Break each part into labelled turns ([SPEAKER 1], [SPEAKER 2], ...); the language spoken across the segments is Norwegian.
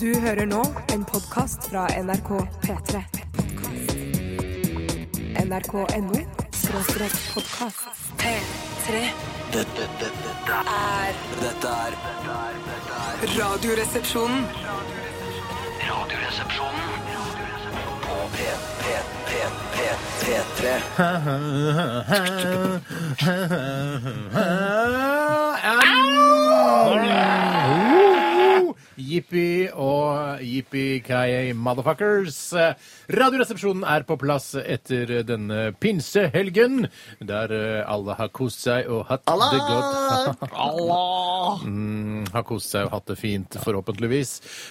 [SPEAKER 1] Du hører nå en podkast fra NRK P3. NRK.no skråstrek podkast. P3
[SPEAKER 2] Dette, dette, dette,
[SPEAKER 1] er
[SPEAKER 2] dette er dette er- dette er
[SPEAKER 1] Radioresepsjonen.
[SPEAKER 2] Radioresepsjonen på P, P, P, P, P3.
[SPEAKER 3] Jippi og jippi-kayei motherfuckers. Radioresepsjonen er på plass etter denne pinsehelgen, der eh, alle har kost seg og hatt det godt. Mm, har kost seg og hatt det fint, forhåpentligvis.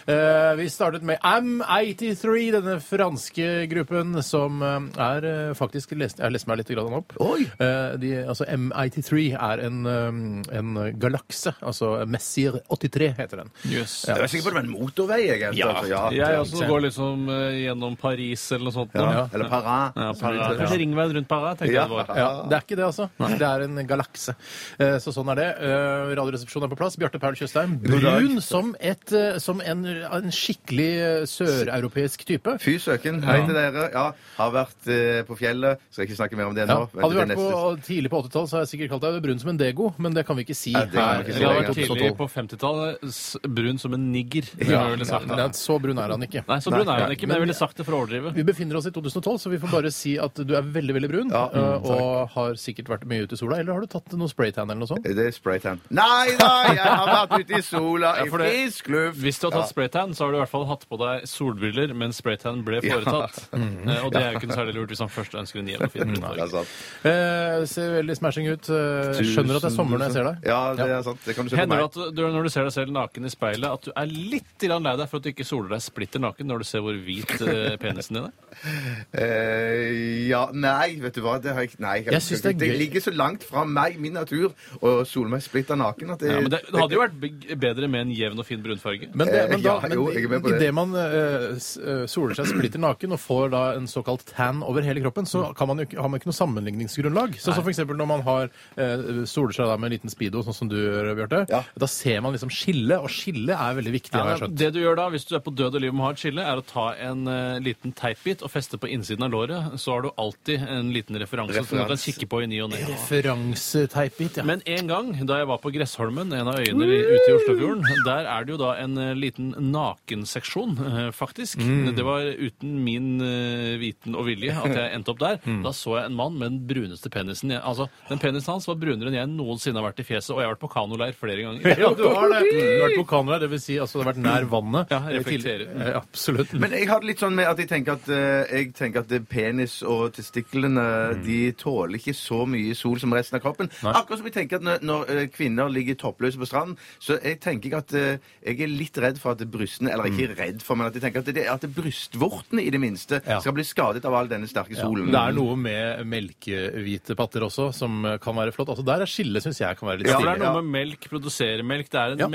[SPEAKER 3] Eh, vi startet med AM83, denne franske gruppen som eh, er eh, faktisk lest, Jeg har lest meg litt grann opp. Eh, de, altså M83 er en, eh, en galakse. Altså Messier 83 heter den.
[SPEAKER 4] Yes.
[SPEAKER 3] Ja.
[SPEAKER 5] Jeg var sikker på det var en motorvei. Jeg, helt,
[SPEAKER 3] Ja.
[SPEAKER 5] altså, ja.
[SPEAKER 4] Jeg også går liksom eh, gjennom Paris eller noe sånt. nå.
[SPEAKER 3] Ja.
[SPEAKER 5] Eller Paris.
[SPEAKER 4] Ja, Paris.
[SPEAKER 5] Ja.
[SPEAKER 4] Kanskje ringveien rundt Paris, tenkte jeg det var.
[SPEAKER 3] Ja, det er ikke det, altså. Det er en galakse. Eh, Så sånn er det. Eh, Radioresepsjonen er på plass. Bjarte Paul Tjøstheim,
[SPEAKER 5] dag.
[SPEAKER 3] brun som, et, eh, som en, en skikkelig eh, søreuropeisk type.
[SPEAKER 5] Fy søken. Hei til dere. Ja, har vært eh, på fjellet. Skal ikke snakke mer om det
[SPEAKER 3] Ja.
[SPEAKER 5] nå. Vent
[SPEAKER 3] Hadde vi
[SPEAKER 5] til
[SPEAKER 3] vært på tidlig på 80-tall, så hadde jeg sikkert kalt deg brun som en dego, men det kan vi ikke si
[SPEAKER 5] Nei, det kan vi
[SPEAKER 3] her.
[SPEAKER 5] ikke si
[SPEAKER 4] Det har
[SPEAKER 3] i
[SPEAKER 4] vært tidlig
[SPEAKER 3] 2012.
[SPEAKER 4] på 50-tallet. s- Brun som en nigger. ville
[SPEAKER 3] Ja,
[SPEAKER 4] jeg vel
[SPEAKER 5] liksom.
[SPEAKER 4] sagt.
[SPEAKER 3] nei, så brun er han ikke.
[SPEAKER 4] Nei, så brun er
[SPEAKER 3] nei,
[SPEAKER 4] hun ikke, men jeg ville sagt det for å overdrive.
[SPEAKER 3] Vi befinner oss i 2012, så vi får bare si at du er veldig veldig brun.
[SPEAKER 5] Ja, Mm,
[SPEAKER 3] eh, og har sikkert vært mye ute i sola. Eller har du tatt noe spraytan eller noe sånt?
[SPEAKER 5] Det er spraytan. Nei, nei, jeg har vært ute i sola, i
[SPEAKER 4] Ja, for det-
[SPEAKER 5] frisk luft.
[SPEAKER 4] Hvis du har tatt spraytan, så har du i hvert fall hatt på deg solbriller mens spraytan ble foretatt. Eh, Og det er jo ikke noe særlig lurt hvis han først ønsker en jevn og fin
[SPEAKER 5] Ja, det er
[SPEAKER 4] hudfarge.
[SPEAKER 5] sant.
[SPEAKER 3] Eh, ser veldig smashing ut. Eh, skjønner at det er sommer når jeg ser deg.
[SPEAKER 5] Ja, det er sant. Det kan du se på
[SPEAKER 4] Hender det
[SPEAKER 5] meg.
[SPEAKER 4] at du, når du ser deg selv naken i speilet, at du er litt grann lei deg for at du ikke soler deg splitter naken når du ser hvor hvit eh, penisen din er?
[SPEAKER 5] Eh, ja, nei, vet du hva. Det, har jeg, ikke- nei, jeg,
[SPEAKER 3] Jeg synes det er gøy.
[SPEAKER 5] ligger så langt fra meg, min natur, og soler meg splitter naken at det,
[SPEAKER 4] Ja, men det, det hadde jo vært beg- bedre med en jevn og fin brunfarge.
[SPEAKER 3] Men, det,
[SPEAKER 5] Eh,
[SPEAKER 3] men da,
[SPEAKER 5] ja,
[SPEAKER 3] men
[SPEAKER 5] jo, jeg er med på det.
[SPEAKER 3] idet man eh, s- eh, soler seg splitter naken og får da en såkalt tan over hele kroppen, så kan man jo, ikke- har man ikke noe sammenligningsgrunnlag. Sånn som for eksempel når man har eh, soler seg da med en liten speedo, sånn som du gjør, Bjarte.
[SPEAKER 5] Ja.
[SPEAKER 3] Da ser man liksom skille, og skille er veldig viktig, har jeg skjønt.
[SPEAKER 4] det du gjør da, hvis du er på død og liv og må ha et skille, er å ta en eh, liten teipbit og feste på innsiden av låret. Så har du alltid en liten referanse som du kan
[SPEAKER 5] Referans.
[SPEAKER 4] kikke på i ny og ne.
[SPEAKER 3] Referanseteipbit, ja.
[SPEAKER 4] Men en gang, da jeg var på Gressholmen, en av øyene i- ute i Oslofjorden, der er det jo da en eh, liten nakenseksjon, eh, faktisk.
[SPEAKER 3] Mm.
[SPEAKER 4] Det var uten min eh, viten og vilje at jeg endte opp der.
[SPEAKER 3] Mm.
[SPEAKER 4] Da så jeg en mann med den bruneste penisen. Jeg, altså, den penisen hans var brunere enn jeg noensinne har vært i fjeset, og jeg har vært på kanoleir flere ganger.
[SPEAKER 3] Ja, du har det. Du har vært på kanoer, det vil si altså, det har vært nær vannet.
[SPEAKER 4] Ja, reflekterer.
[SPEAKER 3] Eh, Absolutt.
[SPEAKER 5] Men jeg har det litt sånn med at jeg tenker at, eh, jeg tenker at det penis og testiklene
[SPEAKER 3] Mm.
[SPEAKER 5] de tåler ikke så mye sol som resten av kroppen. Akkurat som jeg tenker at når, når eh, kvinner ligger toppløse på stranden, så jeg tenker jeg at eh, jeg er litt redd for at brystene Eller ikke redd for, men at jeg tenker at, det, at brystvortene i det minste
[SPEAKER 3] Mm. Ja.
[SPEAKER 5] skal bli skadet av all denne sterke solen.
[SPEAKER 3] Det er noe med melkehvite patter også som kan være flott. Altså Der er skillet, syns jeg, kan være litt
[SPEAKER 4] Ja,
[SPEAKER 5] Ja,
[SPEAKER 4] for det
[SPEAKER 3] stilig.
[SPEAKER 4] er noe med melk, produsere melk. Det er en
[SPEAKER 3] Ja.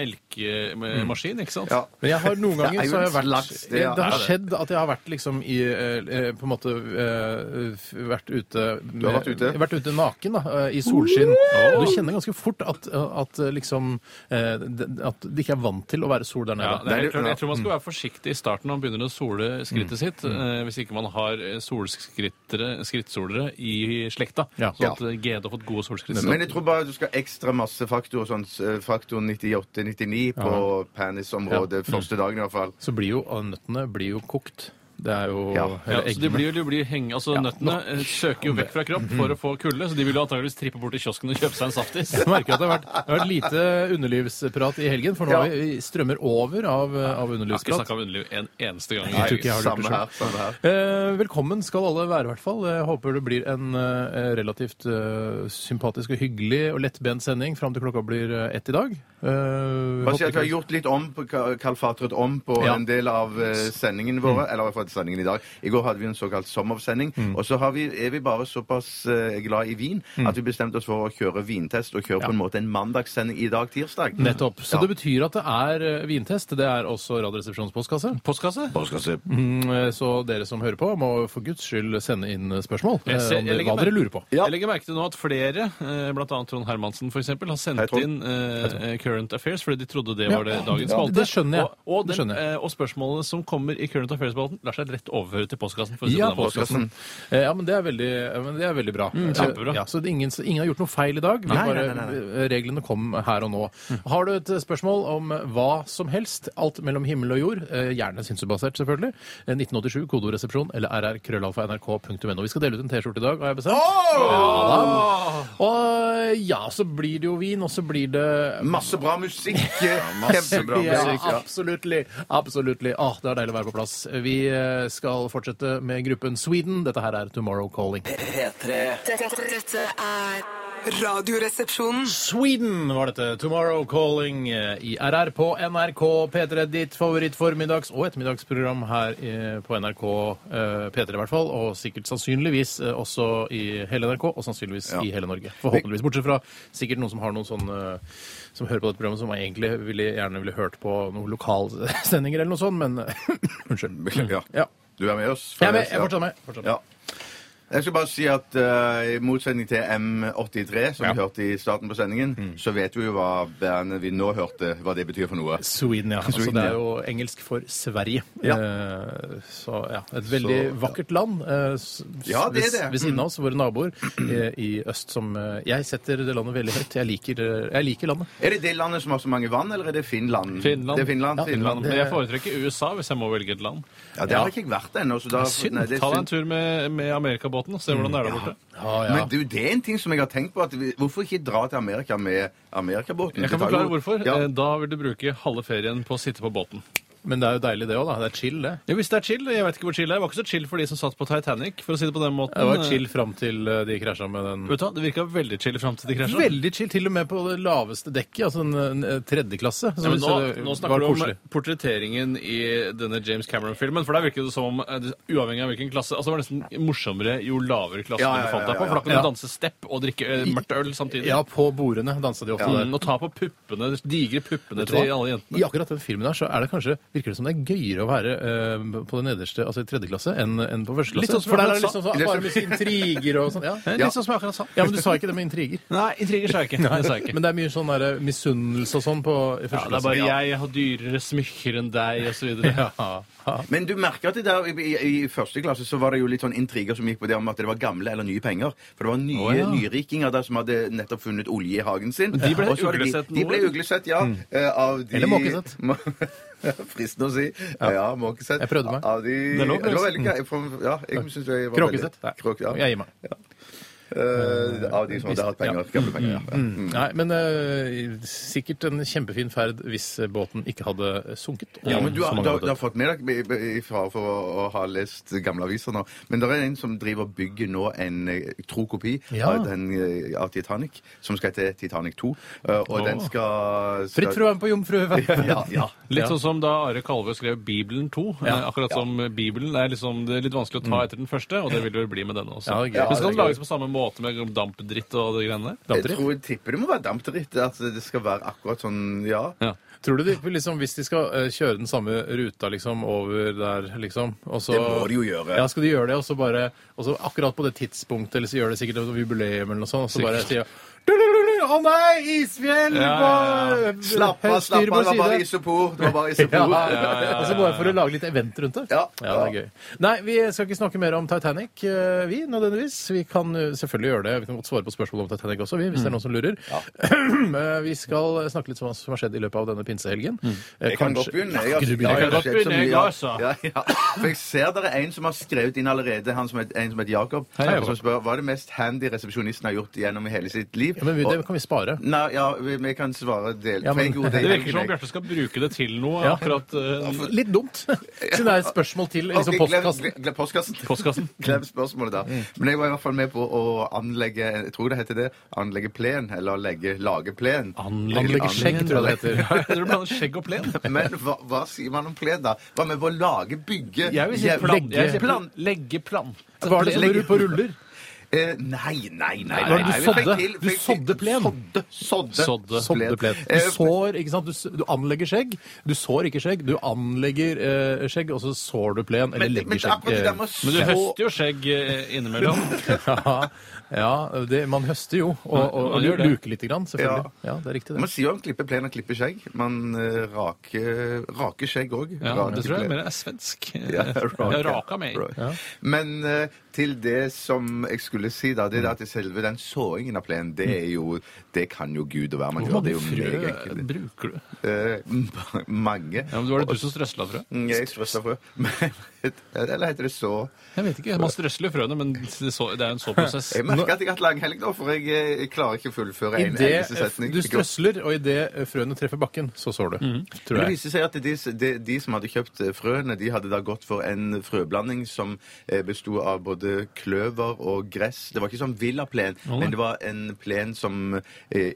[SPEAKER 4] melkemaskin, ikke sant?
[SPEAKER 5] Ja.
[SPEAKER 3] Men jeg har noen
[SPEAKER 5] Det
[SPEAKER 3] ganger
[SPEAKER 5] er jo
[SPEAKER 3] så har jeg
[SPEAKER 5] en
[SPEAKER 3] vært
[SPEAKER 5] slags-
[SPEAKER 3] Det
[SPEAKER 5] det er-
[SPEAKER 3] har
[SPEAKER 5] er det.
[SPEAKER 3] skjedd at jeg har vært liksom i eh, eh, På en måte eh, f- vært ute
[SPEAKER 5] Du har vært ute?
[SPEAKER 3] Vært ute naken, da. eh, I solskinn. Og du kjenner ganske fort at, at eh, liksom eh, d- At de ikke er vant til å være sol der
[SPEAKER 4] Ja,
[SPEAKER 3] nede.
[SPEAKER 4] det er
[SPEAKER 5] Nei,
[SPEAKER 4] helt
[SPEAKER 5] det-
[SPEAKER 4] klart. Jeg tror man skal være forsiktig i starten når man begynner å sole skrittet sitt, eh, hvis ikke man har eh, solskrittere- skrittsolere i slekta.
[SPEAKER 3] Ja.
[SPEAKER 4] Sånn at eh, GD har fått gode solskritt.
[SPEAKER 5] Men jeg tror bare du skal ha ekstra masse faktor, sånn eh, faktor 98-99 på penisområdet første dagen i hvert fall.
[SPEAKER 3] Så blir jo og nøttene blir jo kokt. Det er jo
[SPEAKER 5] Ja.
[SPEAKER 4] Ja,
[SPEAKER 3] Eller
[SPEAKER 4] så de
[SPEAKER 3] eggene.
[SPEAKER 4] blir, de blir henge, altså Nøttene eh, søker jo vekk fra kropp for å få kulde, så de vil jo antageligvis trippe bort til kiosken og kjøpe seg en saftis.
[SPEAKER 3] Jeg merker at det har vært, det har vært lite underlivsprat i helgen, for nå har vi vi strømmer over av, eh, av
[SPEAKER 4] Jeg har ikke
[SPEAKER 3] underlivsprat.
[SPEAKER 4] snakka om underliv en eneste gang.
[SPEAKER 3] tror ikke jeg har lurt det
[SPEAKER 5] Samme her. Samme her.
[SPEAKER 3] Eh, velkommen skal alle være, i hvert fall. Jeg håper det blir en eh, relativt eh, sympatisk og hyggelig og lettbent sending fram til klokka blir eh, ett i dag. Eh,
[SPEAKER 5] Bare si
[SPEAKER 3] håper
[SPEAKER 5] at vi har
[SPEAKER 3] ikke-
[SPEAKER 5] gjort litt om på Kalfatret om på
[SPEAKER 3] Ja. Mm.
[SPEAKER 5] en del av eh, sendingene våre. Eller i hvert fall av sendingen i dag. I går hadde vi en såkalt sommersending. Og så har vi, er vi bare såpass eh, glad i vin
[SPEAKER 3] Mm.
[SPEAKER 5] at vi bestemte oss for å kjøre vintest og kjøre på en måte en mandagssending i dag, tirsdag.
[SPEAKER 3] Mm. Nettopp. Så
[SPEAKER 5] Ja.
[SPEAKER 3] det betyr at det er eh, vintest. Det er også Radioresepsjonens postkasse.
[SPEAKER 4] Postkasse?
[SPEAKER 3] Mm, eh, Så dere som hører på, må for guds skyld sende inn eh, spørsmål.
[SPEAKER 4] Jeg ser-
[SPEAKER 3] eh, om dere-
[SPEAKER 4] jeg legger
[SPEAKER 3] Hva
[SPEAKER 4] merke-
[SPEAKER 3] dere lurer på.
[SPEAKER 4] Jeg legger merke til nå at flere, eh, blant annet Trond Hermansen for eksempel, har sendt
[SPEAKER 5] Hei, Trond.
[SPEAKER 4] inn eh, Current Affairs fordi de trodde det
[SPEAKER 3] Ja.
[SPEAKER 4] var det dagens
[SPEAKER 3] Ja,
[SPEAKER 4] spalte.
[SPEAKER 3] det skjønner jeg.
[SPEAKER 4] Og, og,
[SPEAKER 3] Det
[SPEAKER 4] den,
[SPEAKER 3] skjønner jeg.
[SPEAKER 4] eh, og spørsmålene som kommer i Current Affairs-spalten, lar seg rett overføre til postkassen. For å si
[SPEAKER 3] Ja,
[SPEAKER 4] det på den måten.
[SPEAKER 3] postkassen. Eh, Ja, men det er veldig, eh, men det er veldig bra.
[SPEAKER 4] kjempebra.
[SPEAKER 3] Eh, Ja, så det er ingen, så ingen har gjort noe feil i dag. Vi
[SPEAKER 5] Mm, Nei, nei,
[SPEAKER 3] bare,
[SPEAKER 5] nei, Mm.
[SPEAKER 3] eh, Reglene kom her og nå. Har du et eh, spørsmål om eh, hva som helst, alt mellom himmel og jord, eh, gjerne synsebasert selvfølgelig, eh, 1987, kodoresepsjon eller rrkrøllalfa.nrk.no. Vi skal dele ut en T-skjorte i dag, har jeg bestemt. Ja, da. og eh, ja, så blir det jo vin, og så blir det
[SPEAKER 5] Masse bra musikk! Kjempebra
[SPEAKER 3] ja,
[SPEAKER 5] musikk. Ja.
[SPEAKER 3] absolutely. absolutely. Ah, det er deilig å være på plass. Vi eh, skal fortsette med gruppen Sweden. Dette her er Tomorrow Calling.
[SPEAKER 2] P3
[SPEAKER 6] Dette, dette er
[SPEAKER 1] Radioresepsjonen.
[SPEAKER 3] Sweden var dette. Tomorrow Calling eh, i RR på NRK P3. Ditt favorittformiddags- og ettermiddagsprogram her eh, på NRK eh, P3 i hvert fall. Og sikkert sannsynligvis eh, også i hele NRK, og sannsynligvis i hele Norge. Forhåpentligvis. Bortsett fra sikkert noen som har noen sånn eh, som hører på dette programmet, som egentlig ville, gjerne ville hørt på noen lokalsendinger eller noe sånt, men Unnskyld.
[SPEAKER 5] Ja.
[SPEAKER 3] Ja.
[SPEAKER 5] Du er med oss?
[SPEAKER 3] Jeg er med. Jeg fortsetter med. Fortsetter med.
[SPEAKER 5] Ja. Jeg skal bare si at eh, i motsetning til M83, som vi hørte i starten på sendingen,
[SPEAKER 3] Mm.
[SPEAKER 5] så vet vi jo hva bandet vi nå hørte, hva det betyr for noe.
[SPEAKER 3] Sweden, ja. Altså,
[SPEAKER 5] Sweden,
[SPEAKER 3] det
[SPEAKER 5] ja.
[SPEAKER 3] er jo engelsk for Sverige.
[SPEAKER 5] Ja.
[SPEAKER 3] Eh, så ja, et veldig
[SPEAKER 5] Så, ja.
[SPEAKER 3] vakkert land. eh, s-
[SPEAKER 5] Ja, det er
[SPEAKER 3] ved-
[SPEAKER 5] det. Mm.
[SPEAKER 3] Ved siden av oss, våre naboer eh, i øst som eh, Jeg setter det landet veldig høyt. Jeg liker, eh, jeg liker landet.
[SPEAKER 5] Er det det landet som har så mange vann, eller er det Finland?
[SPEAKER 4] Finland.
[SPEAKER 5] Det er Finland.
[SPEAKER 3] Ja,
[SPEAKER 5] Finland.
[SPEAKER 4] Men jeg foretrekker USA hvis jeg må velge et land.
[SPEAKER 5] Ja, det har ikke jeg vært ennå, så da
[SPEAKER 4] Synd.
[SPEAKER 5] Nei, det er
[SPEAKER 4] Ta deg en
[SPEAKER 5] synd. Mm.
[SPEAKER 4] tur med, med Amerikabåten og se hvordan det er der borte.
[SPEAKER 3] Ja, ja.
[SPEAKER 5] Men du, det er en ting som jeg har tenkt på. At vi, hvorfor ikke dra til Amerika med Amerikabåten?
[SPEAKER 4] Jeg
[SPEAKER 5] Det
[SPEAKER 4] kan
[SPEAKER 5] tar
[SPEAKER 4] forklare
[SPEAKER 5] jo-
[SPEAKER 4] hvorfor.
[SPEAKER 5] Ja.
[SPEAKER 4] Eh, Da vil du bruke halve ferien på å sitte på båten.
[SPEAKER 3] Men det er jo deilig, det òg, da. Det er chill, det.
[SPEAKER 4] Ja, hvis det er chill, jeg vet ikke hvor chill det er. Det var ikke så chill for de som satt på Titanic, for å si det på den måten.
[SPEAKER 3] Det var chill fram til eh, de krasja med den
[SPEAKER 4] Vet du hva, det virka veldig chill fram til de krasja.
[SPEAKER 3] Veldig chill, til og med på det laveste dekket, altså en, en eh, tredje klasse. Så
[SPEAKER 4] Ja, men
[SPEAKER 3] hvis
[SPEAKER 4] nå,
[SPEAKER 3] det
[SPEAKER 4] nå
[SPEAKER 3] var
[SPEAKER 4] snakker du om eh,
[SPEAKER 3] koselig.
[SPEAKER 4] portretteringen i denne James Cameron-filmen. For der virker det som om, eh, det- uavhengig av hvilken klasse altså Det var nesten morsommere jo lavere klasse
[SPEAKER 5] Ja, ja,
[SPEAKER 4] du fant deg
[SPEAKER 5] ja,
[SPEAKER 4] på. For da kan
[SPEAKER 3] ja.
[SPEAKER 4] du danse stepp og drikke eh, mørkt øl samtidig.
[SPEAKER 3] Ja, på bordene dansa de ofte der.
[SPEAKER 4] Mm, og ta på puppene, de digre puppene
[SPEAKER 3] Vet du hva?
[SPEAKER 4] til alle jentene.
[SPEAKER 3] I akkurat den filmen der så er det kanskje, virker det som det er gøyere å være eh, på det nederste, altså i tredje klasse, enn enn på første klasse.
[SPEAKER 4] Litt sånn som
[SPEAKER 3] For der er
[SPEAKER 4] jeg
[SPEAKER 3] det liksom sånn,
[SPEAKER 5] sa.
[SPEAKER 3] bare med intriger og sånn. Ja.
[SPEAKER 5] Ja.
[SPEAKER 4] Litt sånn som jeg akkurat sa.
[SPEAKER 3] ja, men du sa ikke det med intriger.
[SPEAKER 4] Nei, intriger sa jeg ikke. Det sa jeg ikke.
[SPEAKER 3] Men det er mye sånn der, misunnelse og sånn på i
[SPEAKER 4] Ja,
[SPEAKER 3] første
[SPEAKER 4] det er bare
[SPEAKER 3] klasse.
[SPEAKER 4] jeg har dyrere smykker enn deg, og så videre.
[SPEAKER 3] Ja.
[SPEAKER 5] Men du merker at det der, i, i, i første klasse så var det jo litt sånn intriger som gikk på det om at det var gamle eller nye penger. For det var nye
[SPEAKER 4] Å, ja.
[SPEAKER 5] nyrikinger der som hadde nettopp funnet olje i hagen sin.
[SPEAKER 4] de ble
[SPEAKER 5] Og så var det
[SPEAKER 4] uglesett
[SPEAKER 5] De, de ble
[SPEAKER 4] nå,
[SPEAKER 5] uglesett, ja. eh, Av de,
[SPEAKER 3] Eller måkesett.
[SPEAKER 5] Fristende å si. Ja, måkesett.
[SPEAKER 3] Jeg prøvde meg.
[SPEAKER 5] Av de,
[SPEAKER 3] Det er lov,
[SPEAKER 5] det var
[SPEAKER 3] altså.
[SPEAKER 5] veldig greit. For- Ja, jeg synes det var
[SPEAKER 3] Kråkesett.
[SPEAKER 5] veldig- Kråk, ja.
[SPEAKER 3] Jeg gir meg.
[SPEAKER 5] Eh, av de som hadde hatt penger. Gamle penger, ja. Mm.
[SPEAKER 3] Nei, men eh, sikkert en kjempefin ferd hvis båten ikke hadde sunket.
[SPEAKER 5] Ja, men du har,
[SPEAKER 3] Så mange
[SPEAKER 5] du, har,
[SPEAKER 3] hadde
[SPEAKER 5] du har fått med deg, i- i- i fare for å, å ha lest gamle aviser nå, men det er en som driver og bygger nå en eh, tro kopi
[SPEAKER 3] Ja.
[SPEAKER 5] av, den, eh, av Titanic, som skal hete Titanic 2, eh, og den skal, skal
[SPEAKER 3] Fritt fra å være med på Jomfruøyvær.
[SPEAKER 5] Ja, ja.
[SPEAKER 4] Litt
[SPEAKER 3] Ja.
[SPEAKER 4] sånn som da Are Kalve skrev Bibelen 2. eh, Akkurat som Bibelen er liksom, det er litt vanskelig å ta etter den første, og det vil det vel bli med denne også.
[SPEAKER 3] Ja, det er gøy.
[SPEAKER 4] Men skal
[SPEAKER 5] Ja, det
[SPEAKER 4] den
[SPEAKER 5] er
[SPEAKER 4] lages på samme måte med liksom dampdritt og de greiene der?
[SPEAKER 5] Jeg tror jeg tipper det må være dampdritt. At det skal være akkurat sånn, ja.
[SPEAKER 4] Ja.
[SPEAKER 3] Tror du de, liksom, Hvis de skal eh, kjøre den samme ruta liksom, over der, liksom og så,
[SPEAKER 5] Det må de jo gjøre.
[SPEAKER 3] Ja, skal de gjøre det, og så bare og så Akkurat på det tidspunktet, eller så gjør de sikkert et jubileum eller noe sånt, og så bare sier «Dulululu, Å nei, isfjell!
[SPEAKER 4] Ja, ja, ja.
[SPEAKER 3] på-
[SPEAKER 5] Slapp av,
[SPEAKER 3] høyt styr
[SPEAKER 5] slapp
[SPEAKER 3] på
[SPEAKER 5] av, det var bare
[SPEAKER 3] side».
[SPEAKER 5] isopor. Det var bare
[SPEAKER 3] Ja,
[SPEAKER 5] isopor.
[SPEAKER 3] Altså bare for å lage litt event rundt det.
[SPEAKER 5] Ja.
[SPEAKER 3] det er gøy. Nei, vi skal ikke snakke mer om Titanic, eh, vi, nødvendigvis. Vi kan eh, selvfølgelig gjøre det. Vi kan godt svare på spørsmål om Titanic også, vi, hvis det er noen som lurer. Eh, vi skal snakke litt om hva som har skjedd i løpet av denne pinsehelgen. Eh,
[SPEAKER 5] Jeg altså. kan godt
[SPEAKER 3] kanskje-
[SPEAKER 5] begynne.
[SPEAKER 3] Ja,
[SPEAKER 5] har-
[SPEAKER 3] du begynner.
[SPEAKER 5] har
[SPEAKER 4] Jeg kan godt
[SPEAKER 5] sett så
[SPEAKER 4] begynne,
[SPEAKER 5] mye,
[SPEAKER 4] jeg
[SPEAKER 5] ja.
[SPEAKER 4] også.
[SPEAKER 5] Ja, ja. For jeg ser dere er en som har skrevet inn allerede, han som het, en som heter Jakob,
[SPEAKER 4] Hei, Jakob.
[SPEAKER 5] som spør hva er det mest handy resepsjonisten har gjort gjennom hele sitt liv.
[SPEAKER 3] Ja, men vi,
[SPEAKER 5] Og-
[SPEAKER 3] det kan vi spare.
[SPEAKER 5] Nei, ja, vi, vi kan svare det del.
[SPEAKER 3] Ja, men-
[SPEAKER 5] Trenger ikke hodet
[SPEAKER 4] Det
[SPEAKER 5] i
[SPEAKER 4] virker som om Bjarte skal bruke det til noe.
[SPEAKER 3] Ja.
[SPEAKER 4] akkurat eh,
[SPEAKER 3] Litt dumt, siden det er et spørsmål til liksom,
[SPEAKER 5] Ok, glem-
[SPEAKER 3] postkassen. Mm.
[SPEAKER 5] glem- Glem postkassen.
[SPEAKER 4] postkassen.
[SPEAKER 5] Glem spørsmålet, da. Men jeg var i hvert fall med på å anlegge jeg tror det heter det, anlegge plen, eller legge, lage plen.
[SPEAKER 3] Anlegge skjegg, tror jeg det heter.
[SPEAKER 4] Jeg tror du blander skjegg og plen.
[SPEAKER 5] Men hva, hva sier man om plen, da? Hva med å lage, bygge
[SPEAKER 4] Jeg vil si
[SPEAKER 5] jævla-
[SPEAKER 4] plan. Jeg
[SPEAKER 5] Legge-
[SPEAKER 4] sier plan. Legge plan.
[SPEAKER 3] Var det
[SPEAKER 4] Plen.
[SPEAKER 3] sånn på ruller?
[SPEAKER 5] Eh, nei, nei, nei.
[SPEAKER 3] Hva er det
[SPEAKER 5] nei,
[SPEAKER 3] du
[SPEAKER 5] vi fikk
[SPEAKER 3] sådde?
[SPEAKER 5] til-
[SPEAKER 3] Du
[SPEAKER 5] fikk til-
[SPEAKER 3] sådde plen.
[SPEAKER 5] Sådde. Sådde.
[SPEAKER 4] Sådde.
[SPEAKER 3] Sådde plen.
[SPEAKER 5] Eh,
[SPEAKER 3] Du sår, ikke sant? Du, s- du anlegger skjegg. Du sår ikke skjegg. Du anlegger eh, skjegg, og så sår du plen, eller
[SPEAKER 5] Men, men
[SPEAKER 3] legger
[SPEAKER 5] akkurat det
[SPEAKER 3] skjegg.
[SPEAKER 5] der
[SPEAKER 3] eh,
[SPEAKER 5] med å
[SPEAKER 4] Men du
[SPEAKER 5] så-
[SPEAKER 4] høster jo skjegg eh, innimellom.
[SPEAKER 3] ja, ja det, man høster jo, og, og,
[SPEAKER 4] Man
[SPEAKER 3] og
[SPEAKER 4] gjør det.
[SPEAKER 3] luker lite grann, selvfølgelig.
[SPEAKER 5] Ja.
[SPEAKER 3] Ja, det er riktig,
[SPEAKER 5] Man
[SPEAKER 3] det.
[SPEAKER 5] sier jo om klippe plen og klippe skjegg. Man eh, rake, rake skjegg òg.
[SPEAKER 4] Ja, det tror jeg mer er svensk. Jeg raka meg.
[SPEAKER 5] Men eh, til det som jeg skulle si, da, det er at selve den såingen av plenen, det er jo Det kan jo Gud og hver mann gjøre.
[SPEAKER 4] Hvor
[SPEAKER 5] Det er
[SPEAKER 4] mange
[SPEAKER 5] jo
[SPEAKER 4] frø
[SPEAKER 5] meget
[SPEAKER 4] bruker du?
[SPEAKER 5] enkelt. Eh, mange.
[SPEAKER 4] Ja, men Det var det du som strøsla, tror jeg.
[SPEAKER 5] Mm, Jeg strøsser frø. Men- Eller heter det så?
[SPEAKER 4] Jeg vet ikke, Man strøsler jo frøene, men det så- det er jo en såprosess.
[SPEAKER 5] Jeg merker at jeg har hatt lang helg nå, for jeg, eh, jeg klarer ikke å fullføre en eneste setning.
[SPEAKER 3] Idet du strøsler, og idet Eh, frøene treffer bakken, så sår du.
[SPEAKER 4] Mhm.
[SPEAKER 3] Tror
[SPEAKER 5] Men
[SPEAKER 3] jeg.
[SPEAKER 5] det viste seg at de, de, de som hadde kjøpt eh, frøene, de hadde da gått for en frøblanding som eh, besto av både kløver og gress. Det var ikke sånn villaplen, men det var en plen som eh,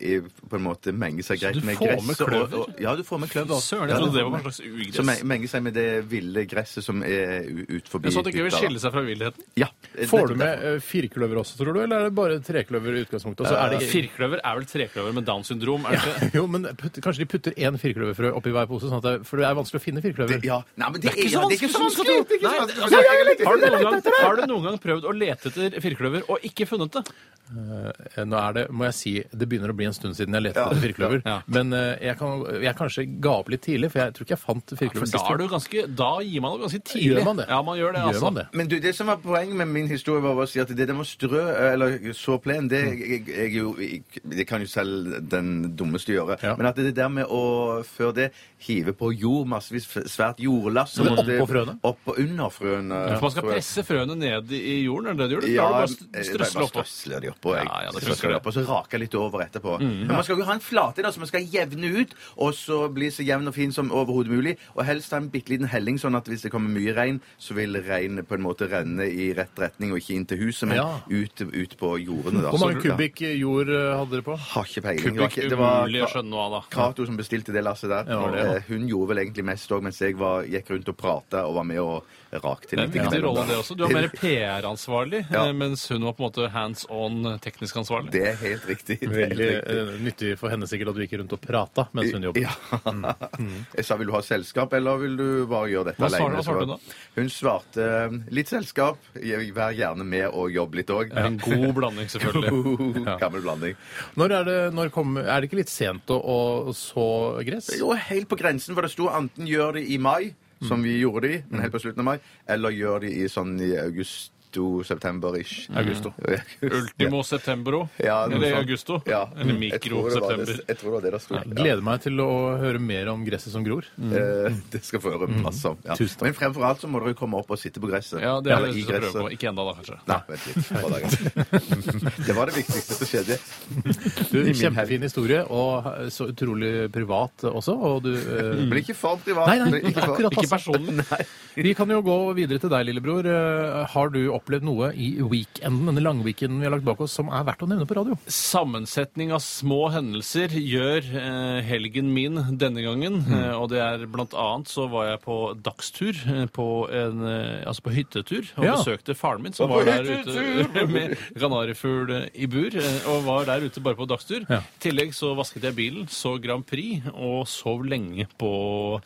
[SPEAKER 5] eh, på en måte menger seg greit
[SPEAKER 4] du
[SPEAKER 5] med
[SPEAKER 4] får
[SPEAKER 5] gress.
[SPEAKER 4] med
[SPEAKER 5] og-
[SPEAKER 4] kløver?
[SPEAKER 5] og- Ja, du får med kløver.
[SPEAKER 4] Søren,
[SPEAKER 5] Ja,
[SPEAKER 4] jeg
[SPEAKER 5] du
[SPEAKER 4] trodde det
[SPEAKER 5] får
[SPEAKER 4] var
[SPEAKER 5] med-
[SPEAKER 4] en slags
[SPEAKER 5] Som
[SPEAKER 4] ugress.
[SPEAKER 5] me- menger seg med det ville gresset som er u- ut forbi
[SPEAKER 4] Men Sånn at det ikke vil
[SPEAKER 5] hytta, da.
[SPEAKER 4] skille seg fra villheten.
[SPEAKER 5] Ja.
[SPEAKER 3] Får
[SPEAKER 5] nettopp
[SPEAKER 3] du med eh, firkløver også, tror du, eller er det bare trekløver i utgangspunktet? Og så
[SPEAKER 4] Eh,
[SPEAKER 3] er det
[SPEAKER 4] Firkløver er vel trekløver med Downs syndrom? er det ikke?
[SPEAKER 3] Jo, men putt, kanskje de putter én firkløverfrå oppi hver pose, sånn at det, for det er vanskelig å finne firkløver.
[SPEAKER 5] det. Ja. Nei, men det,
[SPEAKER 4] ikke så
[SPEAKER 5] ja, det er ikke så
[SPEAKER 4] vanskelig som
[SPEAKER 5] vanskelig! Det er ikke
[SPEAKER 4] du tror.
[SPEAKER 5] så
[SPEAKER 4] Nei,
[SPEAKER 5] vanskelig.
[SPEAKER 4] altså,
[SPEAKER 5] Ja, ja, ja, ja.
[SPEAKER 4] Har du, noen gang, har du noen gang prøvd å lete etter firkløver og ikke funnet det?
[SPEAKER 3] Eh, Nå er det, må jeg si, det begynner å bli en stund siden jeg lette etter firkløver.
[SPEAKER 4] Ja.
[SPEAKER 3] Men eh, jeg, kan, jeg kanskje ga opp litt tidlig, for jeg tror ikke jeg fant
[SPEAKER 4] For
[SPEAKER 3] firkløver
[SPEAKER 4] da,
[SPEAKER 3] sist.
[SPEAKER 4] er du ganske, da gir man det ganske tidlig.
[SPEAKER 3] Gjør man det?
[SPEAKER 4] Ja, man gjør det,
[SPEAKER 3] Gjør
[SPEAKER 4] altså.
[SPEAKER 3] man det?
[SPEAKER 5] Men du, det som var poenget med min historie, var å si at det der med å strø eh, eller så plen, det, jeg, jeg, er jo, jeg, det kan jo selv den dummeste gjøre.
[SPEAKER 3] Ja.
[SPEAKER 5] Men at det der med å før det hive på jord, massevis f- svært jordlass så
[SPEAKER 3] Men
[SPEAKER 5] må det-
[SPEAKER 3] oppå frøene?
[SPEAKER 5] Opp og under frøene.
[SPEAKER 4] For man skal
[SPEAKER 5] tror jeg.
[SPEAKER 4] presse frøene ned i i jorden, er det det du gjør?
[SPEAKER 5] Ja,
[SPEAKER 4] da har du bare
[SPEAKER 5] jeg
[SPEAKER 4] strøsla
[SPEAKER 5] bare
[SPEAKER 4] oppå.
[SPEAKER 5] strøsler de oppå. Jeg
[SPEAKER 4] Ja, ja, det
[SPEAKER 5] strøsler de
[SPEAKER 4] funker det.
[SPEAKER 5] oppå, så raker jeg litt over etterpå.
[SPEAKER 4] Mm,
[SPEAKER 5] Men man skal jo ha en flate da, som man skal jevne ut, og så bli så jevn og fin som overhodet mulig. Og helst ha en bitte liten helling, sånn at hvis det kommer mye regn, så vil regnet på en måte renne i rett retning, og ikke inn til huset, men
[SPEAKER 3] Ja.
[SPEAKER 5] ut, ut på jordene. Da.
[SPEAKER 3] Hvor mange
[SPEAKER 5] Så- ja.
[SPEAKER 3] kubikk jord eh, hadde dere på?
[SPEAKER 5] Har ikke peiling. Det var
[SPEAKER 4] Kubikk
[SPEAKER 5] ikke- det var-
[SPEAKER 4] umulig å skjønne noe av, da.
[SPEAKER 5] Cato som bestilte det lasset
[SPEAKER 3] Ja,
[SPEAKER 5] der.
[SPEAKER 3] det var det.
[SPEAKER 5] Eh, Hun gjorde vel egentlig mest òg, mens jeg var, gikk rundt og prata og var med og rakte
[SPEAKER 4] Det er
[SPEAKER 5] litt.
[SPEAKER 4] en viktig
[SPEAKER 5] innimellom,
[SPEAKER 4] rolle,
[SPEAKER 5] da.
[SPEAKER 4] det også. Du er mer PR-ansvarlig,
[SPEAKER 5] Ja.
[SPEAKER 4] eh, mens hun var på en måte hands on eh, teknisk ansvarlig.
[SPEAKER 5] Det er helt riktig. Det er helt
[SPEAKER 3] Veldig
[SPEAKER 5] riktig.
[SPEAKER 3] eh, nyttig for henne sikkert at du gikk rundt og prata mens hun jobbet.
[SPEAKER 5] Ja. Jeg sa vil du ha selskap, eller vil du bare gjøre dette
[SPEAKER 4] Mm. Hva
[SPEAKER 5] alene?
[SPEAKER 4] svarte- hva svarte hun da?
[SPEAKER 5] Hun svarte eh, litt selskap, jeg- vær gjerne med og jobb litt òg.
[SPEAKER 4] En god blanding, selvfølgelig.
[SPEAKER 5] Gammel blanding.
[SPEAKER 3] Når er, det, når kommer- er det ikke litt sent å, å så gress?
[SPEAKER 5] Jo, helt på grensen, for det sto enten gjør det i mai, som vi
[SPEAKER 4] Mm.
[SPEAKER 5] gjorde det i, men helt på slutten av mai, eller gjør det i sånn i august. September-ish.
[SPEAKER 3] Augusto.
[SPEAKER 4] Mm. Ultimo septembro.
[SPEAKER 5] Ja, noe
[SPEAKER 4] eller
[SPEAKER 5] sånt.
[SPEAKER 4] augusto.
[SPEAKER 5] Ja.
[SPEAKER 4] Eller
[SPEAKER 5] Jeg tror
[SPEAKER 4] mikro
[SPEAKER 5] det var det-
[SPEAKER 4] september.
[SPEAKER 5] Jeg tror det var det det sto. Ja.
[SPEAKER 3] Gleder meg til å høre mer om gresset som gror.
[SPEAKER 5] Eh, Det skal få høre masse om. Ja.
[SPEAKER 3] Tusen takk.
[SPEAKER 5] Men fremfor alt så må dere komme opp og sitte på gresset.
[SPEAKER 4] Mm. Ja, det er
[SPEAKER 5] Eller
[SPEAKER 4] det
[SPEAKER 5] i
[SPEAKER 4] du skal prøve
[SPEAKER 5] gresset.
[SPEAKER 4] på. Ikke ennå, da, kanskje.
[SPEAKER 5] Nei, vent litt. Hva da, guys? Det var det viktigste som skjedde.
[SPEAKER 3] Du,
[SPEAKER 5] min
[SPEAKER 3] kjempefin historie, og eh, så utrolig privat også. Og du, eh,
[SPEAKER 5] Men ikke for privat.
[SPEAKER 3] Nei, nei,
[SPEAKER 5] men ikke for-
[SPEAKER 3] akkurat
[SPEAKER 4] Ikke
[SPEAKER 3] passe.
[SPEAKER 4] personen.
[SPEAKER 3] Vi kan jo gå videre til deg, lillebror. Eh, Har du opplevd noe i weekenden, denne langweekenden vi har lagt bak oss, som er verdt å nevne på radio?
[SPEAKER 4] Sammensetning av små hendelser gjør eh, helgen min denne gangen. Eh, og det er blant annet så var jeg på dagstur, eh, på en, eh, altså på hyttetur, og
[SPEAKER 3] Ja.
[SPEAKER 4] besøkte faren min, som
[SPEAKER 5] Og på
[SPEAKER 4] var der
[SPEAKER 5] hyttetur!
[SPEAKER 4] ute med kanarifugl eh, i bur. Eh, og var der ute bare på dagstur.
[SPEAKER 3] Ja.
[SPEAKER 4] I tillegg så vasket jeg bilen, så Grand Prix, og sov lenge på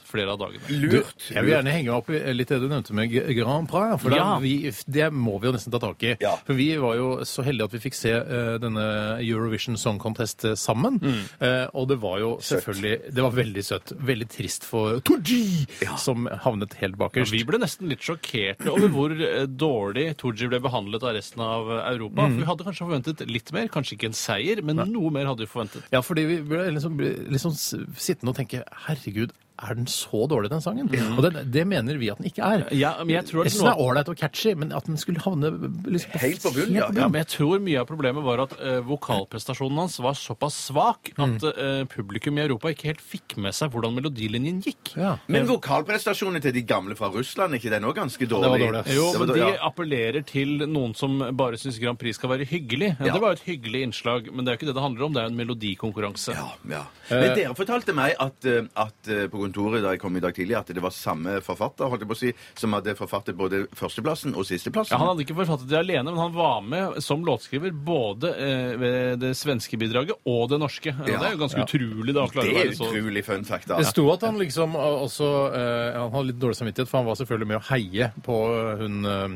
[SPEAKER 4] flere av dagene.
[SPEAKER 5] Lurt.
[SPEAKER 3] Jeg vil gjerne henge meg opp i litt det du nevnte med G- Grand Prix. For
[SPEAKER 4] Ja.
[SPEAKER 3] da, vi, det må vi jo nesten ta tak i.
[SPEAKER 5] Ja.
[SPEAKER 3] For vi var jo så heldige at vi fikk se eh, denne Eurovision Song Contest eh, sammen.
[SPEAKER 4] Mm.
[SPEAKER 3] Eh, og det var jo selvfølgelig Det var veldig søtt. Veldig trist for Tooji, som havnet helt bakerst.
[SPEAKER 4] Vi ble nesten litt sjokkerte over hvor eh, dårlig Tooji ble behandlet av resten av eh, Europa.
[SPEAKER 5] Mm.
[SPEAKER 4] For vi hadde kanskje forventet litt mer, kanskje ikke en seier, men noe mer hadde vi forventet.
[SPEAKER 3] Ja, fordi vi ble liksom, ble liksom s- sittende og tenke Herregud, er den så dårlig, den sangen? Og den, det mener vi at den ikke er.
[SPEAKER 4] Ja, men jeg tror at
[SPEAKER 3] Resten
[SPEAKER 4] noe-
[SPEAKER 3] er ålreit og catchy, men at den skulle havne liksom,
[SPEAKER 5] Helt på bunnen, ja.
[SPEAKER 4] Ja, men jeg tror mye av problemet var at eh, vokalprestasjonen hans var såpass svak
[SPEAKER 5] Mm.
[SPEAKER 4] at eh, publikum i Europa ikke helt fikk med seg hvordan melodilinjen gikk.
[SPEAKER 3] Ja.
[SPEAKER 5] Men vokalprestasjonene til de gamle fra Russland, ikke den òg ganske dårlig?
[SPEAKER 3] dårlig, ass.
[SPEAKER 4] Jo,
[SPEAKER 5] Det var
[SPEAKER 4] men
[SPEAKER 5] dårlig,
[SPEAKER 4] de
[SPEAKER 5] ja.
[SPEAKER 4] appellerer til noen som bare syns Grand Prix skal være hyggelig. Ja,
[SPEAKER 5] Ja.
[SPEAKER 4] Det var jo et hyggelig innslag, men det er jo ikke det det handler om. Det er jo en melodikonkurranse.
[SPEAKER 5] Ja, ja. Men dere fortalte meg at, eh, at eh, på kontoret da jeg kom i dag tidlig, at det var samme forfatter holdt jeg på å si, som hadde forfattet både førsteplassen og sisteplassen.
[SPEAKER 4] Ja, han hadde ikke forfattet det alene, men han var med som låtskriver både eh, ved det svenske bidraget og det norske. Og
[SPEAKER 5] Ja.
[SPEAKER 4] Det er jo ganske utrolig. da å klare
[SPEAKER 5] det
[SPEAKER 4] å
[SPEAKER 5] er
[SPEAKER 4] være så-
[SPEAKER 5] utrolig fun fact, da.
[SPEAKER 3] Det sto at han liksom eh, også eh, Han hadde litt dårlig samvittighet, for han var selvfølgelig med å heie på eh, hun eh,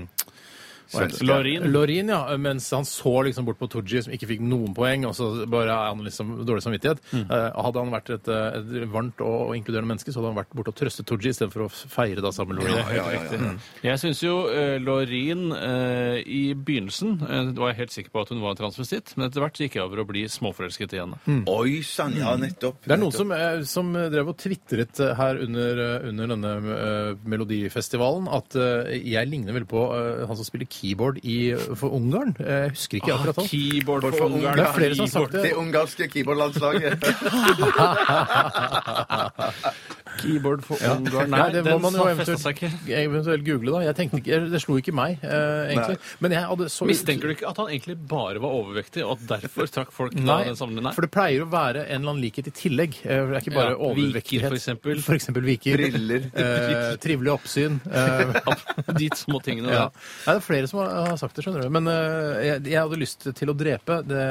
[SPEAKER 5] Svenske.
[SPEAKER 4] Lorin.
[SPEAKER 3] Lorin, ja, mens han så liksom bort på Tooji, som ikke fikk noen poeng, og så bare er han liksom dårlig samvittighet.
[SPEAKER 5] Mm.
[SPEAKER 3] Eh, hadde han vært et, eh, et varmt og, og inkluderende menneske, så hadde han vært borte og trøstet Tooji istedenfor å feire da sammen med Mm. Lorin.
[SPEAKER 5] Ja, ja, ja, ja.
[SPEAKER 4] Jeg syns jo eh, Lorin eh, i begynnelsen eh, var jeg helt sikker på at hun var en transvestitt, men etter hvert så gikk jeg over å bli småforelsket i henne.
[SPEAKER 3] Mm.
[SPEAKER 5] Oi sann, ja, nettopp.
[SPEAKER 3] Det er noen
[SPEAKER 5] nettopp.
[SPEAKER 3] som, eh, som drev og tvitret eh, her under, eh, under denne eh, melodifestivalen at eh, jeg ligner veldig på eh, han som spiller keyboard i, for Ungarn. Eh, Jeg husker
[SPEAKER 5] Ah,
[SPEAKER 3] ikke akkurat han.
[SPEAKER 4] Keyboard for
[SPEAKER 5] for
[SPEAKER 4] Ungarn.
[SPEAKER 3] Det er flere som har sagt
[SPEAKER 5] Det
[SPEAKER 3] det.
[SPEAKER 5] ungarske keyboardlandslaget.
[SPEAKER 4] Keyboard for Ungarn. Nei,
[SPEAKER 3] Nei, det må
[SPEAKER 4] den
[SPEAKER 3] man jo
[SPEAKER 4] sa- festet seg
[SPEAKER 3] eventuelt,
[SPEAKER 4] ikke.
[SPEAKER 3] eventuelt google, da. Jeg tenkte ikke, Det slo ikke meg, eh, egentlig. Men jeg hadde så
[SPEAKER 4] Mistenker du ikke at han egentlig bare var overvektig, og at derfor trakk folk da
[SPEAKER 3] Nei,
[SPEAKER 4] den sammenhengen?
[SPEAKER 3] for det pleier å være en eller annen likhet i tillegg. Eh, Det er ikke bare
[SPEAKER 4] Ja, viker,
[SPEAKER 3] overvektighet.
[SPEAKER 4] for eksempel.
[SPEAKER 3] For eksempel viker.
[SPEAKER 5] Briller.
[SPEAKER 3] Eh, trivelig oppsyn. Eh,
[SPEAKER 4] Nei. De små tingene
[SPEAKER 3] Ja.
[SPEAKER 4] der.
[SPEAKER 3] Nei, det er flere som har har sagt det, skjønner du. Men eh, jeg, jeg hadde lyst til å drepe det,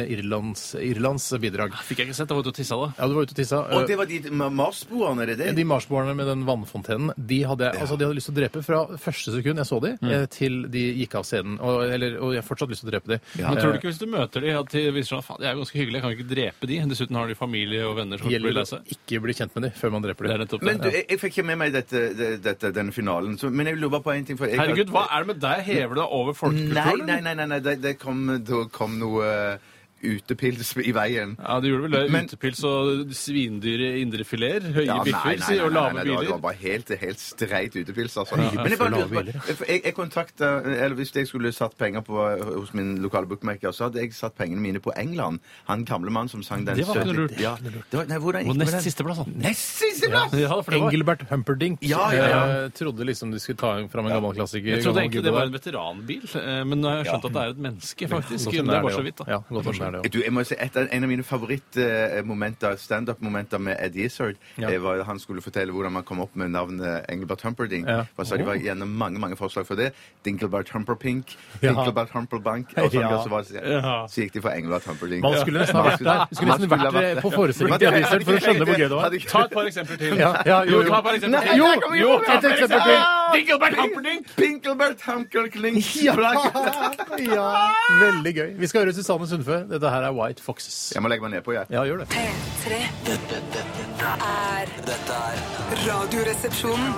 [SPEAKER 3] eh, Irlands, Irlands bidrag.
[SPEAKER 4] Ah, Fikk jeg ikke sett, jeg var ute og tissa da.
[SPEAKER 3] Ja, du var ute og tissa. Eh,
[SPEAKER 5] Og det var de ma- marsboerne, er det det?
[SPEAKER 3] de marsboerne med den vannfontenen, de hadde, jeg- altså, de hadde lyst til å drepe fra første sekund jeg så de, eh, til de gikk av scenen. Og, eller, og jeg har fortsatt lyst til å drepe de. Eh,
[SPEAKER 4] Men tror du ikke hvis du møter de, at de viser sånn, faen, de er jo ganske hyggelige, jeg kan jo ikke drepe de. Dessuten har de familie og venner som blir
[SPEAKER 3] Gjelder det
[SPEAKER 4] lei
[SPEAKER 3] å
[SPEAKER 4] seg.
[SPEAKER 3] ikke bli kjent med de før man dreper
[SPEAKER 4] Det er
[SPEAKER 3] de.
[SPEAKER 4] nettopp
[SPEAKER 5] Men du,
[SPEAKER 4] det.
[SPEAKER 5] jeg, jeg fikk ikke med meg dette, det- dette, denne finalen, så, men jeg lurer på en ting. For jeg,
[SPEAKER 4] Herregud, hva er det med deg? Hever du deg over
[SPEAKER 5] Nei,
[SPEAKER 4] folkekulturen?
[SPEAKER 5] nei, nei, nei, nei det, det kom, da kom noe eh, utepils i veien.
[SPEAKER 4] Ja, du gjorde vel det.
[SPEAKER 5] Men-
[SPEAKER 4] Utepils og svindyre indrefiler, høye
[SPEAKER 5] Ja, nei,
[SPEAKER 4] biffer
[SPEAKER 5] nei, nei,
[SPEAKER 4] og
[SPEAKER 5] nei,
[SPEAKER 4] lave
[SPEAKER 5] nei, det var- Det var
[SPEAKER 4] biler.
[SPEAKER 5] bare helt, helt streit utepils, altså. Men jeg, bare
[SPEAKER 3] og lave
[SPEAKER 5] lurer på- jeg, jeg kontakta Eller hvis jeg skulle satt penger på hos min lokale bookmaker, så hadde jeg satt pengene mine på England. Han gamle mannen som sang den
[SPEAKER 4] Det var ikke
[SPEAKER 5] søte-
[SPEAKER 4] noe lurt.
[SPEAKER 5] Ja, det var, nei, hvordan gikk det
[SPEAKER 4] Og
[SPEAKER 5] med
[SPEAKER 4] nest
[SPEAKER 5] den?
[SPEAKER 4] siste plass, da.
[SPEAKER 5] Nest siste plass!
[SPEAKER 4] Ja, for det var...
[SPEAKER 3] Engelbert Humperdinck
[SPEAKER 5] Ja, ja, ja.
[SPEAKER 3] eh, trodde liksom de skulle ta fram en gammel klassiker.
[SPEAKER 4] Jeg trodde
[SPEAKER 3] gammel
[SPEAKER 4] egentlig det var en
[SPEAKER 3] gubbe
[SPEAKER 4] veteranbil, eh, men nå har jeg skjønt at det er et menneske,
[SPEAKER 3] der.
[SPEAKER 4] faktisk.
[SPEAKER 3] Godt om
[SPEAKER 4] Det
[SPEAKER 3] er
[SPEAKER 4] er bare
[SPEAKER 3] det
[SPEAKER 4] så
[SPEAKER 3] også.
[SPEAKER 4] vidt,
[SPEAKER 3] Ja,
[SPEAKER 4] da.
[SPEAKER 3] godt om det er det også.
[SPEAKER 5] Du, jeg må si, et, En av mine favorittmomenter, standup-momenter med Ed Izzard,
[SPEAKER 3] Ja.
[SPEAKER 5] eh, var han skulle fortelle hvordan man kom opp med navnet Engelbert Humperdinck.
[SPEAKER 3] Ja. Oh.
[SPEAKER 5] For så det var gjennom mange mange forslag for det. Dinkelbert Humperpink,
[SPEAKER 3] Ja.
[SPEAKER 5] Dinkelbert Humperbank og sånn,
[SPEAKER 3] Ja.
[SPEAKER 5] og så, var,
[SPEAKER 4] Ja.
[SPEAKER 5] så gikk de for Engelbert Humperdinck.
[SPEAKER 3] Man skulle nesten ha vært der. Vi skulle
[SPEAKER 5] Man
[SPEAKER 3] nesten
[SPEAKER 5] skulle ha
[SPEAKER 3] vært
[SPEAKER 5] vært
[SPEAKER 3] eh, på forestillingen til Adisel for å skjønne hvor gøy det var.
[SPEAKER 5] Hadde ikke-
[SPEAKER 4] Ta et par eksempler til.
[SPEAKER 3] Ja, ja, jo,
[SPEAKER 4] ta
[SPEAKER 3] jo.
[SPEAKER 4] et par eksempler til.
[SPEAKER 3] Jo,
[SPEAKER 5] der kommer
[SPEAKER 3] jo,
[SPEAKER 5] Jonas!
[SPEAKER 3] et eksempel til!
[SPEAKER 4] Dinkelberg Humperdinck!
[SPEAKER 5] Pinkelbert Humperklink!
[SPEAKER 3] Ja, veldig gøy. Vi skal høre Susanne Sundfø. Dette her er White Foxes.
[SPEAKER 5] Jeg må legge meg nedpå, jeg.
[SPEAKER 3] Ja, gjør det.
[SPEAKER 6] P3
[SPEAKER 2] Dette, dette,
[SPEAKER 6] er
[SPEAKER 2] dette er
[SPEAKER 6] Radioresepsjonen.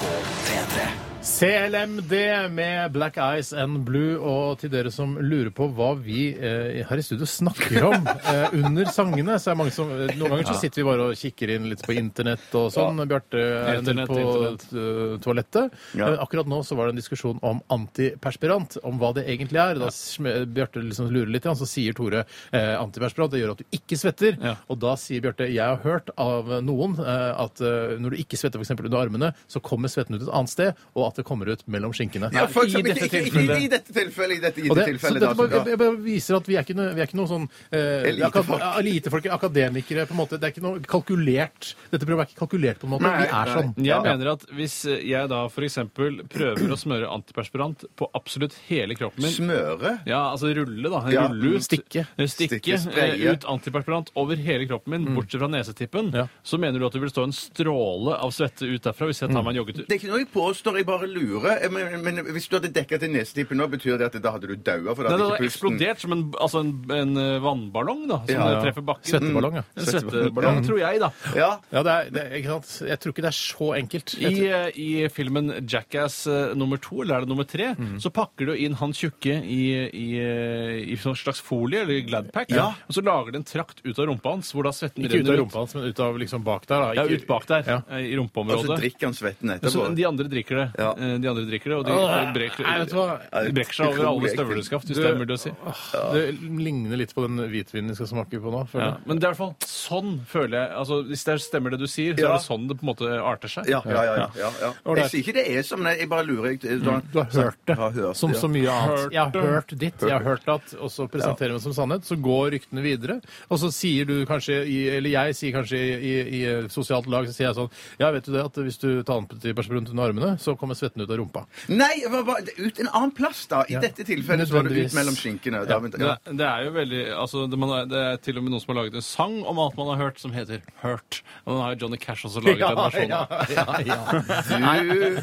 [SPEAKER 2] P3.
[SPEAKER 3] CLMD med Black Eyes and Blue. Og til dere som lurer på hva vi eh, her i studio snakker om eh, under sangene, så er det mange som eh, Noen ganger så sitter vi bare og kikker inn litt på internett og sånn. Bjarte er en del
[SPEAKER 4] Internett,
[SPEAKER 3] på eh, toalettet.
[SPEAKER 5] Ja.
[SPEAKER 3] Eh, akkurat nå så var det en diskusjon om antiperspirant, om hva det egentlig er. Da sm- Bjarte liksom lurer litt, ja, så sier Tore eh, antiperspirant, det gjør at du ikke svetter.
[SPEAKER 4] Ja.
[SPEAKER 3] Og da sier Bjarte jeg har hørt av noen eh, at eh, når du ikke svetter f.eks. under armene, så kommer svetten ut et annet sted, og at det kommer ut mellom skinkene.
[SPEAKER 5] Ja, for
[SPEAKER 4] i
[SPEAKER 5] eksempel,
[SPEAKER 4] dette
[SPEAKER 5] ikke- ikke-
[SPEAKER 4] tilfellet.
[SPEAKER 5] Ikke i dette tilfellet. I dette gitte
[SPEAKER 3] Og det, så
[SPEAKER 5] tilfellet.
[SPEAKER 3] dette
[SPEAKER 5] da,
[SPEAKER 3] bare,
[SPEAKER 5] så-
[SPEAKER 3] jeg bare viser at vi er ikke noe, vi er ikke noe sånn eh,
[SPEAKER 5] Elitefolk.
[SPEAKER 3] akad- ja, elitefolk, akademikere, på en måte. Det er ikke noe kalkulert. Dette programmet er ikke kalkulert på en måte.
[SPEAKER 5] Nei,
[SPEAKER 3] vi er
[SPEAKER 5] nei.
[SPEAKER 3] sånn.
[SPEAKER 4] Jeg mener at hvis jeg da f.eks. prøver å smøre antiperspirant på absolutt hele kroppen min
[SPEAKER 5] Smøre?
[SPEAKER 4] ja, altså rulle, da.
[SPEAKER 5] Ja,
[SPEAKER 4] Rulle ut.
[SPEAKER 3] stikke.
[SPEAKER 4] eh, Stikke,
[SPEAKER 5] Stikke, spraye.
[SPEAKER 4] eh, ut antiperspirant over hele kroppen min, bortsett fra nesetippen.
[SPEAKER 3] Ja.
[SPEAKER 4] Så mener du at det vil stå en stråle av svette ut derfra hvis jeg tar meg en joggetur?
[SPEAKER 5] Det er ikke noe jeg påstår, jeg bare bare lurer. Eh, Men, men hvis du hadde dekka til nesetippen nå, betyr det at da hadde du daua? for da
[SPEAKER 4] Den
[SPEAKER 5] hadde
[SPEAKER 4] hadde
[SPEAKER 5] ikke pusten-
[SPEAKER 4] eksplodert som en, altså en, en eh, vannballong da, som
[SPEAKER 5] Ja.
[SPEAKER 4] eh, treffer bakken.
[SPEAKER 3] Svetteballong, ja.
[SPEAKER 4] En svetteballong, tror jeg, da.
[SPEAKER 5] Ja.
[SPEAKER 3] Ja, det er, det, er- ikke sant? Jeg tror ikke det er så enkelt. Jeg
[SPEAKER 4] I, eh, I filmen Jackass eh, nummer to, eller er det nummer tre,
[SPEAKER 3] Mhm.
[SPEAKER 4] så pakker du inn han tjukke i, i, eh, i sånn slags folie, eller Gladpack,
[SPEAKER 5] Ja.
[SPEAKER 4] og så lager det en trakt ut av rumpa hans, hvor da svetten
[SPEAKER 3] tror- ikke ut av
[SPEAKER 4] renner
[SPEAKER 3] rumpa hans, men ut av liksom bak der. Da.
[SPEAKER 4] Ja,
[SPEAKER 3] Ikke-
[SPEAKER 4] ut bak der,
[SPEAKER 3] Ja. Altså,
[SPEAKER 4] eh,
[SPEAKER 5] Og
[SPEAKER 4] i
[SPEAKER 5] så
[SPEAKER 4] rumpeområdet.
[SPEAKER 5] drikker han svetten
[SPEAKER 4] Så
[SPEAKER 5] etterpå.
[SPEAKER 4] de andre drikker det.
[SPEAKER 5] Ja.
[SPEAKER 4] Eh, De andre drikker det, og de
[SPEAKER 3] Åh,
[SPEAKER 4] brekker,
[SPEAKER 3] nei, vet du hva?
[SPEAKER 4] de brekker seg over alle
[SPEAKER 5] Utrolig ekkelt.
[SPEAKER 4] støvleskaft, hvis
[SPEAKER 3] Du-
[SPEAKER 4] det er mulig å si.
[SPEAKER 3] Åh, Det ligner litt på den hvitvinen vi skal smake på nå.
[SPEAKER 4] Ja.
[SPEAKER 3] føler jeg.
[SPEAKER 4] Men det er i hvert fall sånn, føler jeg. Altså, hvis det stemmer det du sier, så
[SPEAKER 5] Ja.
[SPEAKER 4] er det sånn det på en måte arter seg.
[SPEAKER 5] Ja, ja, ja, ja, ja, ja.
[SPEAKER 3] Ålreit.
[SPEAKER 5] Jeg sier ikke det er som, nei, jeg bare lurer. Jeg, da,
[SPEAKER 3] Du har hørt det,
[SPEAKER 5] Har hørt,
[SPEAKER 3] som
[SPEAKER 5] ja.
[SPEAKER 3] så mye annet.
[SPEAKER 4] Hørt
[SPEAKER 3] jeg har
[SPEAKER 4] det.
[SPEAKER 3] hørt ditt, jeg har hørt at, og så presenterer vi det som sannhet. Så går ryktene videre, og så sier du kanskje, i, eller jeg sier kanskje i, i, i et sosialt lag, så sier jeg sånn Ja, vet du det, at hvis du tar antiperspiranten rundt under armene, så kommer svetten ut av rumpa.
[SPEAKER 5] Nei, det var bare ut en annen plass, da. I
[SPEAKER 3] Ja.
[SPEAKER 5] dette tilfellet så var det
[SPEAKER 3] Nødvendigvis.
[SPEAKER 5] ut mellom skinkene. Da, men,
[SPEAKER 4] Det,
[SPEAKER 5] ja.
[SPEAKER 4] det er jo veldig altså, det, man, er- det er til og med noen som har laget en sang om alt man har hørt, som heter Hurt. Og den har jo Johnny Cash også laget en versjon av.
[SPEAKER 3] ja, ja.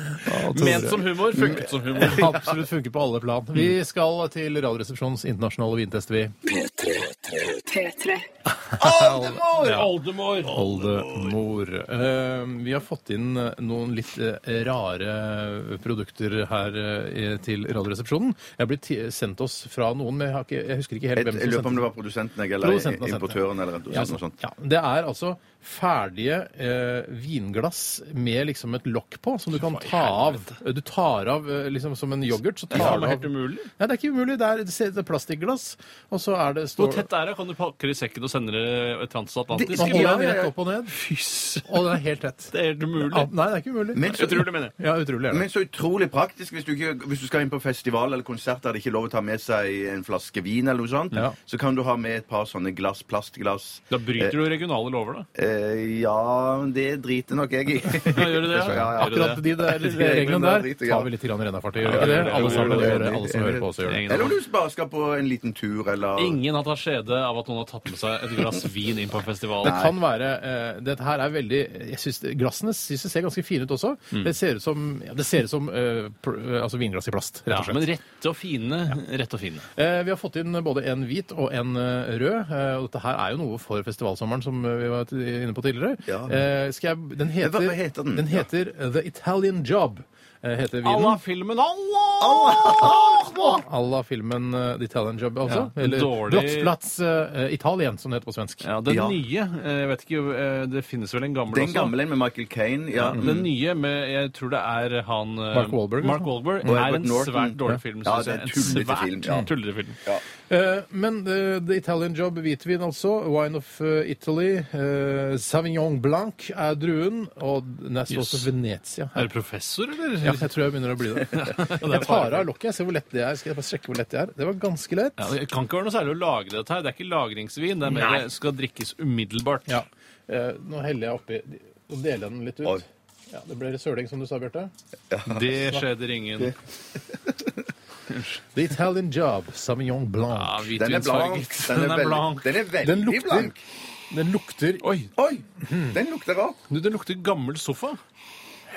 [SPEAKER 4] Ment som humor, funket som humor. Mm.
[SPEAKER 3] Absolutt funker på alle plan. Vi skal til Radioresepsjonens internasjonale vintest, vi.
[SPEAKER 6] P3.
[SPEAKER 4] Oldemor!
[SPEAKER 3] Oldemor. Eh, vi har fått inn eh, noen litt eh, rare eh, produkter her eh, til Radioresepsjonen. Jeg har blitt ti- sendt oss fra noen, men jeg, har ikke, jeg husker ikke
[SPEAKER 5] Jeg
[SPEAKER 3] helt hvem
[SPEAKER 5] jeg lurer
[SPEAKER 3] som
[SPEAKER 5] på om det
[SPEAKER 3] sendte
[SPEAKER 5] var produsenten jeg, eller
[SPEAKER 3] Produsenten har sendt
[SPEAKER 5] importøren eller
[SPEAKER 3] ja,
[SPEAKER 5] noe sånt.
[SPEAKER 3] ja, det er altså ferdige eh, vinglass med liksom et lokk på, som du kan ta av. Du tar av eh, liksom som en yoghurt. Så tar
[SPEAKER 4] Ja,
[SPEAKER 3] du
[SPEAKER 4] men
[SPEAKER 3] av.
[SPEAKER 4] helt umulig.
[SPEAKER 3] Nei, det er ikke umulig. Det er det ser ut som et plastikkglass, og så er det
[SPEAKER 4] Hvor
[SPEAKER 3] står,
[SPEAKER 4] tett er det? Kan du pakke det i sekken og sende det transatlantisk?
[SPEAKER 3] Man holder den
[SPEAKER 5] Ja, ja, ja.
[SPEAKER 3] rett opp og ned, og den er helt tett.
[SPEAKER 4] Det er
[SPEAKER 3] Ja,
[SPEAKER 4] helt umulig.
[SPEAKER 3] nei, det er ikke umulig.
[SPEAKER 5] Men så,
[SPEAKER 4] Utrolig, mener jeg.
[SPEAKER 3] Ja, utrolig er det.
[SPEAKER 5] men så utrolig praktisk hvis du, ikke, hvis du skal inn på festival eller konsert der det ikke er lov å ta med seg en flaske vin, eller noe sånt,
[SPEAKER 3] Ja.
[SPEAKER 5] så kan du ha med et par sånne glass, plastglass.
[SPEAKER 4] Da bryter du regionale lover, da.
[SPEAKER 5] Eh, ja, det driter nok jeg i.
[SPEAKER 4] Ja, gjør du det?
[SPEAKER 5] Ja, ja.
[SPEAKER 4] Gjør du
[SPEAKER 3] Akkurat
[SPEAKER 4] det?
[SPEAKER 3] de der
[SPEAKER 5] De
[SPEAKER 3] reglene
[SPEAKER 5] reglene
[SPEAKER 3] der
[SPEAKER 5] der,
[SPEAKER 3] tar vi litt grann rennafart i. Gjør
[SPEAKER 4] Ja,
[SPEAKER 3] vi det?
[SPEAKER 4] ja, ja,
[SPEAKER 3] Alle
[SPEAKER 4] ja,
[SPEAKER 3] sammen
[SPEAKER 4] ja, ja,
[SPEAKER 3] gjør det.
[SPEAKER 5] ja,
[SPEAKER 3] Alle som
[SPEAKER 5] ja,
[SPEAKER 3] hører
[SPEAKER 5] ja,
[SPEAKER 3] på oss, gjør det.
[SPEAKER 4] Ingen
[SPEAKER 5] Eller om
[SPEAKER 4] aning.
[SPEAKER 5] du bare skal på en liten tur, eller
[SPEAKER 4] Ingen har tatt skjede av at noen har tatt med seg et glass vin inn på en festival.
[SPEAKER 3] Det kan være eh, Dette her er veldig jeg synes, Glassene synes jeg ser ganske fine ut også. Det ser ut som, ja, det ser ut som eh, pr eh, altså vinglass i plast, rett
[SPEAKER 4] Ja,
[SPEAKER 3] og slett.
[SPEAKER 4] men rette og fine. Rette og fine.
[SPEAKER 3] Eh, Vi har fått inn både en hvit og en eh, rød. eh, Og dette her er jo noe for festivalsommeren, som eh, vi var t- inne på tidligere.
[SPEAKER 5] Ja.
[SPEAKER 3] Eh, Skal jeg, den heter,
[SPEAKER 5] Hva- hva heter den?
[SPEAKER 3] heter The Italian Job. eh, Heter
[SPEAKER 4] Alla
[SPEAKER 3] vinen.
[SPEAKER 4] filmen Allah!
[SPEAKER 3] À la filmen eh, The Italian Job, altså.
[SPEAKER 4] Ja,
[SPEAKER 3] Eller
[SPEAKER 4] dårlig-
[SPEAKER 3] Brottsplatz eh, Italien, som det heter på svensk.
[SPEAKER 4] Ja, den
[SPEAKER 5] Ja.
[SPEAKER 4] nye eh, Jeg vet ikke, eh, det finnes vel en gammel
[SPEAKER 5] Den
[SPEAKER 4] også?
[SPEAKER 5] gamle en med Michael Kane. Ja. Mm.
[SPEAKER 4] Den nye med Jeg tror det er han eh,
[SPEAKER 3] Mark Wahlberg,
[SPEAKER 4] Mark
[SPEAKER 3] liksom.
[SPEAKER 4] Wahlberg
[SPEAKER 5] Og
[SPEAKER 4] er
[SPEAKER 5] Edward
[SPEAKER 4] en
[SPEAKER 5] Norton.
[SPEAKER 4] svært dårlig
[SPEAKER 5] Ja.
[SPEAKER 4] film.
[SPEAKER 5] Ja,
[SPEAKER 4] synes
[SPEAKER 5] det er en
[SPEAKER 4] jeg. En
[SPEAKER 5] tullete
[SPEAKER 4] svært
[SPEAKER 5] film, ja.
[SPEAKER 4] tullete film.
[SPEAKER 3] Eh, men eh, The Italian Job hvitvin, altså. Wine of eh, Italy. eh, Savignon Blanc er druen. Og den er står
[SPEAKER 4] Yes.
[SPEAKER 3] også Venezia.
[SPEAKER 4] Er du professor, eller?
[SPEAKER 3] Ja, jeg tror jeg begynner å bli det. Jeg tar av lokket. Jeg ser hvor lett det er. Skal jeg bare sjekke hvor lett det er? Det var ganske lett.
[SPEAKER 4] Ja, det kan ikke være noe særlig å lage dette her. Det er ikke lagringsvin. Det er mer det skal drikkes umiddelbart.
[SPEAKER 3] Ja. Eh, nå heller jeg oppi og deler den litt
[SPEAKER 5] Oi.
[SPEAKER 3] ut. Ja, det ble søling, som du sa, Bjarte.
[SPEAKER 4] Det skjeder ingen.
[SPEAKER 3] The Italian Job. Savignon
[SPEAKER 4] Ja,
[SPEAKER 3] Blanc.
[SPEAKER 5] Ah, Den er blank.
[SPEAKER 4] hvitvinsfarget. Den er
[SPEAKER 5] veldig-
[SPEAKER 4] blank.
[SPEAKER 5] Den er veldig
[SPEAKER 3] Den lukter- Hmm.
[SPEAKER 5] blank.
[SPEAKER 3] Den lukter
[SPEAKER 4] Oi,
[SPEAKER 5] Oi! Den lukter rart.
[SPEAKER 4] du, det lukter gammel sofa.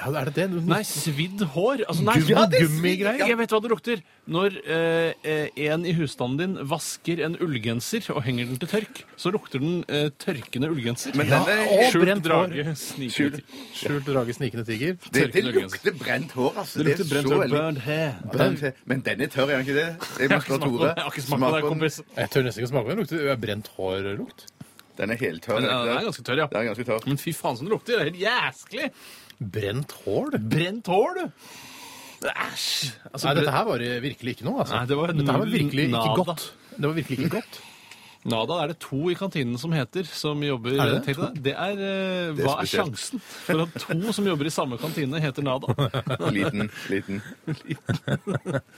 [SPEAKER 3] Ja, er det det? Du-
[SPEAKER 4] Nei, svidd hår. Altså, nei,
[SPEAKER 5] Ja, det er
[SPEAKER 4] gummigreier.
[SPEAKER 5] svidd, ja.
[SPEAKER 4] Jeg vet hva det lukter. Når eh, eh, en i husstanden din vasker en ullgenser og henger den til tørk, så lukter den eh, tørkende ullgenser.
[SPEAKER 5] Men den er,
[SPEAKER 3] og
[SPEAKER 4] Skjult
[SPEAKER 3] brent hår.
[SPEAKER 4] drage.
[SPEAKER 5] Skjult.
[SPEAKER 4] Sniker.
[SPEAKER 3] Skjult drage, snikende tiger.
[SPEAKER 5] det, det
[SPEAKER 4] tørkende
[SPEAKER 5] lukter brent hår, altså.
[SPEAKER 4] Det lukter
[SPEAKER 5] er
[SPEAKER 4] brent
[SPEAKER 5] så
[SPEAKER 4] hår.
[SPEAKER 5] veldig-
[SPEAKER 4] Burned hair.
[SPEAKER 5] Brent hår. Men den er tørr, er den ikke det? Jeg
[SPEAKER 4] Jeg
[SPEAKER 5] må
[SPEAKER 4] har ikke
[SPEAKER 5] slå
[SPEAKER 4] smakt på
[SPEAKER 5] Tore.
[SPEAKER 4] det, jeg har ikke smakt på
[SPEAKER 5] Smak
[SPEAKER 4] det,
[SPEAKER 5] på den.
[SPEAKER 4] kompis.
[SPEAKER 3] Jeg tør nesten ikke smake på den. Lukter det er brent hår-lukt.
[SPEAKER 5] Den er helt tørr.
[SPEAKER 4] Den
[SPEAKER 5] ikke
[SPEAKER 4] den er ganske tørr,
[SPEAKER 5] Den
[SPEAKER 4] ja.
[SPEAKER 5] er ganske tørr.
[SPEAKER 4] Men fy faen som det lukter. Det er helt jæsklig.
[SPEAKER 3] Brent hår? du.
[SPEAKER 4] Brent hår, du. Æsj. Altså,
[SPEAKER 3] Nei,
[SPEAKER 4] bre-
[SPEAKER 3] dette her var virkelig ikke noe, altså.
[SPEAKER 4] Nei, det var
[SPEAKER 3] dette her var
[SPEAKER 4] null
[SPEAKER 3] virkelig ikke
[SPEAKER 4] nada.
[SPEAKER 3] godt. Det var virkelig ikke godt.
[SPEAKER 4] Nada er det to i kantinen som heter, som jobber
[SPEAKER 3] Er det det?
[SPEAKER 4] Tenk deg det. Det er, eh,
[SPEAKER 5] Det er
[SPEAKER 4] Hva er
[SPEAKER 5] spesielt.
[SPEAKER 4] sjansen for at to som jobber i samme kantine, heter Nada?
[SPEAKER 5] Liten. liten.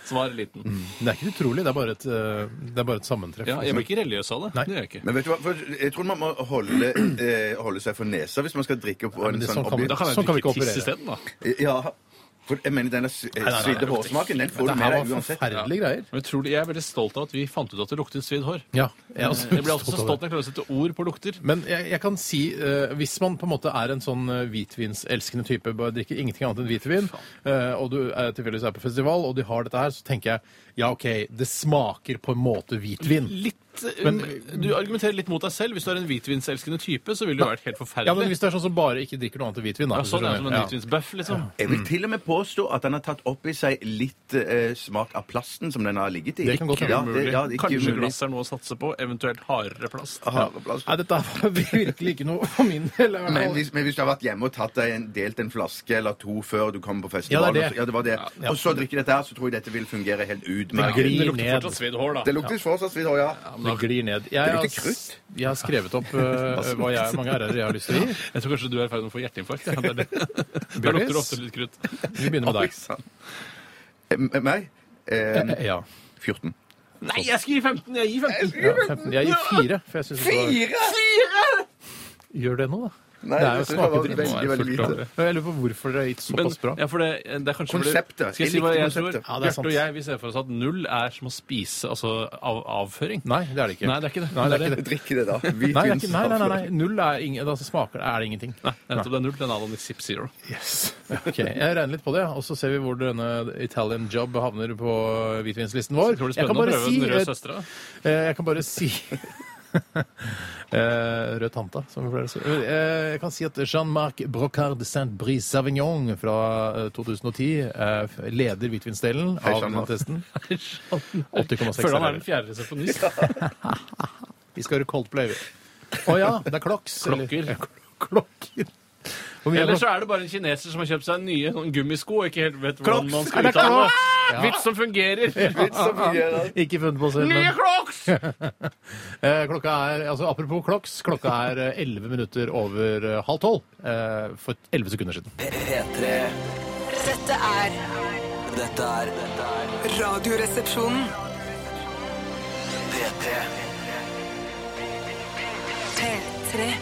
[SPEAKER 4] Svar liten.
[SPEAKER 3] Det er ikke utrolig, det er bare et, eh, det er bare et sammentreff.
[SPEAKER 4] Ja, jeg blir ikke religiøs av det.
[SPEAKER 3] Nei.
[SPEAKER 4] Det gjør jeg ikke.
[SPEAKER 5] Men vet du hva, for jeg tror man må holde, eh, holde seg for nesa hvis man skal drikke på
[SPEAKER 3] Men
[SPEAKER 5] en
[SPEAKER 3] det,
[SPEAKER 5] sånn
[SPEAKER 3] sånn, kan vi,
[SPEAKER 5] objekt.
[SPEAKER 4] Da kan jeg
[SPEAKER 3] sånn kan vi
[SPEAKER 4] drikke
[SPEAKER 3] ikke
[SPEAKER 4] tiss
[SPEAKER 3] operere.
[SPEAKER 4] isteden, da.
[SPEAKER 5] Ja. For jeg mener denne s- eh,
[SPEAKER 3] nei, nei,
[SPEAKER 5] svidde
[SPEAKER 3] det lukter
[SPEAKER 5] hårsmaken, den får
[SPEAKER 3] Dette
[SPEAKER 5] du med
[SPEAKER 3] her
[SPEAKER 5] deg
[SPEAKER 3] var
[SPEAKER 5] uansett.
[SPEAKER 3] forferdelige greier.
[SPEAKER 4] Men jeg, tror, jeg er veldig stolt av at vi fant ut at det luktet svidd hår.
[SPEAKER 3] Ja, jeg er
[SPEAKER 4] Jeg
[SPEAKER 3] også
[SPEAKER 4] blir alltid så
[SPEAKER 3] over det.
[SPEAKER 4] stolt når jeg klarer å sette ord på lukter.
[SPEAKER 3] Men jeg, jeg kan si, eh, hvis man på en måte er en sånn eh, hvitvinselskende type, bare drikker ingenting annet enn hvitvin, eh, og du er tilfeldigvis er på festival, og de har dette her, så tenker jeg ja, OK, det smaker på en måte hvitvin.
[SPEAKER 4] Litt, eh,
[SPEAKER 3] Men-
[SPEAKER 4] du argumenterer litt mot deg selv. Hvis du er en hvitvinselskende type, så ville det jo vært helt forferdelig.
[SPEAKER 3] Ja, men hvis det er sånn som bare ikke drikker noe annet enn hvitvin, da.
[SPEAKER 4] ja, sånn er det som en
[SPEAKER 3] Ja.
[SPEAKER 4] hvitvinsbøff, liksom.
[SPEAKER 5] Jeg vil til og med påstå at den har tatt opp i seg litt eh, smak av plasten som den har ligget i.
[SPEAKER 3] Det kan godt
[SPEAKER 5] ja,
[SPEAKER 3] være.
[SPEAKER 5] det, ja, det er ikke
[SPEAKER 4] Kanskje
[SPEAKER 5] umulig.
[SPEAKER 4] glass er noe å satse på, eventuelt hardere plast.
[SPEAKER 5] Aha, plast.
[SPEAKER 3] Nei, dette var virkelig ikke noe for min del. i hvert
[SPEAKER 5] Men
[SPEAKER 3] fall.
[SPEAKER 5] hvis, men hvis du har vært hjemme og tatt deg en, delt en flaske eller to før du kommer på festival,
[SPEAKER 3] Ja, det er det.
[SPEAKER 5] og så- ja, det var det.
[SPEAKER 3] ja.
[SPEAKER 5] og så drikker dette her, så tror jeg dette vil fungere helt
[SPEAKER 3] Det
[SPEAKER 5] utmerket.
[SPEAKER 3] glir
[SPEAKER 4] Det lukter
[SPEAKER 3] ned.
[SPEAKER 4] fortsatt svidd hår, da.
[SPEAKER 5] Det lukter fortsatt svidd hår, ja.
[SPEAKER 3] Det glir ned. Jeg,
[SPEAKER 5] Det lukter
[SPEAKER 3] har-
[SPEAKER 5] krutt.
[SPEAKER 3] Jeg har skrevet opp eh, hva jeg, mange r-er jeg har lyst til å gi.
[SPEAKER 4] Jeg tror kanskje du er i ferd med å få hjerteinfarkt. Ja. Det er det. Da
[SPEAKER 3] Bjørnis?
[SPEAKER 4] lukter det ofte litt krutt.
[SPEAKER 3] Vi begynner med
[SPEAKER 5] Oi,
[SPEAKER 3] deg.
[SPEAKER 5] sann. Eh, m- Meg? Eh,
[SPEAKER 3] Ja.
[SPEAKER 5] 14.
[SPEAKER 4] Nei, jeg skal gi 15! Jeg gir 15!
[SPEAKER 3] ja 15. Jeg gir fire. For jeg synes det var... Gjør det nå, da.
[SPEAKER 5] Nei,
[SPEAKER 3] det er jo
[SPEAKER 5] jeg synes det var
[SPEAKER 3] smakedritt.
[SPEAKER 5] veldig,
[SPEAKER 4] Nå er det
[SPEAKER 5] veldig
[SPEAKER 4] fullt
[SPEAKER 5] lite.
[SPEAKER 4] av det.
[SPEAKER 3] Men Jeg lurer på hvorfor dere har gitt
[SPEAKER 4] Men,
[SPEAKER 3] såpass bra.
[SPEAKER 4] ja, for det, det er kanskje fordi-
[SPEAKER 5] Konseptet.
[SPEAKER 4] Skal jeg si
[SPEAKER 5] Jeg
[SPEAKER 4] hva
[SPEAKER 5] likte
[SPEAKER 4] jeg tror?
[SPEAKER 5] konseptet.
[SPEAKER 3] Ja, det er sant.
[SPEAKER 4] Bjarte og jeg vi ser for oss at null er som å spise altså, av, avføring.
[SPEAKER 3] Nei, det er det ikke.
[SPEAKER 4] Nei, det er ikke det.
[SPEAKER 3] Nei, det er ikke det.
[SPEAKER 5] Drikke det, da.
[SPEAKER 3] Nei, det er ikke, nei, nei, nei, nei. Null er, ingen, altså, smaker, er det ingenting.
[SPEAKER 4] Nei, nettopp, det er null. Den er da i Zip Zero.
[SPEAKER 3] Ok, Jeg regner litt på det, og så ser vi hvor denne Italian job havner på hvitvinslisten vår.
[SPEAKER 4] Tror du det er
[SPEAKER 3] Jeg kan
[SPEAKER 4] spennende å
[SPEAKER 3] bare
[SPEAKER 4] prøve
[SPEAKER 3] si,
[SPEAKER 4] den røde
[SPEAKER 3] eh,
[SPEAKER 4] søstera?
[SPEAKER 3] eh, jeg kan bare si Eh, Rød tante, som vi pleier å si. Eh, Jeg kan si at Jean-Marc Brocard de Saint-Brice Savignon fra eh, 2010 eh, leder hvitvinsdelen
[SPEAKER 5] Hei,
[SPEAKER 3] av denne
[SPEAKER 5] Jean-Marc.
[SPEAKER 3] testen.
[SPEAKER 4] Føler han
[SPEAKER 3] 80,6.
[SPEAKER 4] er den fjerde resepsjonist.
[SPEAKER 3] Vi skal høre Coldplay. vi. Å ja, det er kloks. eller-
[SPEAKER 4] Klokker.
[SPEAKER 3] Ja, kl- Klokker. Hvor mye er
[SPEAKER 4] Eller
[SPEAKER 3] klok-
[SPEAKER 4] så er det bare en kineser som har kjøpt seg nye sånn gummisko og ikke helt vet hvordan
[SPEAKER 3] Crocs.
[SPEAKER 4] man
[SPEAKER 3] Er
[SPEAKER 4] skal
[SPEAKER 3] det
[SPEAKER 4] uttale det.
[SPEAKER 3] Crocs? Ja.
[SPEAKER 4] Vits som fungerer!
[SPEAKER 3] Ikke funnet på selv,
[SPEAKER 4] Nye
[SPEAKER 3] men
[SPEAKER 4] Crocs!
[SPEAKER 3] eh, klokka er altså Apropos kloks, klokka er eh, 11 minutter over eh, halv tolv eh, for 11 sekunder siden.
[SPEAKER 2] P3.
[SPEAKER 6] Dette er
[SPEAKER 2] Dette er dette er
[SPEAKER 1] Radioresepsjonen.
[SPEAKER 2] P3.
[SPEAKER 6] P3.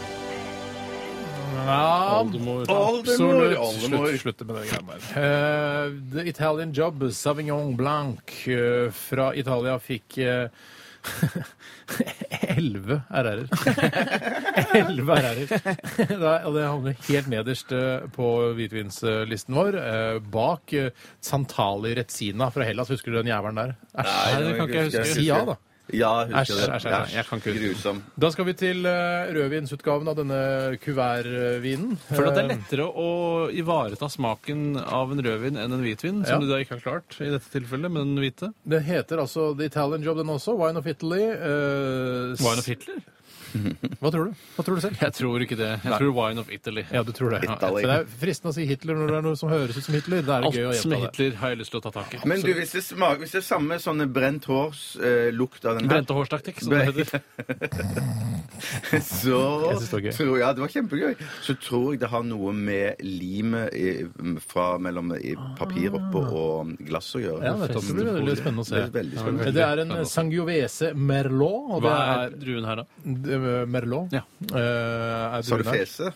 [SPEAKER 3] Ja,
[SPEAKER 4] Oldemor.
[SPEAKER 3] absolutt.
[SPEAKER 5] Oldemor.
[SPEAKER 3] Slutt, slutt med det greia der. Eh, The Italian Job, Savignon Blanc eh, fra Italia fikk eh, 11 RR-er. 11 RR-er. Da- og Det havner helt nederst eh, på hvitvinslisten vår, eh, bak eh, Santali Rezzina fra Hellas. Husker du den jævelen der? Æsj.
[SPEAKER 4] Nei, det kan ikke jeg huske.
[SPEAKER 3] Si ja, da.
[SPEAKER 5] Ja, jeg husker
[SPEAKER 3] Æsj,
[SPEAKER 5] det.
[SPEAKER 3] æsj, æsj. Jeg kan ikke huske det.
[SPEAKER 5] Grusom.
[SPEAKER 3] Da skal vi til eh, rødvinsutgaven av denne kuvertvinen.
[SPEAKER 4] Føler at det er lettere å ivareta smaken av en rødvin enn en hvitvin, som
[SPEAKER 3] Ja.
[SPEAKER 4] du da ikke har klart i dette tilfellet, men den hvite.
[SPEAKER 3] Det heter altså The Italian Job, den også. Wine of Italy. eh, s-
[SPEAKER 4] Wine of Hitler?
[SPEAKER 3] Hva tror du? Hva tror du selv?
[SPEAKER 4] Jeg tror ikke det. Jeg tror Wine of Italy.
[SPEAKER 3] Ja, du tror det. Ja, Så
[SPEAKER 5] Italy.
[SPEAKER 3] det er fristende å si Hitler når det er noe som høres ut som Hitler. Det er
[SPEAKER 4] Alt
[SPEAKER 3] gøy å
[SPEAKER 4] som er
[SPEAKER 3] gjenta det.
[SPEAKER 4] Hitler, har jeg lyst til å ta tak i.
[SPEAKER 5] Men du, hvis det, smaker, hvis det er samme sånne brent hårs eh, lukt av den her
[SPEAKER 4] Brente hårstaktikk, som det heter.
[SPEAKER 5] så
[SPEAKER 3] Jeg synes det var gøy.
[SPEAKER 5] tror jeg, det var kjempegøy. Så tror jeg det har noe med limet i- fra mellom i papir oppå og glass å gjøre.
[SPEAKER 3] Ah. Ja, nettopp. Det blir veldig spennende å se.
[SPEAKER 5] Det er veldig spennende.
[SPEAKER 3] Det er en eh, Sangiovese Merlot. Og det
[SPEAKER 4] Hva
[SPEAKER 3] er
[SPEAKER 4] er Mm. druen her, da?
[SPEAKER 3] d- Merlot.
[SPEAKER 4] Ja.
[SPEAKER 3] Eh, er
[SPEAKER 5] Sa du
[SPEAKER 3] druen her?
[SPEAKER 5] fese?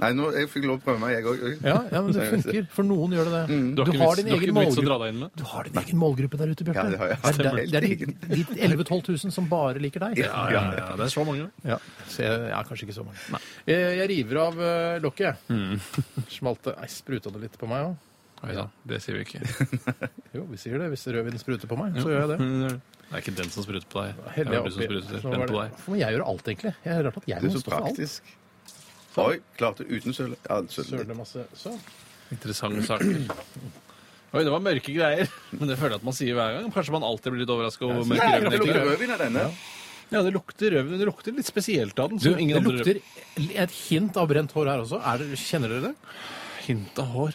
[SPEAKER 5] Nei, nå, jeg fikk lov å prøve meg, jeg òg.
[SPEAKER 3] Ja, ja, men det funker. For noen gjør det det.
[SPEAKER 4] Mm. Du har
[SPEAKER 3] Du
[SPEAKER 4] ikke
[SPEAKER 3] har
[SPEAKER 4] vits-
[SPEAKER 3] din
[SPEAKER 4] du har
[SPEAKER 3] egen
[SPEAKER 4] ikke vits å dra
[SPEAKER 3] målgruppe.
[SPEAKER 4] deg inn med?
[SPEAKER 3] Du har din egen målgruppe der ute, Bjarte.
[SPEAKER 5] Ja, det har jeg.
[SPEAKER 3] Det er, der- det er
[SPEAKER 5] Stemmer.
[SPEAKER 3] de, de 11 000-12 000 som bare liker deg.
[SPEAKER 5] Ja, ja, ja.
[SPEAKER 4] det er så mange.
[SPEAKER 3] Ja, så jeg, jeg er kanskje ikke så mange. Eh, Jeg river av eh, lokket.
[SPEAKER 4] Mm.
[SPEAKER 3] Smalt det Nei, spruta det litt på meg òg?
[SPEAKER 4] Oi da, det sier vi ikke.
[SPEAKER 3] Jo, vi sier det. Hvis rødvinen spruter på meg, så gjør jeg det.
[SPEAKER 4] Det er ikke den som spruter på deg. Det er
[SPEAKER 3] Heldig
[SPEAKER 4] vel du som
[SPEAKER 3] oppi.
[SPEAKER 4] spruter
[SPEAKER 3] Nå var
[SPEAKER 4] den på
[SPEAKER 3] det-
[SPEAKER 4] deg.
[SPEAKER 3] Hvorfor må jeg gjøre alt, egentlig? Jeg er rart at jeg
[SPEAKER 5] Du
[SPEAKER 3] må
[SPEAKER 5] er så
[SPEAKER 3] stå for alt.
[SPEAKER 5] praktisk. Oi, klarte uten søle. Ja, søle.
[SPEAKER 3] Søle masse sånn.
[SPEAKER 4] Interessante saker. Oi, det var mørke greier. Men det føler jeg at man sier hver gang. Kanskje man alltid blir litt overraska over hvor
[SPEAKER 5] Nei,
[SPEAKER 4] mørke
[SPEAKER 5] jeg
[SPEAKER 4] greier.
[SPEAKER 5] kan
[SPEAKER 4] man
[SPEAKER 5] ikke
[SPEAKER 4] liker.
[SPEAKER 5] lukte rødvin av denne.
[SPEAKER 4] Ja, det lukter rødvin. Det lukter litt spesielt av den.
[SPEAKER 3] Du,
[SPEAKER 4] som ingen
[SPEAKER 3] det
[SPEAKER 4] andre
[SPEAKER 3] lukter et hint av brent hår her også. Er det, kjenner dere det?
[SPEAKER 4] rødvin- hint av hår.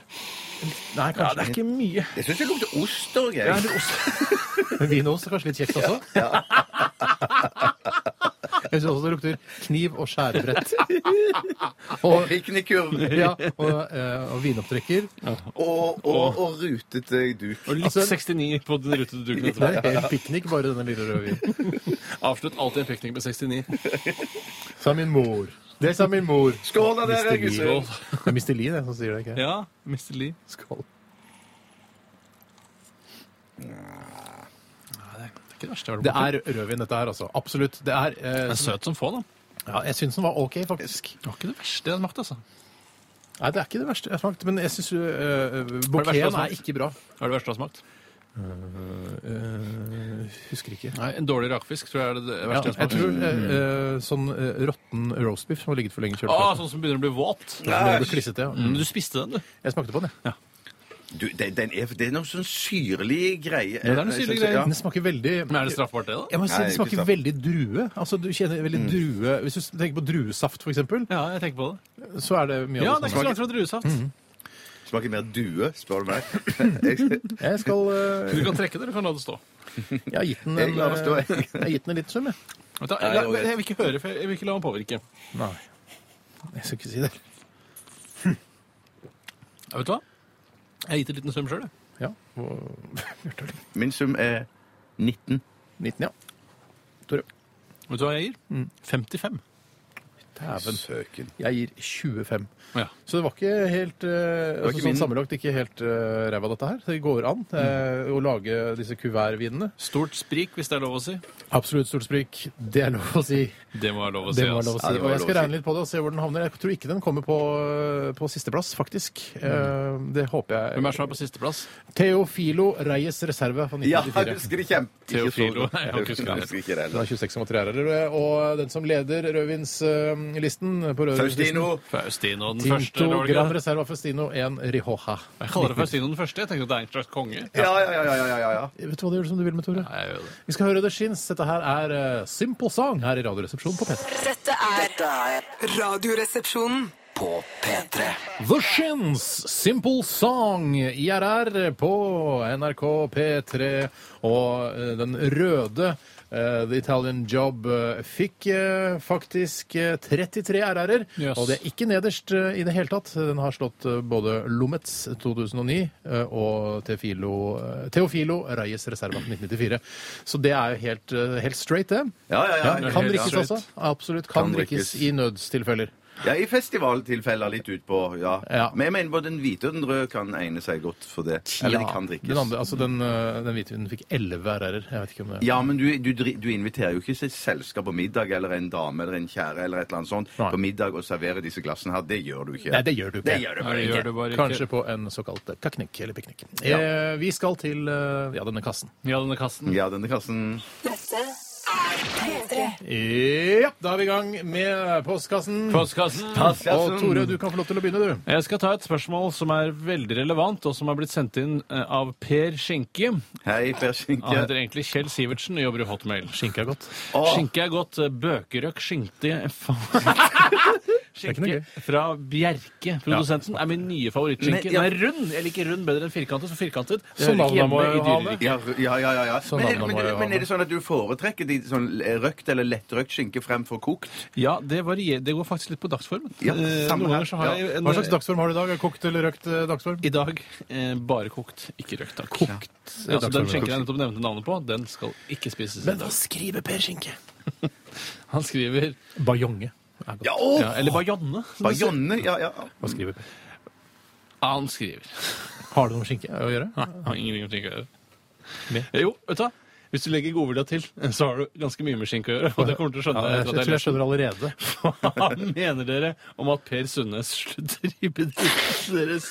[SPEAKER 3] Nei,
[SPEAKER 4] Ja, det er ikke mye.
[SPEAKER 5] Jeg syns det lukter ost og greier.
[SPEAKER 3] Men Vinost er kanskje litt kjekt også? Jeg syns også det lukter kniv og skjærebrett.
[SPEAKER 5] Og piknikkurv.
[SPEAKER 3] Ja, og, eh, og vinopptrekker.
[SPEAKER 5] Og, og, og rutete duk.
[SPEAKER 4] Og litt sånn-
[SPEAKER 3] Altså-
[SPEAKER 4] 69 på den rutete duken
[SPEAKER 3] Det
[SPEAKER 4] etterpå.
[SPEAKER 3] er helt piknik, bare denne lille røde vinen.
[SPEAKER 4] Avslutt alltid en pekning med 69.
[SPEAKER 3] Sa min mor. Det sa min mor.
[SPEAKER 5] Skål da, dere,
[SPEAKER 3] Mr. Lee.
[SPEAKER 5] gutter!
[SPEAKER 3] Det er Mr. Lee det, som sier det, ikke jeg?
[SPEAKER 4] Ja, Mr. Lee.
[SPEAKER 3] Skål.
[SPEAKER 4] Det er ikke det verste jeg har
[SPEAKER 3] Det
[SPEAKER 4] vært borti.
[SPEAKER 3] er rødvin, dette her, altså. Absolutt. Det er, eh,
[SPEAKER 4] Den er søt som få, da.
[SPEAKER 3] ja, jeg syns den var OK, faktisk.
[SPEAKER 4] Det var ikke det verste jeg smakte, altså.
[SPEAKER 3] Nei, det er ikke det verste jeg har smakt, men jeg syns
[SPEAKER 4] verste jeg har
[SPEAKER 3] bouqueten
[SPEAKER 4] smakt?
[SPEAKER 3] er ikke bra.
[SPEAKER 4] Hva er det verste du har smakt?
[SPEAKER 3] Eh, husker ikke.
[SPEAKER 4] Nei, En dårlig rakfisk tror jeg er det det
[SPEAKER 3] Ja,
[SPEAKER 4] verste
[SPEAKER 3] jeg
[SPEAKER 4] jeg har
[SPEAKER 3] tror
[SPEAKER 4] smakt. Mm.
[SPEAKER 3] eh, eh, sånn eh, råtten roastbiff som har ligget for lenge i
[SPEAKER 4] Å,
[SPEAKER 3] kjøleskapet.
[SPEAKER 4] sånn Mm. som begynner å bli våt.
[SPEAKER 3] Den ble klissete, ja.
[SPEAKER 4] Men du spiste den, du.
[SPEAKER 3] Jeg smakte på den, jeg.
[SPEAKER 5] Du, den, den er, det er noe sånn syrlig greie. Eh, sånn
[SPEAKER 4] det er noe syrlig greie.
[SPEAKER 5] Ja.
[SPEAKER 3] Den smaker veldig
[SPEAKER 4] Men er det straffbart, det, da?
[SPEAKER 3] Jeg må si
[SPEAKER 5] Nei,
[SPEAKER 3] Det
[SPEAKER 5] ikke
[SPEAKER 3] smaker
[SPEAKER 5] sant.
[SPEAKER 3] veldig drue. Altså, du kjenner veldig
[SPEAKER 4] Mm.
[SPEAKER 3] drue Hvis du tenker på druesaft, for eksempel,
[SPEAKER 4] Ja, jeg tenker på det.
[SPEAKER 3] så er det mye
[SPEAKER 4] Ja,
[SPEAKER 3] av
[SPEAKER 4] det
[SPEAKER 3] det
[SPEAKER 4] er Mm. ikke
[SPEAKER 3] som
[SPEAKER 4] så langt fra druesaft.
[SPEAKER 5] Smaker mer due, spør du meg. Jeg-
[SPEAKER 3] smaker. Jeg skal eh,
[SPEAKER 4] Du kan trekke det, eller kan la det stå.
[SPEAKER 3] Jeg har gitt den
[SPEAKER 5] Jeg
[SPEAKER 3] en,
[SPEAKER 5] lar det stå,
[SPEAKER 3] eh,
[SPEAKER 5] jeg.
[SPEAKER 3] jeg har gitt den en liten sum, jeg.
[SPEAKER 4] Vet du, Jeg, jeg, jeg vil ikke høre, for jeg jeg vil ikke la meg påvirke.
[SPEAKER 3] Nei. Jeg skal ikke si det.
[SPEAKER 4] Ja, vet du hva? Jeg har gitt en liten sum sjøl, jeg.
[SPEAKER 3] Ja. og-
[SPEAKER 5] Min sum er 19.
[SPEAKER 3] 19, ja.
[SPEAKER 4] Vet du hva jeg gir?
[SPEAKER 3] Mm.
[SPEAKER 4] 55.
[SPEAKER 3] Dæven.
[SPEAKER 5] Søken.
[SPEAKER 3] Jeg gir 25.
[SPEAKER 4] Ja.
[SPEAKER 3] Så det var ikke helt eh,
[SPEAKER 5] var
[SPEAKER 3] altså,
[SPEAKER 5] ikke
[SPEAKER 3] sånn
[SPEAKER 5] min.
[SPEAKER 3] Sammenlagt ikke helt eh, ræva, dette her. Det går an eh, å lage disse kuvertvinene.
[SPEAKER 4] Stort sprik, hvis det er lov å si.
[SPEAKER 3] Absolutt stort sprik. Det er lov å si.
[SPEAKER 4] Det må være lov å si.
[SPEAKER 3] Det må være
[SPEAKER 4] ass.
[SPEAKER 3] lov å
[SPEAKER 5] Ja,
[SPEAKER 3] si.
[SPEAKER 5] det
[SPEAKER 3] Og
[SPEAKER 5] må være
[SPEAKER 3] jeg skal
[SPEAKER 5] lov å si.
[SPEAKER 3] regne litt på det og se hvor den havner. Jeg tror ikke den kommer på, eh, på sisteplass, faktisk. Eh, Det håper jeg.
[SPEAKER 4] Hvem er det som er på sisteplass?
[SPEAKER 3] Teofilo Reyes Reserve fra
[SPEAKER 5] Ja, jeg
[SPEAKER 3] 1994.
[SPEAKER 5] husker det kjempe...
[SPEAKER 4] Teofilo. Nei, jeg
[SPEAKER 5] Jeg
[SPEAKER 4] husker ikke det.
[SPEAKER 5] husker ikke det
[SPEAKER 3] Den
[SPEAKER 5] heller.
[SPEAKER 3] er 26,3 ærere. Og den som leder rødvinslisten eh, på rødvinslisten
[SPEAKER 5] Faustino.
[SPEAKER 4] Faustino den første.
[SPEAKER 3] Tinto
[SPEAKER 4] eller var det
[SPEAKER 3] Gran
[SPEAKER 4] ikke det?
[SPEAKER 3] Reserva Festino 1 Rioja.
[SPEAKER 4] Jeg kaller det Faustino den første. Jeg tenker at det er en slags konge.
[SPEAKER 5] Ja, ja, ja, ja, ja, ja, ja.
[SPEAKER 3] Vet du hva du gjør som du vil med, Tore?
[SPEAKER 4] Nei, jeg gjør det.
[SPEAKER 3] Vi skal høre The Shins. Dette her er eh, Simple Song her i Radioresepsjonen på P3.
[SPEAKER 6] Dette er
[SPEAKER 2] Dette er
[SPEAKER 6] Radioresepsjonen.
[SPEAKER 2] på P3.
[SPEAKER 3] The Shins, Simple Song, IRR på NRK P3. Og eh, den røde eh, The Italian Job eh, fikk eh, faktisk eh, 33 RR-er.
[SPEAKER 4] Yes.
[SPEAKER 3] Og det er ikke nederst eh, i det hele tatt. Den har slått eh, både Lomets 2009 eh, og Teofilo, eh, Teofilo Reyes Reserva 1994. Så det er jo helt, eh, helt straight, det.
[SPEAKER 5] Ja, ja, ja.
[SPEAKER 3] Ja, kan
[SPEAKER 4] helt
[SPEAKER 3] drikkes
[SPEAKER 4] straight.
[SPEAKER 3] også. Absolutt. Kan,
[SPEAKER 5] Kan
[SPEAKER 3] drikkes.
[SPEAKER 5] drikkes.
[SPEAKER 3] i nødstilfeller.
[SPEAKER 5] Ja, I festivaltilfeller litt utpå, ja.
[SPEAKER 3] Ja.
[SPEAKER 5] Men jeg mener både den hvite og den røde kan egne seg godt for det. Eller de kan drikkes.
[SPEAKER 3] Den, andre, altså den, øh, den hvitvinen fikk 11 RR-er. Jeg vet ikke om eh, det
[SPEAKER 5] Ja, men du, du, dri- du inviterer jo ikke et selskap på middag eller en dame eller en kjære eller et eller annet sånt
[SPEAKER 3] Nei.
[SPEAKER 5] på middag og serverer disse glassene her. Det gjør du ikke.
[SPEAKER 3] Nei, det gjør du ikke.
[SPEAKER 5] Det gjør du
[SPEAKER 4] Nei,
[SPEAKER 5] bare
[SPEAKER 4] det
[SPEAKER 5] ikke.
[SPEAKER 4] gjør det bare ikke.
[SPEAKER 3] Kanskje på en såkalt kaknikk eller piknik. Eh, vi skal til øh, ja, denne kassen.
[SPEAKER 4] Ja, denne kassen.
[SPEAKER 5] Ja, denne kassen
[SPEAKER 6] Dette er P3.
[SPEAKER 3] Ja, da er vi i gang med postkassen.
[SPEAKER 4] Postkassen.
[SPEAKER 3] Og Tore, du kan få lov til å begynne, du.
[SPEAKER 4] Jeg skal ta et spørsmål som er veldig relevant, og som er blitt sendt inn eh, av Per Skjenke.
[SPEAKER 5] Hei, Per
[SPEAKER 4] Han
[SPEAKER 3] Ah,
[SPEAKER 5] Skinke.
[SPEAKER 4] heter egentlig Kjell Sivertsen og jobber i Hotmail.
[SPEAKER 3] Skinke er godt.
[SPEAKER 4] Skinke er godt. Bøkerøk skinkte
[SPEAKER 3] ikke noe
[SPEAKER 4] Skinke
[SPEAKER 3] gøy.
[SPEAKER 4] fra Bjerke, produsenten, er min nye favorittskinke.
[SPEAKER 5] Men, ja.
[SPEAKER 4] Den er rund! Jeg liker rund bedre enn firkantet, for firkantet det
[SPEAKER 3] Så
[SPEAKER 4] hører ikke
[SPEAKER 3] navnet må
[SPEAKER 4] hjemme i
[SPEAKER 3] jo ha det.
[SPEAKER 4] dyreriket.
[SPEAKER 5] Ja, ru- ja, ja. ja, ja.
[SPEAKER 3] Så
[SPEAKER 5] Men, er,
[SPEAKER 3] navnet
[SPEAKER 5] men,
[SPEAKER 3] må jo
[SPEAKER 5] men
[SPEAKER 3] ha
[SPEAKER 5] er det sånn at du foretrekker de sånn røkt eller lettrøkt skinke fremfor kokt?
[SPEAKER 4] Ja, det, varier, det går faktisk litt på dagsformen.
[SPEAKER 5] Ja,
[SPEAKER 4] Eh,
[SPEAKER 5] samme
[SPEAKER 4] Noen
[SPEAKER 5] her.
[SPEAKER 4] ganger så har
[SPEAKER 5] Ja.
[SPEAKER 4] jeg en,
[SPEAKER 3] Hva slags dagsform har du i dag? Kokt eller røkt eh, dagsform?
[SPEAKER 4] I dag eh, bare kokt, ikke røkt. Takk. Kokt. Ja, så den skjenken jeg nettopp nevnte navnet på, den skal ikke spises. i dag.
[SPEAKER 3] skriver Per Skinke?
[SPEAKER 4] Han skriver
[SPEAKER 3] Bajonge. er godt.
[SPEAKER 5] Ja, åh!
[SPEAKER 4] ja, Eller bajonne. som det heter.
[SPEAKER 5] Bajonne, ja, ja.
[SPEAKER 3] Hva skriver Per?
[SPEAKER 4] Han skriver.
[SPEAKER 3] Har det noe med skinke å gjøre?
[SPEAKER 4] Nei, han har ingenting å gjøre.
[SPEAKER 3] Med?
[SPEAKER 4] Eh, Jo, vet du hva? Hvis du legger godvilja til, så har du ganske mye med skinke å gjøre. Og det kommer du til å
[SPEAKER 3] Ja,
[SPEAKER 4] skjønne.
[SPEAKER 3] jeg,
[SPEAKER 4] etter
[SPEAKER 3] tror
[SPEAKER 4] at
[SPEAKER 3] Eh, jeg
[SPEAKER 4] jeg
[SPEAKER 3] skjønner allerede.
[SPEAKER 4] leser. Hva mener dere om at Per Sundnes slutter i bedriften deres?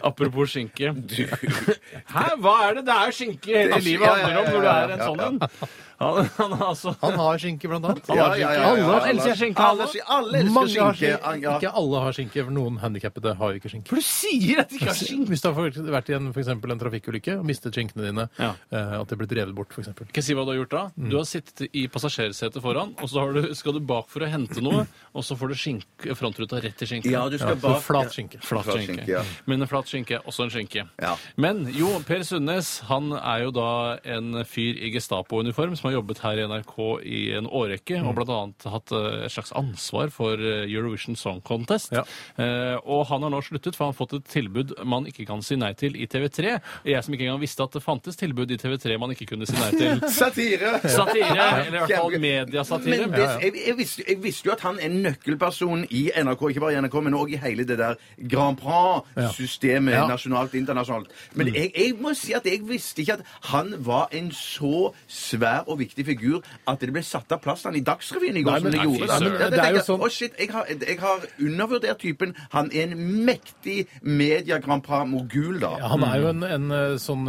[SPEAKER 4] Apropos skinke. Hæ, hva er det? Det er skinke hele livet
[SPEAKER 5] ja, ja,
[SPEAKER 4] handler om når du
[SPEAKER 5] ja,
[SPEAKER 4] er en sånn en. Han, han er altså
[SPEAKER 3] Han har skinke, blant annet.
[SPEAKER 5] Ja, ja, ja, ja, ja.
[SPEAKER 3] Alle
[SPEAKER 4] elsker skinke,
[SPEAKER 5] Alle,
[SPEAKER 4] alle.
[SPEAKER 5] alle elsker
[SPEAKER 3] Mange har
[SPEAKER 5] skinke.
[SPEAKER 3] skinke.
[SPEAKER 5] Ja.
[SPEAKER 3] Ikke alle har skinke, for noen handikappede har jo ikke skinke.
[SPEAKER 4] For du sier at de ikke har skinke!
[SPEAKER 3] Hvis du har for- vært i en, for eksempel, en trafikkulykke og mistet skinkene dine,
[SPEAKER 4] Ja.
[SPEAKER 3] eh, at det ble drevet bort, for eksempel.
[SPEAKER 4] Skal jeg si hva du har gjort da? Du har sittet i passasjersetet foran, og så har du, skal du bak for å hente noe, og så får du skink, frontruta rett i skinken.
[SPEAKER 5] Ja, du skal
[SPEAKER 3] Så
[SPEAKER 5] bak
[SPEAKER 3] flat skinke.
[SPEAKER 4] Flat
[SPEAKER 5] Flat
[SPEAKER 4] skinke.
[SPEAKER 5] skinke, ja.
[SPEAKER 4] Men en flat skinke er også en skinke.
[SPEAKER 5] Ja.
[SPEAKER 4] Men jo, Per Sundnes han er jo da en fyr i Gestapo-uniform som har jobbet her i NRK i en årrekke,
[SPEAKER 5] Mm.
[SPEAKER 4] og blant annet hatt eh, et slags ansvar for eh, Eurovision Song Contest.
[SPEAKER 3] Ja.
[SPEAKER 4] Eh, og han har nå sluttet, for han har fått et tilbud man ikke kan si nei til i TV3. Jeg som ikke engang visste at det fantes tilbud i TV3 man ikke kunne si nei til.
[SPEAKER 5] Satire!
[SPEAKER 4] Satire, eller i hvert fall
[SPEAKER 5] Kjempe-
[SPEAKER 4] mediasatire.
[SPEAKER 5] Men det, jeg, jeg, visste, jeg visste jo at han er nøkkelperson i NRK, ikke bare i NRK, men òg i hele det der Grand Prix-systemet
[SPEAKER 3] Ja. Mm.
[SPEAKER 5] nasjonalt, internasjonalt. Men jeg, jeg må si at jeg visste ikke at han var en så svær og viktig figur at det ble satt av plass til han i Dagsrevyen i
[SPEAKER 3] Nei,
[SPEAKER 5] går. som
[SPEAKER 3] men-
[SPEAKER 5] det
[SPEAKER 3] nei, fy
[SPEAKER 5] gjorde. Da.
[SPEAKER 3] søren.
[SPEAKER 5] Da
[SPEAKER 3] Det er jo
[SPEAKER 5] tenkte jeg,
[SPEAKER 3] sånn-
[SPEAKER 5] «Å, shit, jeg har, jeg har undervurdert typen. Han er en mektig media-Grand Prix-mogul, da.
[SPEAKER 3] Ja, han er jo en, en eh, sånn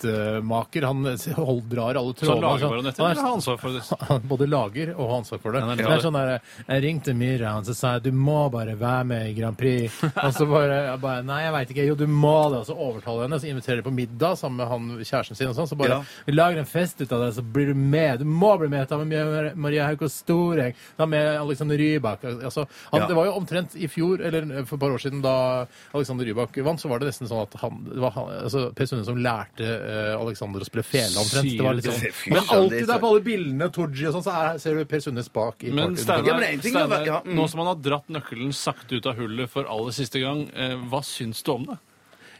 [SPEAKER 3] marionettemaker. Han eh, hold, drar alle
[SPEAKER 4] Så han
[SPEAKER 3] trådene.
[SPEAKER 4] lager
[SPEAKER 3] altså.
[SPEAKER 4] bare nettet,
[SPEAKER 3] Han er-
[SPEAKER 4] eller har ansvar for det?
[SPEAKER 3] han både lager og har ansvar for det.
[SPEAKER 4] Han er
[SPEAKER 3] det
[SPEAKER 4] litt
[SPEAKER 3] er
[SPEAKER 4] av det.
[SPEAKER 3] sånn der, Jeg ringte Myhre, han så sa jeg, du må bare være med i Grand Prix. Og så bare, jeg bare Nei, jeg veit ikke. Jo, du må det. Og så overtaler jeg henne, så inviterer jeg på middag sammen med han kjæresten sin. og sånn, Så bare
[SPEAKER 5] Ja.
[SPEAKER 3] Vi lager en fest ut av det, så blir du med. Du må bli med. Ta med Maria- Maria Haukås Storeng. Ta med Alexander Rybak. Altså, han,
[SPEAKER 5] Ja.
[SPEAKER 3] Det var jo omtrent i fjor, eller for et par år siden, da Alexander Rybak vant, så var det nesten sånn at han, det var han altså, Per Sunde som lærte eh, Alexander å spille fele, omtrent. Det var litt sånn.
[SPEAKER 5] Sier du det?
[SPEAKER 3] Men alltid der på alle bildene, Tooji og sånn, så er, ser du Per Sundnes bak i
[SPEAKER 4] Men
[SPEAKER 3] parken.
[SPEAKER 5] Ja,
[SPEAKER 4] Steinar,
[SPEAKER 5] men en ting er å
[SPEAKER 4] Steinar,
[SPEAKER 5] være- ja, mm.
[SPEAKER 4] nå som han har dratt nøkkelen sakte ut av hullet for aller siste gang, eh, hva syns du om det?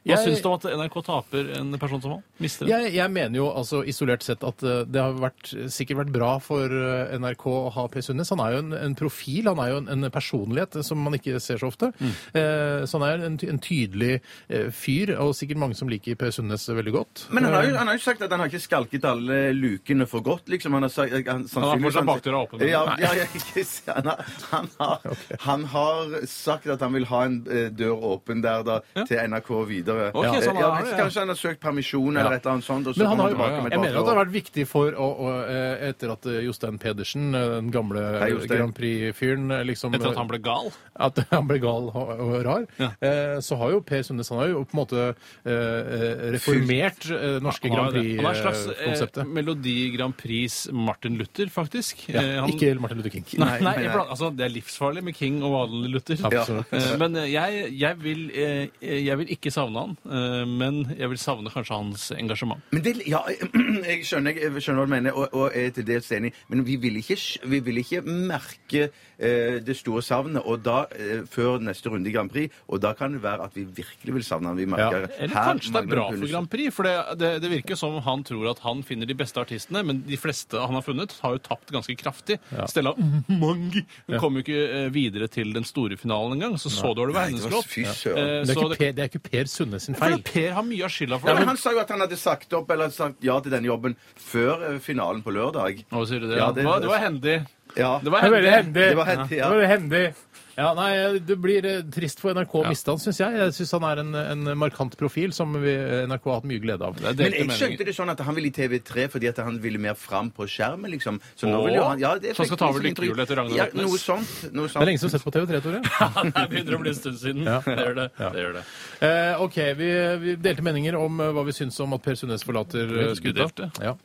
[SPEAKER 4] Hva
[SPEAKER 3] Jeg-
[SPEAKER 4] syns du om at NRK taper en person som han? Mister det?
[SPEAKER 3] Jeg, jeg mener jo altså isolert sett at eh, det har vært, sikkert vært bra for eh, NRK å ha Per Sundnes. Han er jo en, en profil, han er jo en, en personlighet eh, som man ikke ser så ofte.
[SPEAKER 4] Mm.
[SPEAKER 3] Eh, så han er en, ty- en tydelig eh, fyr, og sikkert mange som liker Per Sundnes veldig godt.
[SPEAKER 5] Men han har,
[SPEAKER 4] Eh.
[SPEAKER 5] jo, han har jo sagt at han har ikke skalket alle lukene for godt, liksom. Han har sagt, han, sannsynligvis-
[SPEAKER 4] fortsatt bakdøra åpen.
[SPEAKER 5] Ja, ja, ja, ikke s- han, har, han, har, han har sagt at han vil ha en eh, dør åpen der da, til NRK videre.
[SPEAKER 4] Ok,
[SPEAKER 5] Ja.
[SPEAKER 4] så han
[SPEAKER 5] ja,
[SPEAKER 4] har det,
[SPEAKER 5] hvis-
[SPEAKER 4] ja.
[SPEAKER 5] Kanskje han har søkt permisjon eller
[SPEAKER 3] Ja.
[SPEAKER 5] et eller annet sånt. Og så
[SPEAKER 3] Men han
[SPEAKER 5] kommer
[SPEAKER 3] har jo,
[SPEAKER 5] tilbake om et
[SPEAKER 3] jeg
[SPEAKER 5] par
[SPEAKER 3] mener at det har
[SPEAKER 5] år.
[SPEAKER 3] vært viktig for å, å eh, Etter at eh, Jostein Pedersen, eh, den gamle
[SPEAKER 5] Jostein.
[SPEAKER 3] Grand Prix-fyren eh, liksom,
[SPEAKER 4] Etter at han ble gal?
[SPEAKER 3] at han ble gal og og rar,
[SPEAKER 4] Ja.
[SPEAKER 3] eh, så har jo Per Sundnes han har jo på en måte eh, eh, reformert eh, norske
[SPEAKER 4] Han
[SPEAKER 3] Grand
[SPEAKER 4] er det. Han er et slags eh,
[SPEAKER 3] Prix-konseptet.
[SPEAKER 4] Melodi Grand Prix Martin Luther, faktisk.
[SPEAKER 3] Ja,
[SPEAKER 4] Eh, han-
[SPEAKER 3] ikke Martin Luther King.
[SPEAKER 4] Nei, nei,
[SPEAKER 5] nei.
[SPEAKER 4] iblant- altså, det er livsfarlig med King og vanlig Luther.
[SPEAKER 3] Absolutt.
[SPEAKER 4] Eh, Men eh, jeg, jeg, vil, eh, jeg vil ikke savne han, eh, men jeg vil savne kanskje hans engasjement.
[SPEAKER 5] Men det, ja, jeg skjønner, jeg skjønner hva du mener, og, og er til dels enig. Men vi vil ikke, sk- vi vil ikke merke eh, det store savnet og da, eh, før neste runde i Grand Prix. Og da kan det være at vi virkelig vil savne han. Vi merker
[SPEAKER 4] Eller
[SPEAKER 5] her
[SPEAKER 4] kanskje det er
[SPEAKER 5] mangler
[SPEAKER 4] bra for
[SPEAKER 5] Pulisic.
[SPEAKER 4] Grand Prix, for det, det, det virker som han tror at han finner de beste artistene, men de fleste han har funnet, har jo tapt ganske kraftig. Stella Mang kom jo ikke eh, videre til den store finalen engang, så så dårlig var
[SPEAKER 5] Nei, det
[SPEAKER 4] hennes
[SPEAKER 5] var-
[SPEAKER 4] låt.
[SPEAKER 5] Fy søren.
[SPEAKER 4] Eh,
[SPEAKER 3] Det er,
[SPEAKER 4] så
[SPEAKER 3] ikke
[SPEAKER 4] det-
[SPEAKER 3] per, det er ikke Per Sundnes sin
[SPEAKER 4] For
[SPEAKER 3] feil.
[SPEAKER 4] Per har mye av skylda for
[SPEAKER 5] Ja, men
[SPEAKER 4] det.
[SPEAKER 5] han sa jo at han hadde sagt opp eller sagt ja til denne jobben før eh, finalen på lørdag.
[SPEAKER 4] Å, sier du det?
[SPEAKER 5] Ja,
[SPEAKER 4] Ja,
[SPEAKER 5] det-
[SPEAKER 4] det, var, det var hendig.
[SPEAKER 5] Ja.
[SPEAKER 4] Det var
[SPEAKER 3] Det er veldig
[SPEAKER 4] hendig.
[SPEAKER 3] hendig.
[SPEAKER 5] Det var hendig, ja.
[SPEAKER 3] Det var hendig. Ja, nei, Det blir eh, trist for NRK å miste han, syns jeg. Jeg syns han er en, en markant profil som vi, NRK har hatt mye glede av.
[SPEAKER 4] Det er
[SPEAKER 5] Men
[SPEAKER 4] delte
[SPEAKER 5] jeg skjønte
[SPEAKER 4] meninger.
[SPEAKER 5] det sånn at han ville i TV3 fordi at han ville mer fram på skjermen, liksom. Så
[SPEAKER 4] Åh,
[SPEAKER 5] vil jo han- ja, det er
[SPEAKER 4] så han skal ta over
[SPEAKER 5] faktisk litt-
[SPEAKER 4] lykkehjulet etter Ragnar
[SPEAKER 5] Ja,
[SPEAKER 4] Løknes.
[SPEAKER 5] noe sånt. Noe
[SPEAKER 3] Det er
[SPEAKER 5] sånt.
[SPEAKER 3] lenge siden du har sett på TV3, Tore.
[SPEAKER 4] Det begynner å bli en stund siden. Det gjør det. det, gjør det.
[SPEAKER 3] Eh, OK, vi, vi delte meninger om eh, hva vi syns om at Per Sundnes forlater eh,
[SPEAKER 4] Veldig
[SPEAKER 3] skuta.
[SPEAKER 4] delte.
[SPEAKER 3] Ja.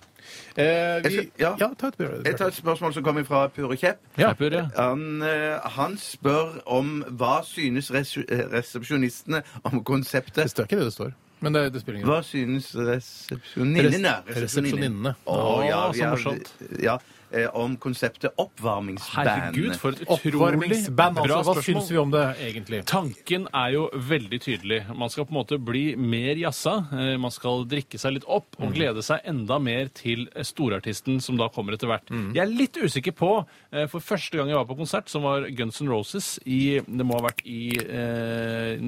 [SPEAKER 3] Eh, vi,
[SPEAKER 5] Jeg skal- ja.
[SPEAKER 3] ta et Bjørn.
[SPEAKER 5] Jeg tar et spørsmål som kommer fra Pure Kjepp.
[SPEAKER 3] Ja.
[SPEAKER 4] Pepper, ja.
[SPEAKER 5] Han, eh, han spør om hva synes resu- eh, resepsjonistene om
[SPEAKER 3] Det
[SPEAKER 5] konseptet.
[SPEAKER 3] står ikke det det står. Men det, det spiller ingen rolle.
[SPEAKER 5] Hva synes resepsjoninnene?
[SPEAKER 3] Res- resepsjoninnene.
[SPEAKER 5] Å, ja,
[SPEAKER 4] Å,
[SPEAKER 5] vi
[SPEAKER 4] så
[SPEAKER 5] er-
[SPEAKER 4] morsomt.
[SPEAKER 5] Ja, eh, om konseptet oppvarmingsband.
[SPEAKER 4] Herregud, for et utrolig
[SPEAKER 3] Oppvarmingsband,
[SPEAKER 4] bra
[SPEAKER 3] altså. Hva
[SPEAKER 4] spørsmål.
[SPEAKER 3] syns vi om det, egentlig?
[SPEAKER 4] Tanken er jo veldig tydelig. Man skal på en måte bli mer jazza. eh, Man skal drikke seg litt opp
[SPEAKER 3] Mm.
[SPEAKER 4] og glede seg enda mer til eh, storartisten som da kommer etter hvert.
[SPEAKER 3] Mm.
[SPEAKER 4] Jeg er litt usikker på, eh, for første gang jeg var på konsert, som var Guns N' Roses i Det må ha vært i eh,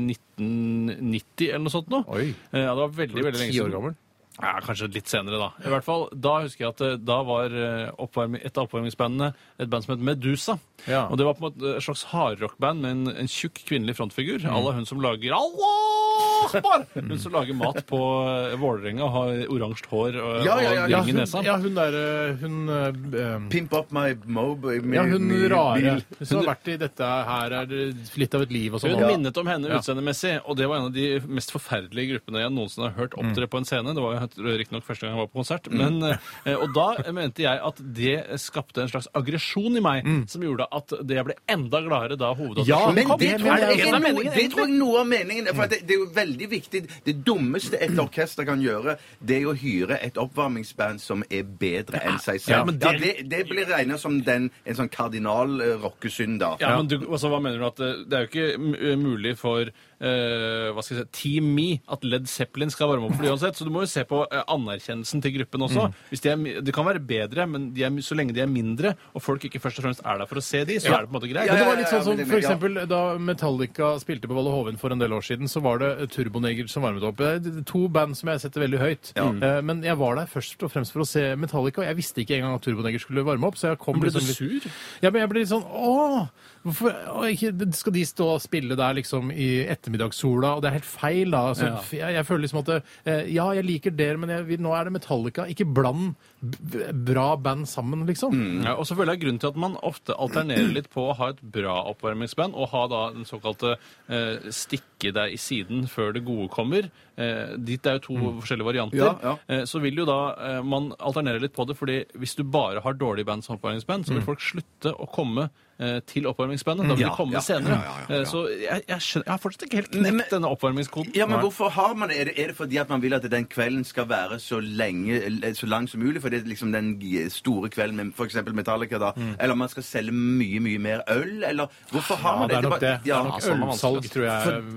[SPEAKER 4] 1990 eller noe sånt nå.
[SPEAKER 3] Oi.
[SPEAKER 4] Eh, Ja, det var veldig, veldig lenge
[SPEAKER 3] Ti år
[SPEAKER 4] siden.
[SPEAKER 3] gammel.
[SPEAKER 4] Ja, kanskje litt senere, da. I hvert fall, Da husker jeg at eh, da var eh, oppvarmi- et av oppvarmingsbandene et band som het Medusa.
[SPEAKER 3] Ja.
[SPEAKER 4] Og Det var på en måte et slags hardrockband med en, en tjukk kvinnelig frontfigur.
[SPEAKER 5] Mm.
[SPEAKER 4] À la hun som lager Allah! Akbar! Hun som lager mat på eh, Vålerenga og har oransje hår og,
[SPEAKER 5] Ja, ja, ja,
[SPEAKER 4] og
[SPEAKER 3] Ja,
[SPEAKER 4] ring i
[SPEAKER 3] hun,
[SPEAKER 4] nesa.
[SPEAKER 3] ja, hun derre Hun eh,
[SPEAKER 5] Pimp up my mob. my-
[SPEAKER 3] Ja, hun
[SPEAKER 5] my
[SPEAKER 3] rare
[SPEAKER 5] bil.
[SPEAKER 3] hun som har vært i dette her er det litt av et liv og sånn.
[SPEAKER 4] Hun
[SPEAKER 3] Ja.
[SPEAKER 4] minnet om henne
[SPEAKER 3] Ja.
[SPEAKER 5] Mm.
[SPEAKER 4] utseendemessig, og det var en av de mest forferdelige gruppene jeg noensinne har hørt opptre på en scene. Det var jo riktignok første gang jeg var på konsert. Men, eh, og da mente jeg at det skapte en slags aggresjon i meg,
[SPEAKER 5] Mm.
[SPEAKER 4] som gjorde at det- jeg ble enda gladere da
[SPEAKER 3] Ja,
[SPEAKER 4] hovedattraksjonen
[SPEAKER 5] Men
[SPEAKER 3] men
[SPEAKER 5] det,
[SPEAKER 3] det
[SPEAKER 5] tror
[SPEAKER 3] mener
[SPEAKER 5] jeg,
[SPEAKER 3] jeg
[SPEAKER 5] er
[SPEAKER 4] også.
[SPEAKER 5] noe, det tror jeg noe av meningen er. For at det, det er jo veldig viktig. Det dummeste et orkester kan gjøre, det er å hyre et oppvarmingsband som er bedre enn seg selv.
[SPEAKER 4] Ja,
[SPEAKER 5] Ja,
[SPEAKER 4] men
[SPEAKER 5] det,
[SPEAKER 4] det-
[SPEAKER 5] det blir regna som den, en sånn kardinal eh, rockesynd, da.
[SPEAKER 4] Ja, men du, altså, hva mener du at eh, Det er jo ikke m- mulig for eh, hva skal jeg si, Team Me at Led Zeppelin skal varme opp for det uansett. Så du må jo se på eh, anerkjennelsen til gruppen også.
[SPEAKER 5] Mm.
[SPEAKER 4] Hvis de er, mi- det kan være bedre, men de er, mi- så lenge de er mindre, og folk ikke først og fremst er der for å se de, så er det på en måte greit.
[SPEAKER 3] Men det var
[SPEAKER 5] ja,
[SPEAKER 3] litt
[SPEAKER 5] ja,
[SPEAKER 3] sånn som
[SPEAKER 5] men det-
[SPEAKER 3] for
[SPEAKER 5] ja.
[SPEAKER 3] eksempel da Metallica spilte på Valle Hoven for en del år siden, så var det Turboneger som varmet opp. Det er to band som jeg setter veldig høyt. Eh, Men jeg var der først og fremst for å se Metallica, og jeg visste ikke engang at Turboneger skulle varme opp, så jeg kom
[SPEAKER 4] Ble du
[SPEAKER 3] liksom litt-
[SPEAKER 4] sur?
[SPEAKER 3] Ja, men jeg ble litt sånn Åh! Hvorfor å, ikke, skal de stå og spille der liksom i ettermiddagssola? Og det er helt feil, da. Altså,
[SPEAKER 4] Ja.
[SPEAKER 3] f- jeg, jeg føler liksom at det, eh, Ja, jeg liker dere, men jeg, vil- nå er det Metallica. Ikke bland b- bra band sammen, liksom.
[SPEAKER 5] Mm.
[SPEAKER 4] Ja, og så føler jeg grunnen til at man ofte alternerer litt på å ha et bra oppvarmingsband og ha da den såkalte eh, stikke deg i siden før det gode kommer. Eh, dit det er jo to forskjellige varianter.
[SPEAKER 5] Ja, ja.
[SPEAKER 4] Eh, så vil jo da eh, man alternere litt på det, fordi hvis du bare har dårlige band som oppvarmingsband, så vil folk slutte å komme eh, til oppvarmingsbandet. Da vil
[SPEAKER 5] Ja,
[SPEAKER 4] de komme
[SPEAKER 5] ja, ja,
[SPEAKER 4] senere.
[SPEAKER 5] ja, ja, ja.
[SPEAKER 4] Eh, Så jeg, jeg, skjønner, jeg har fortsatt ikke helt
[SPEAKER 5] Nei, men-
[SPEAKER 4] knekt denne oppvarmingskoden.
[SPEAKER 5] Ja, men
[SPEAKER 4] Nei.
[SPEAKER 5] hvorfor har man er det? Er det fordi at man vil at den kvelden skal være så lenge, eh, så lang som mulig? For det er liksom den g- store kvelden med f.eks. Metallica, da.
[SPEAKER 3] Mm.
[SPEAKER 5] Eller man skal selge mye, mye mer øl? Eller hvorfor har
[SPEAKER 3] Ja,
[SPEAKER 5] man
[SPEAKER 3] det er nok
[SPEAKER 5] bare-
[SPEAKER 3] det. det
[SPEAKER 5] Ja,
[SPEAKER 3] er nok
[SPEAKER 4] altså, det er
[SPEAKER 3] Ølsalg
[SPEAKER 4] vanskelig.
[SPEAKER 3] tror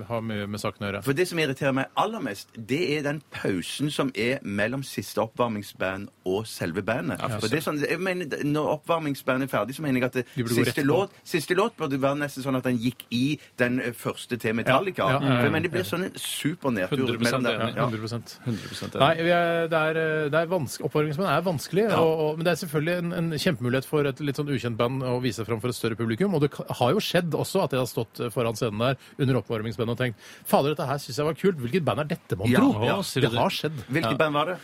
[SPEAKER 3] jeg har mye med saken å gjøre.
[SPEAKER 5] For det som irriterer meg aller mest, det er den pausen som er mellom siste oppvarmingsband og selve bandet. for det er sånn, jeg mener, når oppvarmingsbandet er ferdig, så mener jeg at det,
[SPEAKER 3] De burde gå rett
[SPEAKER 5] siste,
[SPEAKER 3] på.
[SPEAKER 5] låt, siste låt burde være nesten sånn at den gikk i den eh, første til Metallica.
[SPEAKER 3] Ja, ja, ja, ja.
[SPEAKER 5] For jeg mener, det blir sånn en super nedtur
[SPEAKER 4] 100%
[SPEAKER 5] mellom der.
[SPEAKER 4] enig.
[SPEAKER 5] Ja.
[SPEAKER 3] 100
[SPEAKER 4] 100% enig.
[SPEAKER 3] Nei, vi er, det er, eh, det er vanskelig, Oppvarmingsband er vanskelig, og, og, men det er selvfølgelig en, en kjempemulighet for et litt sånn ukjent band å vise seg fram for et større publikum. Og det ka- har jo skjedd også at jeg har stått eh, foran scenen der under oppvarmingsbandet og tenkt Fader, dette her syns jeg var kult. Hvilket band er dette, mon
[SPEAKER 5] Ja,
[SPEAKER 3] tro?
[SPEAKER 4] ja, sier du
[SPEAKER 3] det
[SPEAKER 4] det?
[SPEAKER 3] har skjedd.
[SPEAKER 5] Hvilket band var det?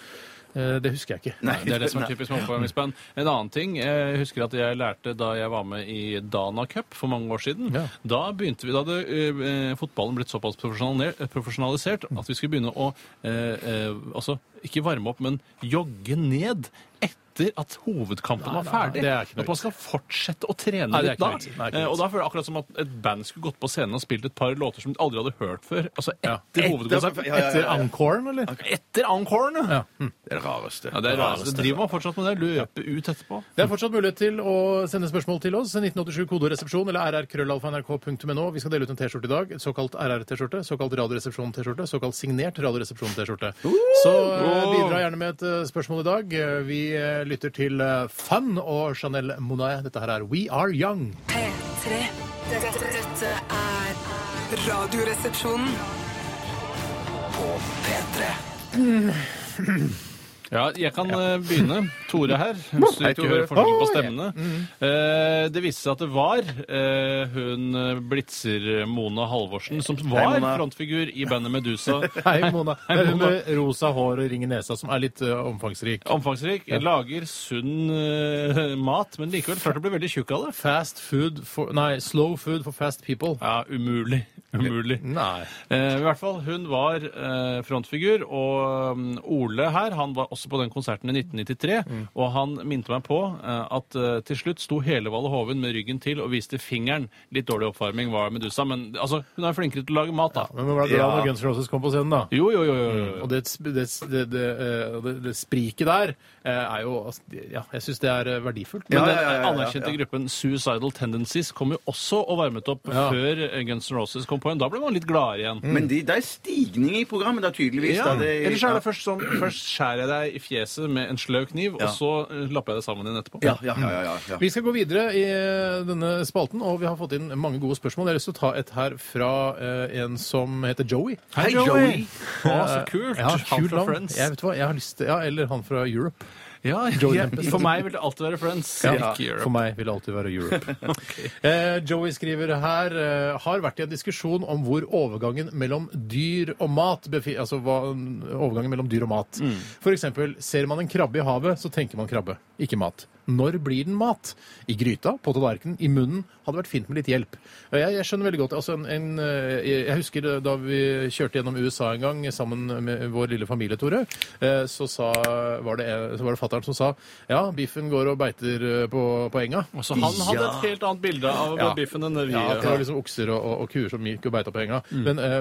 [SPEAKER 3] Eh, Det husker jeg ikke.
[SPEAKER 5] Nei,
[SPEAKER 4] Det er det som er typisk med oppvarmingsband. En annen ting Jeg husker at jeg lærte da jeg var med i Dana Cup for mange år siden.
[SPEAKER 3] Ja.
[SPEAKER 4] Da begynte vi, da hadde eh, fotballen blitt såpass profesjonal- profesjonalisert at vi skulle begynne å eh, eh, Altså ikke varme opp, men jogge ned etter at hovedkampen var ferdig.
[SPEAKER 3] nei, det er ikke noe
[SPEAKER 4] at man skal fortsette å trene
[SPEAKER 3] Nei, det er
[SPEAKER 4] litt da.
[SPEAKER 3] ikke noe vits. Nei, det er ikke
[SPEAKER 4] Eh,
[SPEAKER 3] noe
[SPEAKER 4] og da føler jeg akkurat som at et band skulle gått på scenen og spilt et par låter som de aldri hadde hørt før. Altså etter
[SPEAKER 5] Ja,
[SPEAKER 4] hovedkonserten.
[SPEAKER 5] ja, ja, ja.
[SPEAKER 3] Etter encoren, eller?
[SPEAKER 4] Etter encoren! Ja.
[SPEAKER 3] Hm.
[SPEAKER 5] Det er det rareste.
[SPEAKER 4] det er rarest. Driver man fortsatt med det? Løpe ut etterpå?
[SPEAKER 3] Det er fortsatt mulighet til å sende spørsmål til oss. 1987 kodoresepsjon eller rrkrøllalfa.nrk.no. Vi skal dele ut en T-skjorte i dag. Et Såkalt RR-T-skjorte, såkalt Radioresepsjon-T-skjorte, såkalt signert Radioresepsjon-T-skjorte. Så eh, bidra gjerne med et eh, spørsmål i dag. Eh, Vi eh, lytter til eh, Fun og Chanel Monae. Dette her er We Are Young.
[SPEAKER 6] P3. Dette, dette er Radioresepsjonen.
[SPEAKER 4] Ja, jeg kan eh, begynne. Tore her. Hvis du
[SPEAKER 5] Hei,
[SPEAKER 4] ikke
[SPEAKER 5] Tore.
[SPEAKER 4] hører forskjell på
[SPEAKER 3] Oi.
[SPEAKER 4] stemmene.
[SPEAKER 3] Mm.
[SPEAKER 4] Eh, det viste seg at det var eh, hun eh, blitzer Mona Halvorsen, som var
[SPEAKER 5] Mona.
[SPEAKER 4] frontfigur i bandet Medusa.
[SPEAKER 3] Hei, Mona.
[SPEAKER 4] Hei,
[SPEAKER 3] Det er hun
[SPEAKER 4] Mona.
[SPEAKER 3] med rosa hår og ring i nesa som er litt eh, omfangsrik.
[SPEAKER 4] Omfangsrik. Lager sunn eh, mat, men likevel klart å bli veldig tjukk av det.
[SPEAKER 3] Fast food for Nei, slow food for fast people.
[SPEAKER 4] Ja, umulig. Umulig.
[SPEAKER 3] Nei.
[SPEAKER 4] Eh, I hvert fall, hun var eh, frontfigur, og mm, Ole her, han var også på den konserten i 1993,
[SPEAKER 5] Mm.
[SPEAKER 4] og han minte meg på eh, at eh, til slutt sto hele Valle Hoven med ryggen til og viste fingeren. Litt dårlig oppvarming var Medusa, men altså, hun er flinkere til å lage mat, da.
[SPEAKER 3] Men man ble glad
[SPEAKER 5] Ja. Mm.
[SPEAKER 3] når Guns N' Roses kom på scenen, da.
[SPEAKER 4] Jo, jo, jo. jo, jo.
[SPEAKER 3] Og det, det, det, det, eh, det, det spriket der eh, er jo altså, Ja, jeg syns det er eh, verdifullt.
[SPEAKER 4] Men
[SPEAKER 5] Ja,
[SPEAKER 4] den
[SPEAKER 5] ja, ja, ja, ja,
[SPEAKER 4] anerkjente
[SPEAKER 5] ja.
[SPEAKER 4] gruppen Suicidal Tendencies kom jo også og varmet opp
[SPEAKER 3] Ja.
[SPEAKER 4] før eh, Guns N' Roses kom på igjen. Da ble man litt gladere igjen.
[SPEAKER 5] Mm. Men de, det er stigning i programmet, da, tydeligvis.
[SPEAKER 4] Ja.
[SPEAKER 5] Da, det,
[SPEAKER 4] Ellers er det først sånn Først skjærer jeg deg i fjeset med en sløv kniv, og så eh, lapper jeg det sammen igjen etterpå.
[SPEAKER 5] ja, ja, ja, ja, ja, ja.
[SPEAKER 3] Vi skal gå videre i eh, denne spalten, og vi har fått inn mange gode spørsmål. Jeg har lyst til å ta et her fra eh, en som heter Joey. Eh,
[SPEAKER 5] Hei, Joey!
[SPEAKER 4] Å, så kult!
[SPEAKER 3] Ja,
[SPEAKER 4] han
[SPEAKER 3] kult
[SPEAKER 4] fra
[SPEAKER 3] navn.
[SPEAKER 4] Friends.
[SPEAKER 3] Jeg vet hva, jeg har lyst til, ja, Eller han fra Europe.
[SPEAKER 4] Ja,
[SPEAKER 3] Joey
[SPEAKER 4] jeg-
[SPEAKER 3] Tempest.
[SPEAKER 4] for meg vil det alltid være Friends. Ikke Europe.
[SPEAKER 3] For meg vil det alltid være Europe. eh, Joey skriver her eh, har vært i en diskusjon om hvor overgangen mellom dyr og mat befi altså hva, overgangen mellom dyr og mat. For eksempel, ser man en krabbe i havet, så tenker man krabbe, ikke mat. Når blir den mat? I gryta, på tallerkenen, i munnen. Hadde vært fint med litt hjelp. Og Jeg, jeg skjønner veldig godt altså en, en, eh, Jeg husker da vi kjørte gjennom USA en gang sammen med vår lille familie, Tore. eh, Så sa, var det, så var det fattern som sa ja, biffen går og beiter eh, på, på enga.
[SPEAKER 4] Altså, han hadde et helt annet bilde av
[SPEAKER 3] Ja.
[SPEAKER 4] biffen enn det vi
[SPEAKER 3] Ja, at det
[SPEAKER 4] har.
[SPEAKER 3] var liksom okser og, og, og kuer som gikk og beita på enga. Men eh,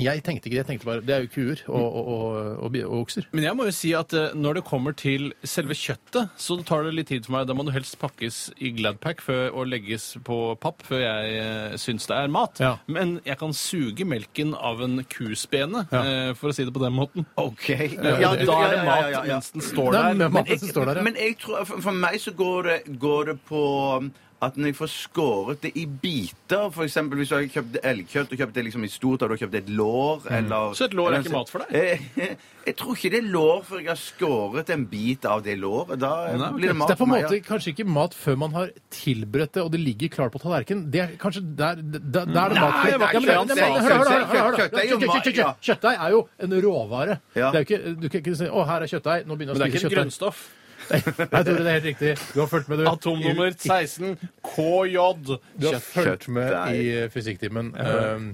[SPEAKER 3] jeg tenkte ikke det. Jeg tenkte bare Det er jo kuer og, og, og, og, bi- og okser.
[SPEAKER 4] Men jeg må jo si at eh, når det kommer til selve kjøttet, så tar det litt tid for meg. Da må det helst pakkes i Gladpack før, og legges på papp før jeg eh, syns det er mat.
[SPEAKER 3] Ja.
[SPEAKER 4] Men jeg kan suge melken av en kuspene, eh, for å si det på den måten.
[SPEAKER 5] OK.
[SPEAKER 4] Eh, og da er det mat mens den står
[SPEAKER 3] Nei,
[SPEAKER 4] der.
[SPEAKER 3] men maten som står der, ja.
[SPEAKER 5] Men jeg tror, for, for meg så går det, går det på um, at når jeg får skåret det i biter for eksempel hvis du har kjøpt elgkjøtt og kjøpt det liksom i stort, og du har kjøpt et lår
[SPEAKER 3] Mm.
[SPEAKER 5] eller
[SPEAKER 4] Så et lår er ikke mat for
[SPEAKER 5] deg? Jeg tror ikke det er lår før jeg har skåret en bit av det låret. Da eh,
[SPEAKER 4] Nei, ok.
[SPEAKER 5] blir det
[SPEAKER 3] Det
[SPEAKER 5] mat
[SPEAKER 3] er på en
[SPEAKER 5] for meg.
[SPEAKER 3] måte kanskje ikke mat før man har tilberedt det, og det ligger klart på tallerkenen. Det er kanskje der, der, der er det mat
[SPEAKER 5] Nei, det var ikke
[SPEAKER 3] Ja, men-
[SPEAKER 5] det han
[SPEAKER 3] men-
[SPEAKER 5] sa.
[SPEAKER 3] hør, hør, hør, hør, hør.
[SPEAKER 5] Kjøttdeig er jo
[SPEAKER 3] Kjøttdeig-
[SPEAKER 5] mat, ja.
[SPEAKER 3] kjøttdeig- Kjøttdeig er jo en råvare. Det
[SPEAKER 5] Ja.
[SPEAKER 3] er jo ikke, du kan ikke si 'Å, her er kjøttdeig', nå begynner
[SPEAKER 4] Men det
[SPEAKER 3] jeg å
[SPEAKER 4] er ikke
[SPEAKER 3] spise
[SPEAKER 4] et
[SPEAKER 3] kjøttdeig.
[SPEAKER 4] grunnstoff.
[SPEAKER 3] Nei, Tore, det er helt riktig. Du har fulgt med, du.
[SPEAKER 4] Atomnummer 16 KJ.
[SPEAKER 3] Du har fulgt med i
[SPEAKER 5] Kjøttdeig.
[SPEAKER 3] eh, fysikktimen. Um,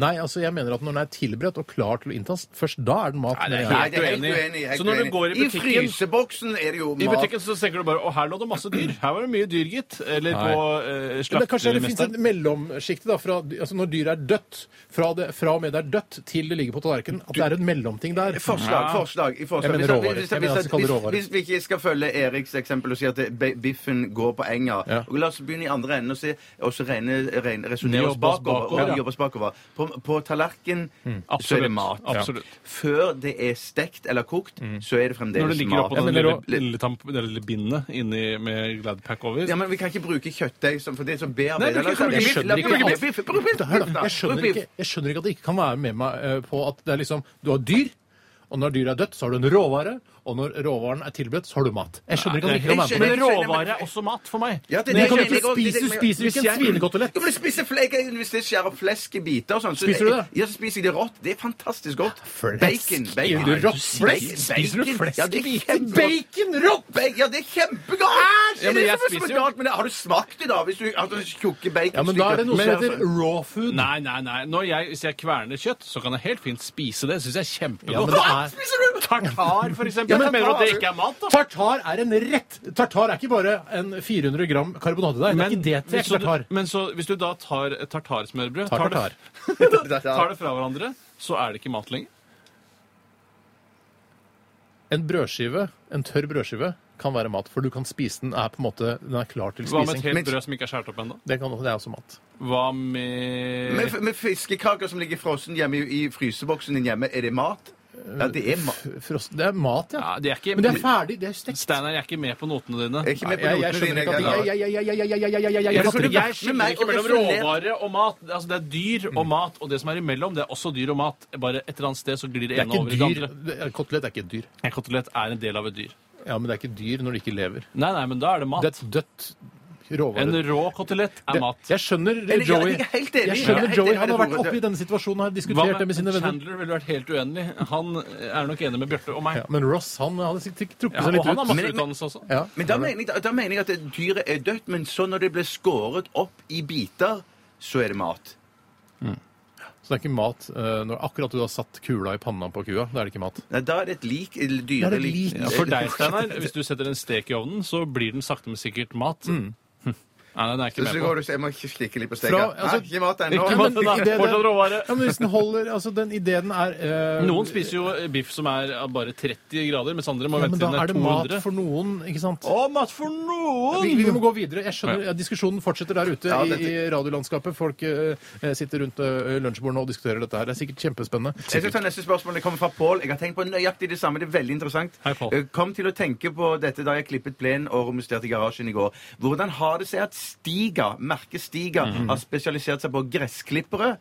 [SPEAKER 3] Nei, altså jeg mener at når den er tilberedt og klar til å inntas, først da er den mat.
[SPEAKER 4] Nei, det er
[SPEAKER 3] mener
[SPEAKER 5] Nei,
[SPEAKER 3] jeg.
[SPEAKER 5] det er helt
[SPEAKER 4] Helt uenig.
[SPEAKER 5] uenig. helt
[SPEAKER 4] Så når du
[SPEAKER 5] uenig.
[SPEAKER 4] går i butikken-
[SPEAKER 5] I fryseboksen er det jo
[SPEAKER 4] I
[SPEAKER 5] mat.
[SPEAKER 4] butikken så tenker du bare å, her lå det masse dyr. Her var det mye dyr, gitt. Eller
[SPEAKER 3] Nei.
[SPEAKER 4] på eh,
[SPEAKER 3] Men det, er kanskje det finnes et
[SPEAKER 4] slaktermesteren.
[SPEAKER 3] mellomsjikt da, fra, altså når dyret er dødt, fra, det, fra og med det er dødt til det ligger på tallerkenen, at det er en mellomting der. Mm.
[SPEAKER 5] Forslag,
[SPEAKER 4] Ja.
[SPEAKER 5] forslag. i forslag.
[SPEAKER 3] Jeg mener
[SPEAKER 5] Hvis at-
[SPEAKER 3] råvarer.
[SPEAKER 5] hvis-
[SPEAKER 3] Jeg mener
[SPEAKER 5] hvis-
[SPEAKER 3] at vi kaller det
[SPEAKER 5] hvis-
[SPEAKER 3] råvarer.
[SPEAKER 5] Hvis vi ikke skal følge Eriks eksempel og si at det- be- biffen går på enga
[SPEAKER 3] Ja.
[SPEAKER 5] og La oss begynne i andre enden og, se, og så regne- regne- resonnere oss
[SPEAKER 4] Jobbe oss
[SPEAKER 5] bakover.
[SPEAKER 4] bakover,
[SPEAKER 5] og
[SPEAKER 4] ja.
[SPEAKER 5] jobbe oss bakover. På, på
[SPEAKER 3] Mm.
[SPEAKER 5] tallerken så er
[SPEAKER 4] Absolutt.
[SPEAKER 5] det mat.
[SPEAKER 4] Absolutt.
[SPEAKER 5] Før det er stekt eller kokt,
[SPEAKER 3] Mm.
[SPEAKER 5] så er det fremdeles mat.
[SPEAKER 4] Når det ligger oppå
[SPEAKER 5] Ja,
[SPEAKER 4] den
[SPEAKER 5] men-
[SPEAKER 4] lille, lille, tamp, det lille bindet inni med Gladpack over.
[SPEAKER 5] Ja, men Vi kan ikke bruke kjøttdeig som for det som bearbeider
[SPEAKER 4] Nei, men
[SPEAKER 5] La oss-
[SPEAKER 4] jeg
[SPEAKER 5] la-
[SPEAKER 4] skjønner
[SPEAKER 5] la-
[SPEAKER 4] ikke
[SPEAKER 5] bruk
[SPEAKER 4] alt.
[SPEAKER 5] biff, bruk biff,
[SPEAKER 3] Hør da,
[SPEAKER 5] bruk
[SPEAKER 3] jeg skjønner,
[SPEAKER 5] biff.
[SPEAKER 3] ikke, jeg skjønner ikke at det ikke kan være med meg eh, på at det er liksom, du har dyr, og når dyret er dødt, så har du en råvare, og når råvaren er tilberedt, så har du mat. Jeg skjønner ikke at det ikke kan være med på det.
[SPEAKER 4] Men råvare er også mat for meg.
[SPEAKER 5] Ja, det-
[SPEAKER 3] Men du kan
[SPEAKER 5] det-
[SPEAKER 3] jo ikke
[SPEAKER 5] det- det- det-
[SPEAKER 3] spise,
[SPEAKER 5] det-
[SPEAKER 3] du spiser jo ikke
[SPEAKER 5] hvis
[SPEAKER 3] en
[SPEAKER 5] jeg-
[SPEAKER 3] svinekotelett.
[SPEAKER 5] Jo, men jeg spiser flek, jeg- hvis jeg skjærer flesk i biter og sånn. så-
[SPEAKER 3] Spiser du det?
[SPEAKER 5] Ja, så spiser jeg det rått. Det er fantastisk godt.
[SPEAKER 3] Flesk?
[SPEAKER 5] Bacon. bacon.
[SPEAKER 3] Spiser du rått
[SPEAKER 5] Nei,
[SPEAKER 3] flesk?
[SPEAKER 5] bacon.
[SPEAKER 3] Spiser du flesk
[SPEAKER 5] Ja,
[SPEAKER 3] i
[SPEAKER 5] det er
[SPEAKER 3] biter?
[SPEAKER 5] kjempegodt.
[SPEAKER 3] Bacon rått?
[SPEAKER 5] Bacon, Ja, det er kjempegodt! Æsj!
[SPEAKER 4] Ja, men
[SPEAKER 5] det er
[SPEAKER 4] jeg
[SPEAKER 5] så mye
[SPEAKER 4] spiser
[SPEAKER 5] som er
[SPEAKER 4] jo-
[SPEAKER 5] galt, men det- Har du smakt det, da? Hvis du har tjukke bacon
[SPEAKER 3] Ja, men da er det noe som heter raw food.
[SPEAKER 4] Nei, nei, nei. Når jeg, hvis jeg kverner kjøtt, så kan jeg helt fint spise det. Syns jeg er
[SPEAKER 3] Ja, men
[SPEAKER 4] kjempegodt.
[SPEAKER 3] det er...
[SPEAKER 5] Spiser du
[SPEAKER 4] Tartar, for eksempel.
[SPEAKER 3] Ja, men-
[SPEAKER 4] Mener du at det ikke er mat, da?
[SPEAKER 3] Tartar er en rett. Tartar er ikke bare en 400 gram karbonadedeig. Det er ikke det til
[SPEAKER 4] hvis,
[SPEAKER 3] tartar.
[SPEAKER 4] du, men så, hvis du da tar et tartarsmørbrød
[SPEAKER 3] Tar tartar.
[SPEAKER 4] det, tar det fra hverandre, så er det ikke mat lenger.
[SPEAKER 3] En brødskive, en tørr brødskive, kan være mat, for du kan spise den. Er på en måte, den er klar til
[SPEAKER 4] Hva med et
[SPEAKER 3] spising.
[SPEAKER 4] helt
[SPEAKER 5] Men-
[SPEAKER 4] brød som ikke er skåret opp ennå?
[SPEAKER 3] Det, kan, det er også mat.
[SPEAKER 4] Hva med
[SPEAKER 5] med, med fiskekaker som ligger frossen hjemme i, i fryseboksen din hjemme, er det mat? Ja, det er mat.
[SPEAKER 3] Frost, det er mat, ja.
[SPEAKER 4] Ja, det er ikke
[SPEAKER 3] Men det er ferdig. Det er stekt.
[SPEAKER 4] Steinar, jeg er ikke med på notene dine.
[SPEAKER 5] Jeg er ikke med på
[SPEAKER 3] Jeg, jeg
[SPEAKER 5] notene
[SPEAKER 3] skjønner
[SPEAKER 5] dine,
[SPEAKER 3] ikke at
[SPEAKER 5] jeg-
[SPEAKER 3] jeg, jeg, jeg, jeg, jeg, jeg, jeg, jeg, jeg, jeg, jeg
[SPEAKER 4] Jeg,
[SPEAKER 3] fatter
[SPEAKER 4] jeg,
[SPEAKER 3] ikke.
[SPEAKER 5] Men
[SPEAKER 4] skiller
[SPEAKER 5] meg
[SPEAKER 4] ikke
[SPEAKER 5] og
[SPEAKER 4] mellom
[SPEAKER 5] resonert-
[SPEAKER 4] råvare og mat. Altså, det er dyr
[SPEAKER 3] Mm.
[SPEAKER 4] og mat, og det som er imellom, det er også dyr og mat. Bare et eller annet sted så glir det
[SPEAKER 3] Det er
[SPEAKER 4] ene over i det
[SPEAKER 3] ikke dyr.
[SPEAKER 4] andre.
[SPEAKER 3] Det er- Kotelett er ikke et dyr.
[SPEAKER 4] En kotelett er en del av et dyr.
[SPEAKER 3] Ja, men det er ikke dyr når det ikke lever.
[SPEAKER 4] Nei, nei, men da er
[SPEAKER 3] Det
[SPEAKER 4] det
[SPEAKER 3] er
[SPEAKER 4] mat.
[SPEAKER 3] et dødt råvare.
[SPEAKER 4] En rå kotelett er
[SPEAKER 3] Det-
[SPEAKER 4] mat.
[SPEAKER 3] Jeg skjønner
[SPEAKER 5] jeg er
[SPEAKER 3] Joey.
[SPEAKER 5] helt enig.
[SPEAKER 3] Jeg
[SPEAKER 5] Jeg er
[SPEAKER 3] skjønner
[SPEAKER 5] helt
[SPEAKER 3] Joey.
[SPEAKER 5] enig
[SPEAKER 3] Han har
[SPEAKER 5] med
[SPEAKER 3] vært
[SPEAKER 5] Tore.
[SPEAKER 3] oppe i denne situasjonen og har
[SPEAKER 4] Hva
[SPEAKER 3] diskutert det
[SPEAKER 4] med
[SPEAKER 3] med sine venner.
[SPEAKER 4] Chandler ville vært helt uenig. Han er nok enig med Bjarte og meg.
[SPEAKER 3] Ja, men Ross han hadde sikkert trukket
[SPEAKER 4] Ja,
[SPEAKER 3] seg
[SPEAKER 4] og
[SPEAKER 3] litt
[SPEAKER 4] han har
[SPEAKER 3] ut.
[SPEAKER 4] masse
[SPEAKER 5] Men-
[SPEAKER 4] utdannelse også.
[SPEAKER 3] Ja.
[SPEAKER 5] Men da mener, jeg, da mener jeg at det- dyret er dødt, men så når det blir skåret opp i biter, så er det mat.
[SPEAKER 3] Så det er ikke mat eh, når akkurat du har satt kula i panna på kua. Da er det ikke mat.
[SPEAKER 5] Nei, da er det et lik.
[SPEAKER 3] Da
[SPEAKER 5] eller
[SPEAKER 3] er det et
[SPEAKER 5] Dyrelik.
[SPEAKER 3] lik.
[SPEAKER 4] Ja, for deg, Steinar, hvis du setter en stek i ovnen, så blir den sakte, men sikkert mat.
[SPEAKER 3] Mm.
[SPEAKER 4] Hm. Nei, den er jeg ikke
[SPEAKER 5] Så
[SPEAKER 4] med
[SPEAKER 5] går
[SPEAKER 4] på.
[SPEAKER 5] du så jeg må ikke slikke litt på
[SPEAKER 3] Fra-
[SPEAKER 5] steka.
[SPEAKER 3] altså-
[SPEAKER 5] Nei, ikke mat
[SPEAKER 4] Ikke
[SPEAKER 5] ennå.
[SPEAKER 4] mat.
[SPEAKER 3] men
[SPEAKER 4] da.
[SPEAKER 3] i det-
[SPEAKER 4] Fortsatt råvare.
[SPEAKER 3] Ja, men hvis den holder Altså, den ideen er eh,
[SPEAKER 4] Noen spiser jo biff som er av bare 30 grader, mens andre
[SPEAKER 3] ja,
[SPEAKER 4] må vente
[SPEAKER 3] Men da
[SPEAKER 4] til den
[SPEAKER 3] er
[SPEAKER 4] er
[SPEAKER 3] det mat
[SPEAKER 4] 200.
[SPEAKER 3] for noen, ikke sant?
[SPEAKER 4] Å, mat for noen!
[SPEAKER 3] Vi, vi må gå videre. Jeg skjønner, ja, Diskusjonen fortsetter der ute
[SPEAKER 5] Ja,
[SPEAKER 3] i,
[SPEAKER 5] dette-
[SPEAKER 3] i radiolandskapet. Folk eh, sitter rundt eh, lunsjbordene og diskuterer dette her. Det er sikkert kjempespennende.
[SPEAKER 5] Jeg skal ta neste spørsmål. Det kommer fra Pål. Jeg har tenkt på nøyaktig det samme. Det er veldig interessant.
[SPEAKER 4] Hei, Pål.
[SPEAKER 5] Eh, Kom til å tenke på dette da jeg klippet plenen og romusterte garasjen i går. Hvordan
[SPEAKER 4] Mhm.
[SPEAKER 5] har det seg at Stiga, merket Stiga, har spesialisert seg på gressklippere?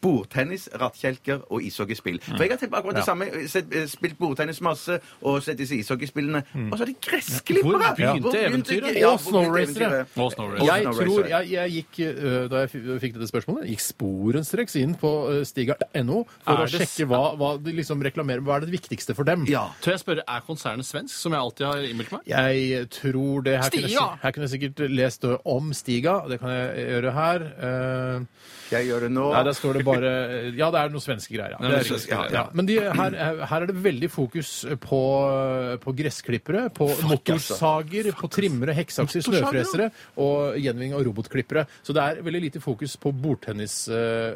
[SPEAKER 5] bordtennis, rattkjelker og ishockeyspill.
[SPEAKER 4] Mm.
[SPEAKER 5] For jeg har tenkt på akkurat det samme. Sett, eh, spilt bordtennis masse, og sett disse ishockeyspillene. Og så er det gressklippere!
[SPEAKER 4] Mm. Hvor begynte eventyret?
[SPEAKER 5] Ja,
[SPEAKER 3] Og
[SPEAKER 5] hvor begynte
[SPEAKER 3] snowracere.
[SPEAKER 5] eventyret?
[SPEAKER 4] Og snowracere.
[SPEAKER 5] Og
[SPEAKER 3] Jeg tror
[SPEAKER 5] snowracere.
[SPEAKER 3] jeg, jeg gikk, øh, Da jeg f- fikk dette spørsmålet, gikk sporenstreks inn på øh, stiga.no for
[SPEAKER 4] Er
[SPEAKER 3] å
[SPEAKER 4] det s-
[SPEAKER 3] sjekke hva, hva de liksom reklamerer. Hva er det viktigste for dem?
[SPEAKER 5] Ja.
[SPEAKER 4] Tør jeg spørre, er konsernet svensk, som jeg alltid har innbilt meg?
[SPEAKER 3] Jeg tror det Her kunne jeg,
[SPEAKER 4] Stiga!
[SPEAKER 3] si- her kunne jeg sikkert lest øh, om Stiga. Det kan jeg gjøre her. Eh,
[SPEAKER 5] Jeg gjør det nå.
[SPEAKER 3] Nei, der står det bare Ja, det er noen svenske greier. Ja.
[SPEAKER 4] Det er
[SPEAKER 3] Det er
[SPEAKER 4] svenske
[SPEAKER 3] riktig.
[SPEAKER 4] greier,
[SPEAKER 3] ja. Men de, her, her er det veldig fokus på, på gressklippere, på
[SPEAKER 5] altså.
[SPEAKER 3] motorsager, på trimmere, hekseakser, snøfresere og gjenvinning av robotklippere. Så det er veldig lite fokus på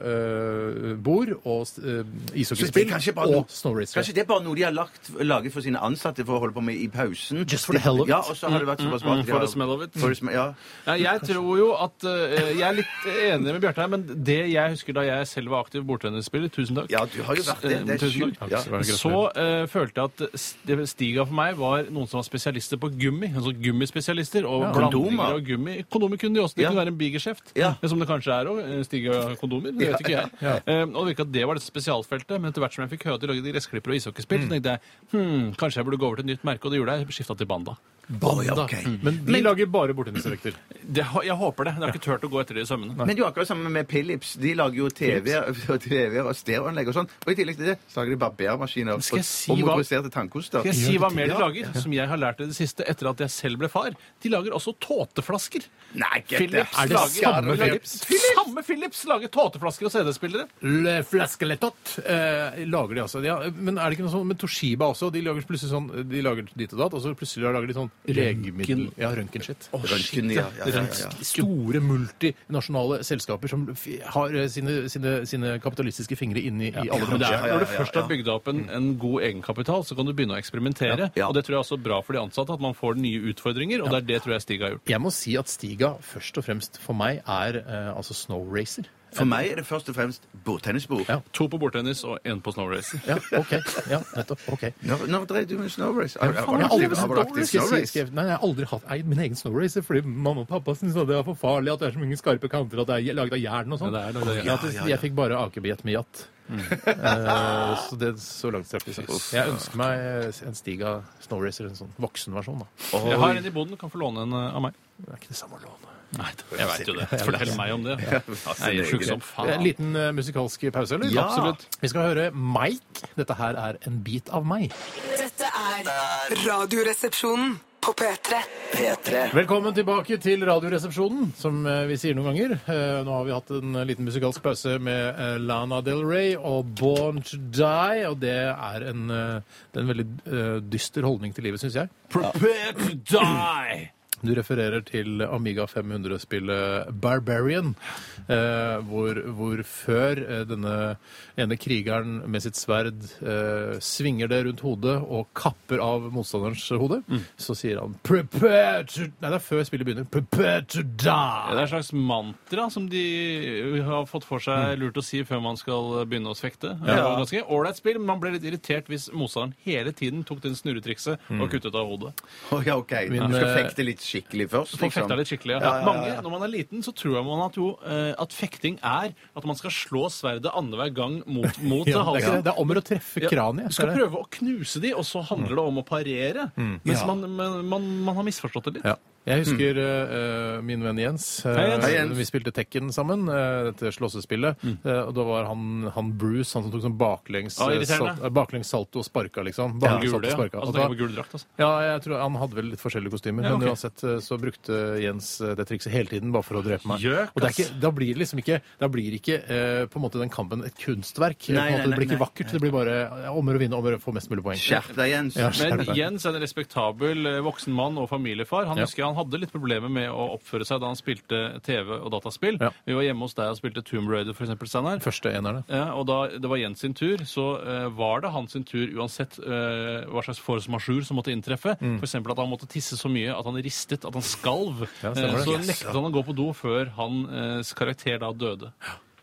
[SPEAKER 3] bordtennisbord og øh,
[SPEAKER 5] Så det er
[SPEAKER 3] ishockeyspill
[SPEAKER 5] kanskje bare noe-
[SPEAKER 3] og snowracere.
[SPEAKER 5] Kanskje det er bare noe de har lagt, laget for sine ansatte for å holde på med i pausen.
[SPEAKER 3] Just for the hell of it.
[SPEAKER 5] Ja, og så har det vært såpass bra. at de
[SPEAKER 4] Mm. for
[SPEAKER 5] har-
[SPEAKER 4] the smell of it.
[SPEAKER 5] For the smell- ja.
[SPEAKER 4] Ja, jeg tror jo at eh, Jeg er litt enig med Bjarte her, men det jeg husker da jeg selv var aktiv bordtennisspiller Tusen takk.
[SPEAKER 5] ja, du har jo vært det. Det er
[SPEAKER 4] Eh, tusen
[SPEAKER 5] sjukt.
[SPEAKER 4] takk.
[SPEAKER 5] Ja.
[SPEAKER 3] Så var det
[SPEAKER 4] Så
[SPEAKER 3] greit.
[SPEAKER 4] eh, følte jeg at st- Stiga for meg var noen som var spesialister på gummi. Altså gummispesialister og
[SPEAKER 5] Kondomer.
[SPEAKER 4] blandinger av gummi. Kondomer kunne de også. Det
[SPEAKER 5] Ja.
[SPEAKER 4] kunne være en bigeskjeft,
[SPEAKER 5] Ja.
[SPEAKER 4] som det kanskje er eh, òg. Stiga-kondomer. Det vet ikke jeg.
[SPEAKER 3] Ja.
[SPEAKER 4] Eh, og det virka at det var dette spesialfeltet. Men etter hvert som jeg fikk høre at de lagde gressklippere og ishockeysspill, så tenkte jeg hm, kanskje jeg burde gå over til et nytt merke, og det gjorde jeg. Skifta til Banda.
[SPEAKER 5] Å, ja, ok.
[SPEAKER 3] Men de lager bare bordtennisdrakter.
[SPEAKER 4] Det, har- jeg håper det. Jeg har ikke turt å gå etter det i sømmene.
[SPEAKER 5] Men det er jo akkurat samme med Philips. De lager jo TV-er og, TV og stereoanlegg og sånn. Og i tillegg til det så lager de barbermaskiner
[SPEAKER 4] Skal
[SPEAKER 5] og,
[SPEAKER 4] jeg si
[SPEAKER 5] og
[SPEAKER 4] hva-
[SPEAKER 5] motoriserte tannkoster.
[SPEAKER 4] Skal jeg si hva mer de
[SPEAKER 5] Ja.
[SPEAKER 4] lager, som jeg har lært i det siste etter at jeg selv ble far? De lager også tåteflasker.
[SPEAKER 5] Nei, get the-
[SPEAKER 4] Philips
[SPEAKER 3] Er det
[SPEAKER 4] lager-
[SPEAKER 3] samme
[SPEAKER 4] lager-
[SPEAKER 3] Philips?
[SPEAKER 4] Samme Philips lager tåteflasker og CD-spillere.
[SPEAKER 3] Le Flaskelettot eh, lager de altså. Ja, men er det ikke noe sånn med Toshiba også? De lager plutselig sånn, de lager dit og datt, og så plutselig lager de sånn legemiddel... Ja, røntgenskitt.
[SPEAKER 5] Røntgen, ja, ja, ja, ja.
[SPEAKER 3] Store multinasjonale selskaper som f- har eh, sine, sine, sine kapitalistiske fingre inni i alle
[SPEAKER 4] Men det
[SPEAKER 3] bransjer.
[SPEAKER 4] er, når du
[SPEAKER 5] ja,
[SPEAKER 4] først har bygd opp en, en god egenkapital, så kan du begynne å eksperimentere.
[SPEAKER 5] Ja.
[SPEAKER 4] Og det tror jeg er også bra for de ansatte, at man får nye utfordringer. Og det er det tror jeg Stig har gjort.
[SPEAKER 3] Jeg må si at Stiga først og fremst for meg er eh, altså Snow Racer.
[SPEAKER 5] For meg er det først og fremst bordtennisbord.
[SPEAKER 3] Ja.
[SPEAKER 4] To på bordtennis og én på snowrace.
[SPEAKER 3] Ja, OK. Ja, nettopp. OK.
[SPEAKER 5] Når, når drev du med snowrace?
[SPEAKER 3] Faen, jeg har aldri,
[SPEAKER 5] Var du aktiv
[SPEAKER 3] Skal
[SPEAKER 5] i
[SPEAKER 3] jeg si-
[SPEAKER 5] snowrace?
[SPEAKER 3] skal jeg- nei, jeg har aldri hatt eid min egen snowracer fordi mamma og pappa syntes at det var for farlig at det er så mange skarpe kanter at det er laget av jern og sånn.
[SPEAKER 4] Ja, det er laget av jern.
[SPEAKER 3] Ja, at det- Jeg fikk bare akebillett med jatt. Eh, så det så langt strakk det seg. Jeg ønsker meg en Stiga snowracer, en sånn voksenversjon. da.
[SPEAKER 4] Jeg har en i boden, kan få låne en eh, av meg.
[SPEAKER 3] Det er ikke det samme å låne.
[SPEAKER 4] Nei, jeg veit jo det. Fortell meg om det. Jeg er sjuk som
[SPEAKER 3] En
[SPEAKER 4] faen.
[SPEAKER 3] liten eh, musikalsk pause, eller?
[SPEAKER 5] Ja.
[SPEAKER 3] Absolutt. Vi skal høre Mike. Dette her er en bit av meg.
[SPEAKER 6] Dette er Radioresepsjonen på P3.
[SPEAKER 2] P3.
[SPEAKER 3] Velkommen tilbake til Radioresepsjonen, som eh, vi sier noen ganger. Eh, Nå har vi hatt en eh, liten musikalsk pause med eh, Lana Del Rey og Born to Die, og det er en, eh, det er en veldig eh, dyster holdning til livet, syns jeg.
[SPEAKER 4] Prepare to die!
[SPEAKER 3] Du refererer til Amiga 500-spillet Barbarian, eh, hvor, hvor før eh, denne ene krigeren med sitt sverd eh, svinger det rundt hodet og kapper av motstanderens hode,
[SPEAKER 4] Mm.
[SPEAKER 3] så sier han 'prepare to' Nei, det er før spillet begynner. 'Prepare to
[SPEAKER 4] Det er
[SPEAKER 3] die'.
[SPEAKER 4] et slags mantra som de har fått for
[SPEAKER 3] Mm.
[SPEAKER 4] seg lurt å si før man skal begynne å fekte. Det var ganske Ålreit spill, men man ble litt irritert hvis motstanderen hele tiden tok den snurretrikset
[SPEAKER 3] Mm.
[SPEAKER 4] og kuttet av hodet.
[SPEAKER 5] Å, ja, ok.
[SPEAKER 3] Min,
[SPEAKER 5] du skal
[SPEAKER 3] eh,
[SPEAKER 5] fekte litt skikkelig først, liksom.
[SPEAKER 4] Få fekta litt skikkelig. Ja.
[SPEAKER 5] Ja, ja, ja,
[SPEAKER 4] Mange,
[SPEAKER 5] ja.
[SPEAKER 4] Når man er liten, så tror man at, jo, eh, at fekting er at man skal slå sverdet annenhver gang mot, mot
[SPEAKER 3] Ja, det, er ikke
[SPEAKER 4] halsen.
[SPEAKER 3] det. det er om å treffe
[SPEAKER 4] Ja,
[SPEAKER 3] kraniet.
[SPEAKER 4] Du skal
[SPEAKER 3] det Mm. er det.
[SPEAKER 4] prøve å knuse de, og så handler det om å parere. Mens man, men, man, man har misforstått det litt.
[SPEAKER 3] Ja. Jeg husker eh, min venn Jens. eh,
[SPEAKER 4] Hei, Jens.
[SPEAKER 5] Hei, Jens. Mm.
[SPEAKER 3] Vi spilte Tekken sammen, eh, dette slåssespillet. Eh, og da var han, han Bruce, han som tok sånn baklengs,
[SPEAKER 4] Ah,
[SPEAKER 3] eh,
[SPEAKER 4] irriterende.
[SPEAKER 3] sal- eh, baklengs salto og sparka, liksom.
[SPEAKER 4] Den
[SPEAKER 3] Baklengs
[SPEAKER 4] gule,
[SPEAKER 3] salto og
[SPEAKER 4] ja.
[SPEAKER 3] sparka.
[SPEAKER 4] Altså,
[SPEAKER 3] Og
[SPEAKER 4] tenker på
[SPEAKER 3] da-
[SPEAKER 4] gul drakt, altså.
[SPEAKER 3] ja, jeg tror Han hadde vel litt forskjellige kostymer,
[SPEAKER 4] Ja, ok.
[SPEAKER 3] men uansett eh, så brukte Jens eh, det trikset hele tiden bare for å drepe meg.
[SPEAKER 4] Gjøk,
[SPEAKER 3] og det er
[SPEAKER 4] ass.
[SPEAKER 3] ikke, da blir det liksom ikke, da blir ikke eh, på en måte den kampen et kunstverk.
[SPEAKER 5] Nei,
[SPEAKER 3] på en måte,
[SPEAKER 5] nei,
[SPEAKER 3] det blir
[SPEAKER 5] nei,
[SPEAKER 3] ikke vakkert. Det blir bare eh, om å gjøre å vinne, om å gjøre å få mest mulig poeng.
[SPEAKER 5] Skjerp deg, Jens.
[SPEAKER 3] Ja, skjerp
[SPEAKER 4] Men
[SPEAKER 3] deg.
[SPEAKER 4] Jens er en respektabel eh, voksen mann og familiefar. Han
[SPEAKER 3] Ja.
[SPEAKER 4] husker han hadde litt problemer med å oppføre seg da han spilte TV og dataspill.
[SPEAKER 3] Ja.
[SPEAKER 4] Vi var hjemme hos deg og spilte Tomb Raider, for eksempel, Steinar.
[SPEAKER 3] Første enerne.
[SPEAKER 4] Ja, og da det var Jens sin tur, så eh, var det hans sin tur uansett eh, hva slags force majeure som måtte inntreffe.
[SPEAKER 3] Mm.
[SPEAKER 4] For eksempel at han måtte tisse så mye at han ristet, at han skalv.
[SPEAKER 3] Ja, stemmer
[SPEAKER 4] Eh, så
[SPEAKER 3] det.
[SPEAKER 4] nektet han å gå på do før hans karakter eh, da døde.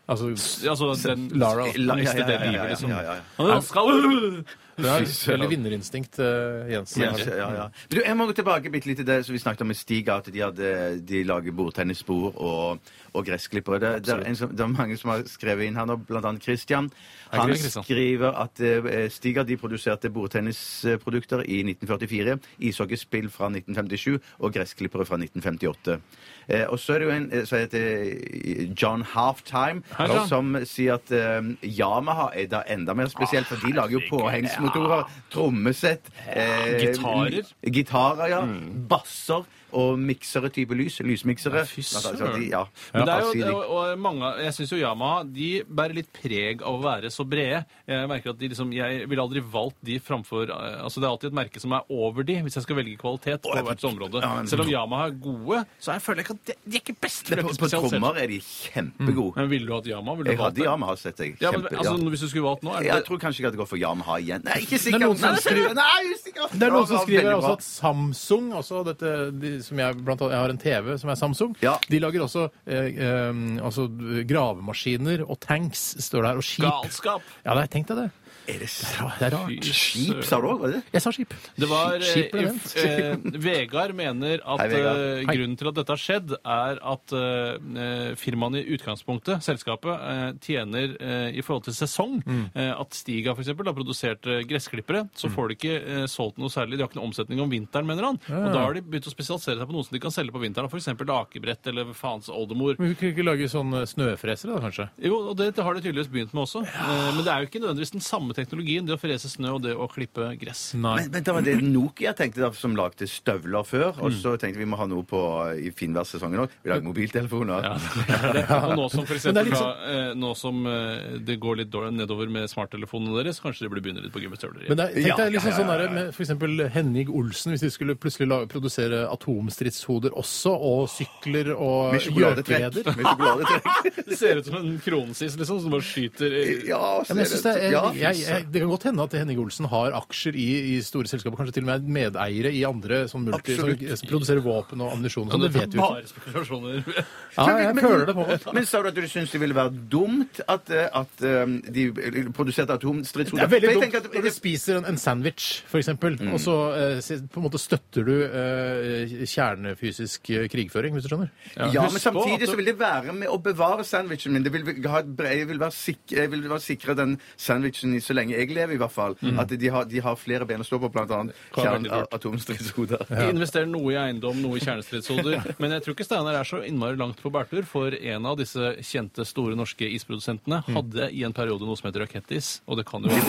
[SPEAKER 3] Altså,
[SPEAKER 4] Altså den
[SPEAKER 3] Lara.
[SPEAKER 5] La- ja, ja,
[SPEAKER 4] Miste
[SPEAKER 5] ja,
[SPEAKER 4] det
[SPEAKER 5] ja, ja,
[SPEAKER 4] livet, liksom.
[SPEAKER 5] ja, ja, ja.
[SPEAKER 4] Han skal
[SPEAKER 3] det er
[SPEAKER 5] Fy søren.
[SPEAKER 3] veldig vinnerinstinkt, eh, Jensen.
[SPEAKER 5] Ja, ja, ja. Men du, jeg må gå tilbake bitte litt til det som vi snakket om med Stig, at de, hadde, de lager bordtennisbord og, og gressklippere. Det, det, er en, som- det er mange som har skrevet inn her nå, blant annet Christian. Han
[SPEAKER 4] det Christian?
[SPEAKER 5] skriver at eh, Stig de produserte bordtennisprodukter i 1944, ishockeyspill fra 1957 og gressklippere fra 1958. Eh, og så er det jo en eh, som heter eh, John Halftime,
[SPEAKER 4] Hei, John.
[SPEAKER 5] som sier at eh, Yamaha er da enda mer spesielt, for de lager jo påhengsmotorer, trommesett eh,
[SPEAKER 4] Gitarer. Mm.
[SPEAKER 5] l- Gitarer, ja. Basser og miksere type lys. Lysmiksere.
[SPEAKER 4] fy
[SPEAKER 5] Altså, altså,
[SPEAKER 4] søren.
[SPEAKER 5] de- Ja.
[SPEAKER 4] Men det
[SPEAKER 5] Ja,
[SPEAKER 4] er jo,
[SPEAKER 5] sier de.
[SPEAKER 4] og, og mange, av- jeg syns jo Yamaha de bærer litt preg av å være så brede. Jeg merker at de liksom, jeg ville aldri valgt de framfor eh, altså Det er alltid et merke som er over de, hvis jeg skal velge kvalitet på hvert område.
[SPEAKER 5] ja, men-
[SPEAKER 4] Selv om Yamaha er gode, så jeg føler jeg ikke at de, de er ikke best.
[SPEAKER 5] Men på,
[SPEAKER 4] for det er
[SPEAKER 5] på
[SPEAKER 4] ikke spesialisert.
[SPEAKER 5] trommer er de kjempegode.
[SPEAKER 4] Men ville du hatt Yamaha? Ville
[SPEAKER 5] Jeg
[SPEAKER 4] du valgt
[SPEAKER 5] hadde
[SPEAKER 4] det?
[SPEAKER 5] Yamaha, sett jeg.
[SPEAKER 4] Ja, men,
[SPEAKER 5] Kjempe,
[SPEAKER 4] altså,
[SPEAKER 5] ja.
[SPEAKER 4] Hvis du skulle valgt nå, er det
[SPEAKER 5] Jeg tror kanskje jeg hadde gått for Yamaha igjen. Nei, ikke
[SPEAKER 3] Det er noen
[SPEAKER 5] sikkert.
[SPEAKER 3] som
[SPEAKER 5] Nei,
[SPEAKER 3] skriver-
[SPEAKER 5] nei, usikker.
[SPEAKER 3] Det er noen
[SPEAKER 5] Ja,
[SPEAKER 3] som
[SPEAKER 5] ja,
[SPEAKER 3] skriver
[SPEAKER 5] veldig
[SPEAKER 3] også
[SPEAKER 5] bra.
[SPEAKER 3] at Samsung også, dette, de, som jeg, blant annet, jeg har en TV som er Samsung.
[SPEAKER 5] Ja.
[SPEAKER 3] De lager også eh, eh, altså, gravemaskiner og tanks står der, og skip.
[SPEAKER 4] galskap.
[SPEAKER 3] Ja, nei, tenk deg det.
[SPEAKER 5] Er det sant?
[SPEAKER 3] Det er rart.
[SPEAKER 5] Skip, sa du òg? Var det det?
[SPEAKER 3] Jeg sa skip.
[SPEAKER 4] Det var, eh,
[SPEAKER 3] skip ble nevnt.
[SPEAKER 4] eh, Vegard mener at
[SPEAKER 5] Hei, Vegard.
[SPEAKER 4] eh,
[SPEAKER 3] Hei.
[SPEAKER 4] grunnen til at dette har skjedd, er at eh, firmaene i utgangspunktet, selskapet, eh, tjener eh, i forhold til sesong.
[SPEAKER 3] Mm.
[SPEAKER 4] Eh, at Stiga f.eks. har produsert eh, gressklippere. Så får de ikke eh, solgt noe særlig. De har ikke noe omsetning om vinteren, mener han. Og da har de begynt å spesialisere seg på noe som de kan selge på vinteren. F.eks. akebrett eller faens oldemor.
[SPEAKER 3] Men vi kunne ikke lage sånne snøfresere, da, kanskje?
[SPEAKER 4] Jo, og det, det har de tydeligvis begynt med også. Eh, men det er jo ikke nødvendigvis den samme teknologien, det å frese snø og det å klippe gress.
[SPEAKER 3] Nei.
[SPEAKER 5] Men, men det var det Nokia tenkte da, som lagde støvler før.
[SPEAKER 4] Mm.
[SPEAKER 5] Og så tenkte vi må ha noe på i finværssesongen òg. Vi lager mobiltelefoner.
[SPEAKER 4] Og nå som, for
[SPEAKER 3] Men det
[SPEAKER 4] eksempel,
[SPEAKER 3] er litt sånn-
[SPEAKER 4] da, eh, nå som eh, det går litt dårlig nedover med smarttelefonene deres, kanskje de burde begynne litt på gummistøvler
[SPEAKER 3] Men
[SPEAKER 4] igjen.
[SPEAKER 3] det er, tenk
[SPEAKER 5] Ja,
[SPEAKER 3] deg liksom
[SPEAKER 5] ja, ja,
[SPEAKER 3] sånn der med for eksempel Henning Olsen, hvis de skulle plutselig la, produsere atomstridshoder også, og sykler og
[SPEAKER 5] Med sjokoladetrekk.
[SPEAKER 3] gjørkleder.
[SPEAKER 5] Med sjokoladetrekk.
[SPEAKER 4] Det ser ut som en kronesis liksom, som bare skyter eh,
[SPEAKER 5] Ja,
[SPEAKER 3] Ja, men jeg synes det, er,
[SPEAKER 5] ja.
[SPEAKER 3] jeg, jeg, det kan godt hende at Henning Olsen har aksjer i, i store selskaper, kanskje til og med er medeiere i andre sånn multi, som,
[SPEAKER 5] Absolutt.
[SPEAKER 3] som produserer våpen og ammunisjon. og
[SPEAKER 4] Ja,
[SPEAKER 3] sånn, det
[SPEAKER 4] dette er
[SPEAKER 3] vet vi jo ikke.
[SPEAKER 4] Bare spekulasjoner.
[SPEAKER 3] Ja, Ah, jeg føler det på meg.
[SPEAKER 5] Men sa du at du syns det ville være dumt at, eh, at eh, de produserte
[SPEAKER 3] Det
[SPEAKER 5] atomstridshoder?
[SPEAKER 3] er veldig
[SPEAKER 5] For jeg
[SPEAKER 3] dumt
[SPEAKER 5] tenker at- Mm.
[SPEAKER 3] når du spiser en, en sandwich, for eksempel, og så eh, se- på en måte støtter du eh, kjernefysisk eh, krigføring, hvis du skjønner.
[SPEAKER 5] Ja, men
[SPEAKER 4] Husk på at
[SPEAKER 5] samtidig
[SPEAKER 4] det-
[SPEAKER 5] så vil det være med å bevare sandwichen min. Det vil, ha et bre- jeg, vil være sikre, jeg vil være sikre den sandwichen i- så lenge jeg lever, i hvert fall.
[SPEAKER 3] Mhm.
[SPEAKER 5] At de har, de har flere ben å stå på, blant annet
[SPEAKER 4] Kan være veldig
[SPEAKER 5] kjern-
[SPEAKER 4] lurt.
[SPEAKER 5] atomstridshoder.
[SPEAKER 4] De investerer noe i eiendom, noe i kjernestridshoder. Men jeg tror ikke Steinar er så innmari langt på bærtur, for en av disse kjente store norske isprodusentene
[SPEAKER 3] Mm.
[SPEAKER 4] hadde i en periode noe som heter rakettis, og det kan jo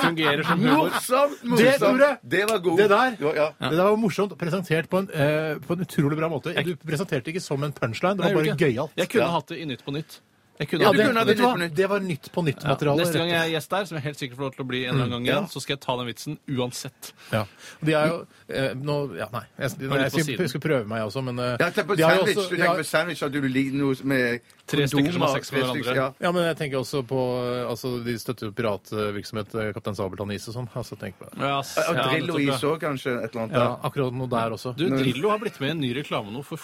[SPEAKER 4] Fungerer som humor.
[SPEAKER 5] Morsomt! morsomt.
[SPEAKER 3] Det, Tore!
[SPEAKER 5] Det var god.
[SPEAKER 3] Det der,
[SPEAKER 5] Ja, ja.
[SPEAKER 3] det der var morsomt presentert på en, eh, på en utrolig bra måte. Du presenterte ikke som en punchline, det
[SPEAKER 4] Nei,
[SPEAKER 3] var
[SPEAKER 4] jeg
[SPEAKER 3] bare
[SPEAKER 4] gjorde ikke.
[SPEAKER 3] gøyalt.
[SPEAKER 4] Jeg kunne hatt det i Nytt på nytt. Jeg kunne
[SPEAKER 5] Ja,
[SPEAKER 4] hatt
[SPEAKER 5] du
[SPEAKER 4] det i
[SPEAKER 3] det,
[SPEAKER 5] kunne hatt
[SPEAKER 3] vet du
[SPEAKER 5] Nytt
[SPEAKER 3] hva?
[SPEAKER 5] på Nytt.
[SPEAKER 3] det var nytt på nytt-materiale.
[SPEAKER 4] Neste gang jeg er gjest der, som jeg helt sikkert får lov til å bli en eller annen gang igjen,
[SPEAKER 5] Ja.
[SPEAKER 4] så skal jeg ta den vitsen uansett.
[SPEAKER 3] Ja. Og de er jo eh, nå, ja, Nei, jeg,
[SPEAKER 4] var
[SPEAKER 3] jeg,
[SPEAKER 4] litt på
[SPEAKER 3] skal,
[SPEAKER 4] siden.
[SPEAKER 3] jeg skal prøve meg også, men eh,
[SPEAKER 5] Ja, tenk på
[SPEAKER 3] de har jo
[SPEAKER 5] sandwich.
[SPEAKER 3] også-
[SPEAKER 5] du
[SPEAKER 3] ja,
[SPEAKER 5] tenker på sandwich at du ligger noe med
[SPEAKER 4] Tre stykker som har
[SPEAKER 5] kondomer,
[SPEAKER 4] sex
[SPEAKER 5] tre
[SPEAKER 4] med hverandre.
[SPEAKER 5] stykker, ja.
[SPEAKER 3] ja, men jeg tenker også på eh, altså, De støtter jo piratvirksomhet, eh, Kaptein Sabeltann Is og sånn. Altså, tenk på det.
[SPEAKER 4] Ja,
[SPEAKER 5] Og Drillo i så, kanskje, et eller annet.
[SPEAKER 3] Ja,
[SPEAKER 5] Ja.
[SPEAKER 3] akkurat noe der også.
[SPEAKER 4] Du, Drillo har blitt med i en ny reklame nå for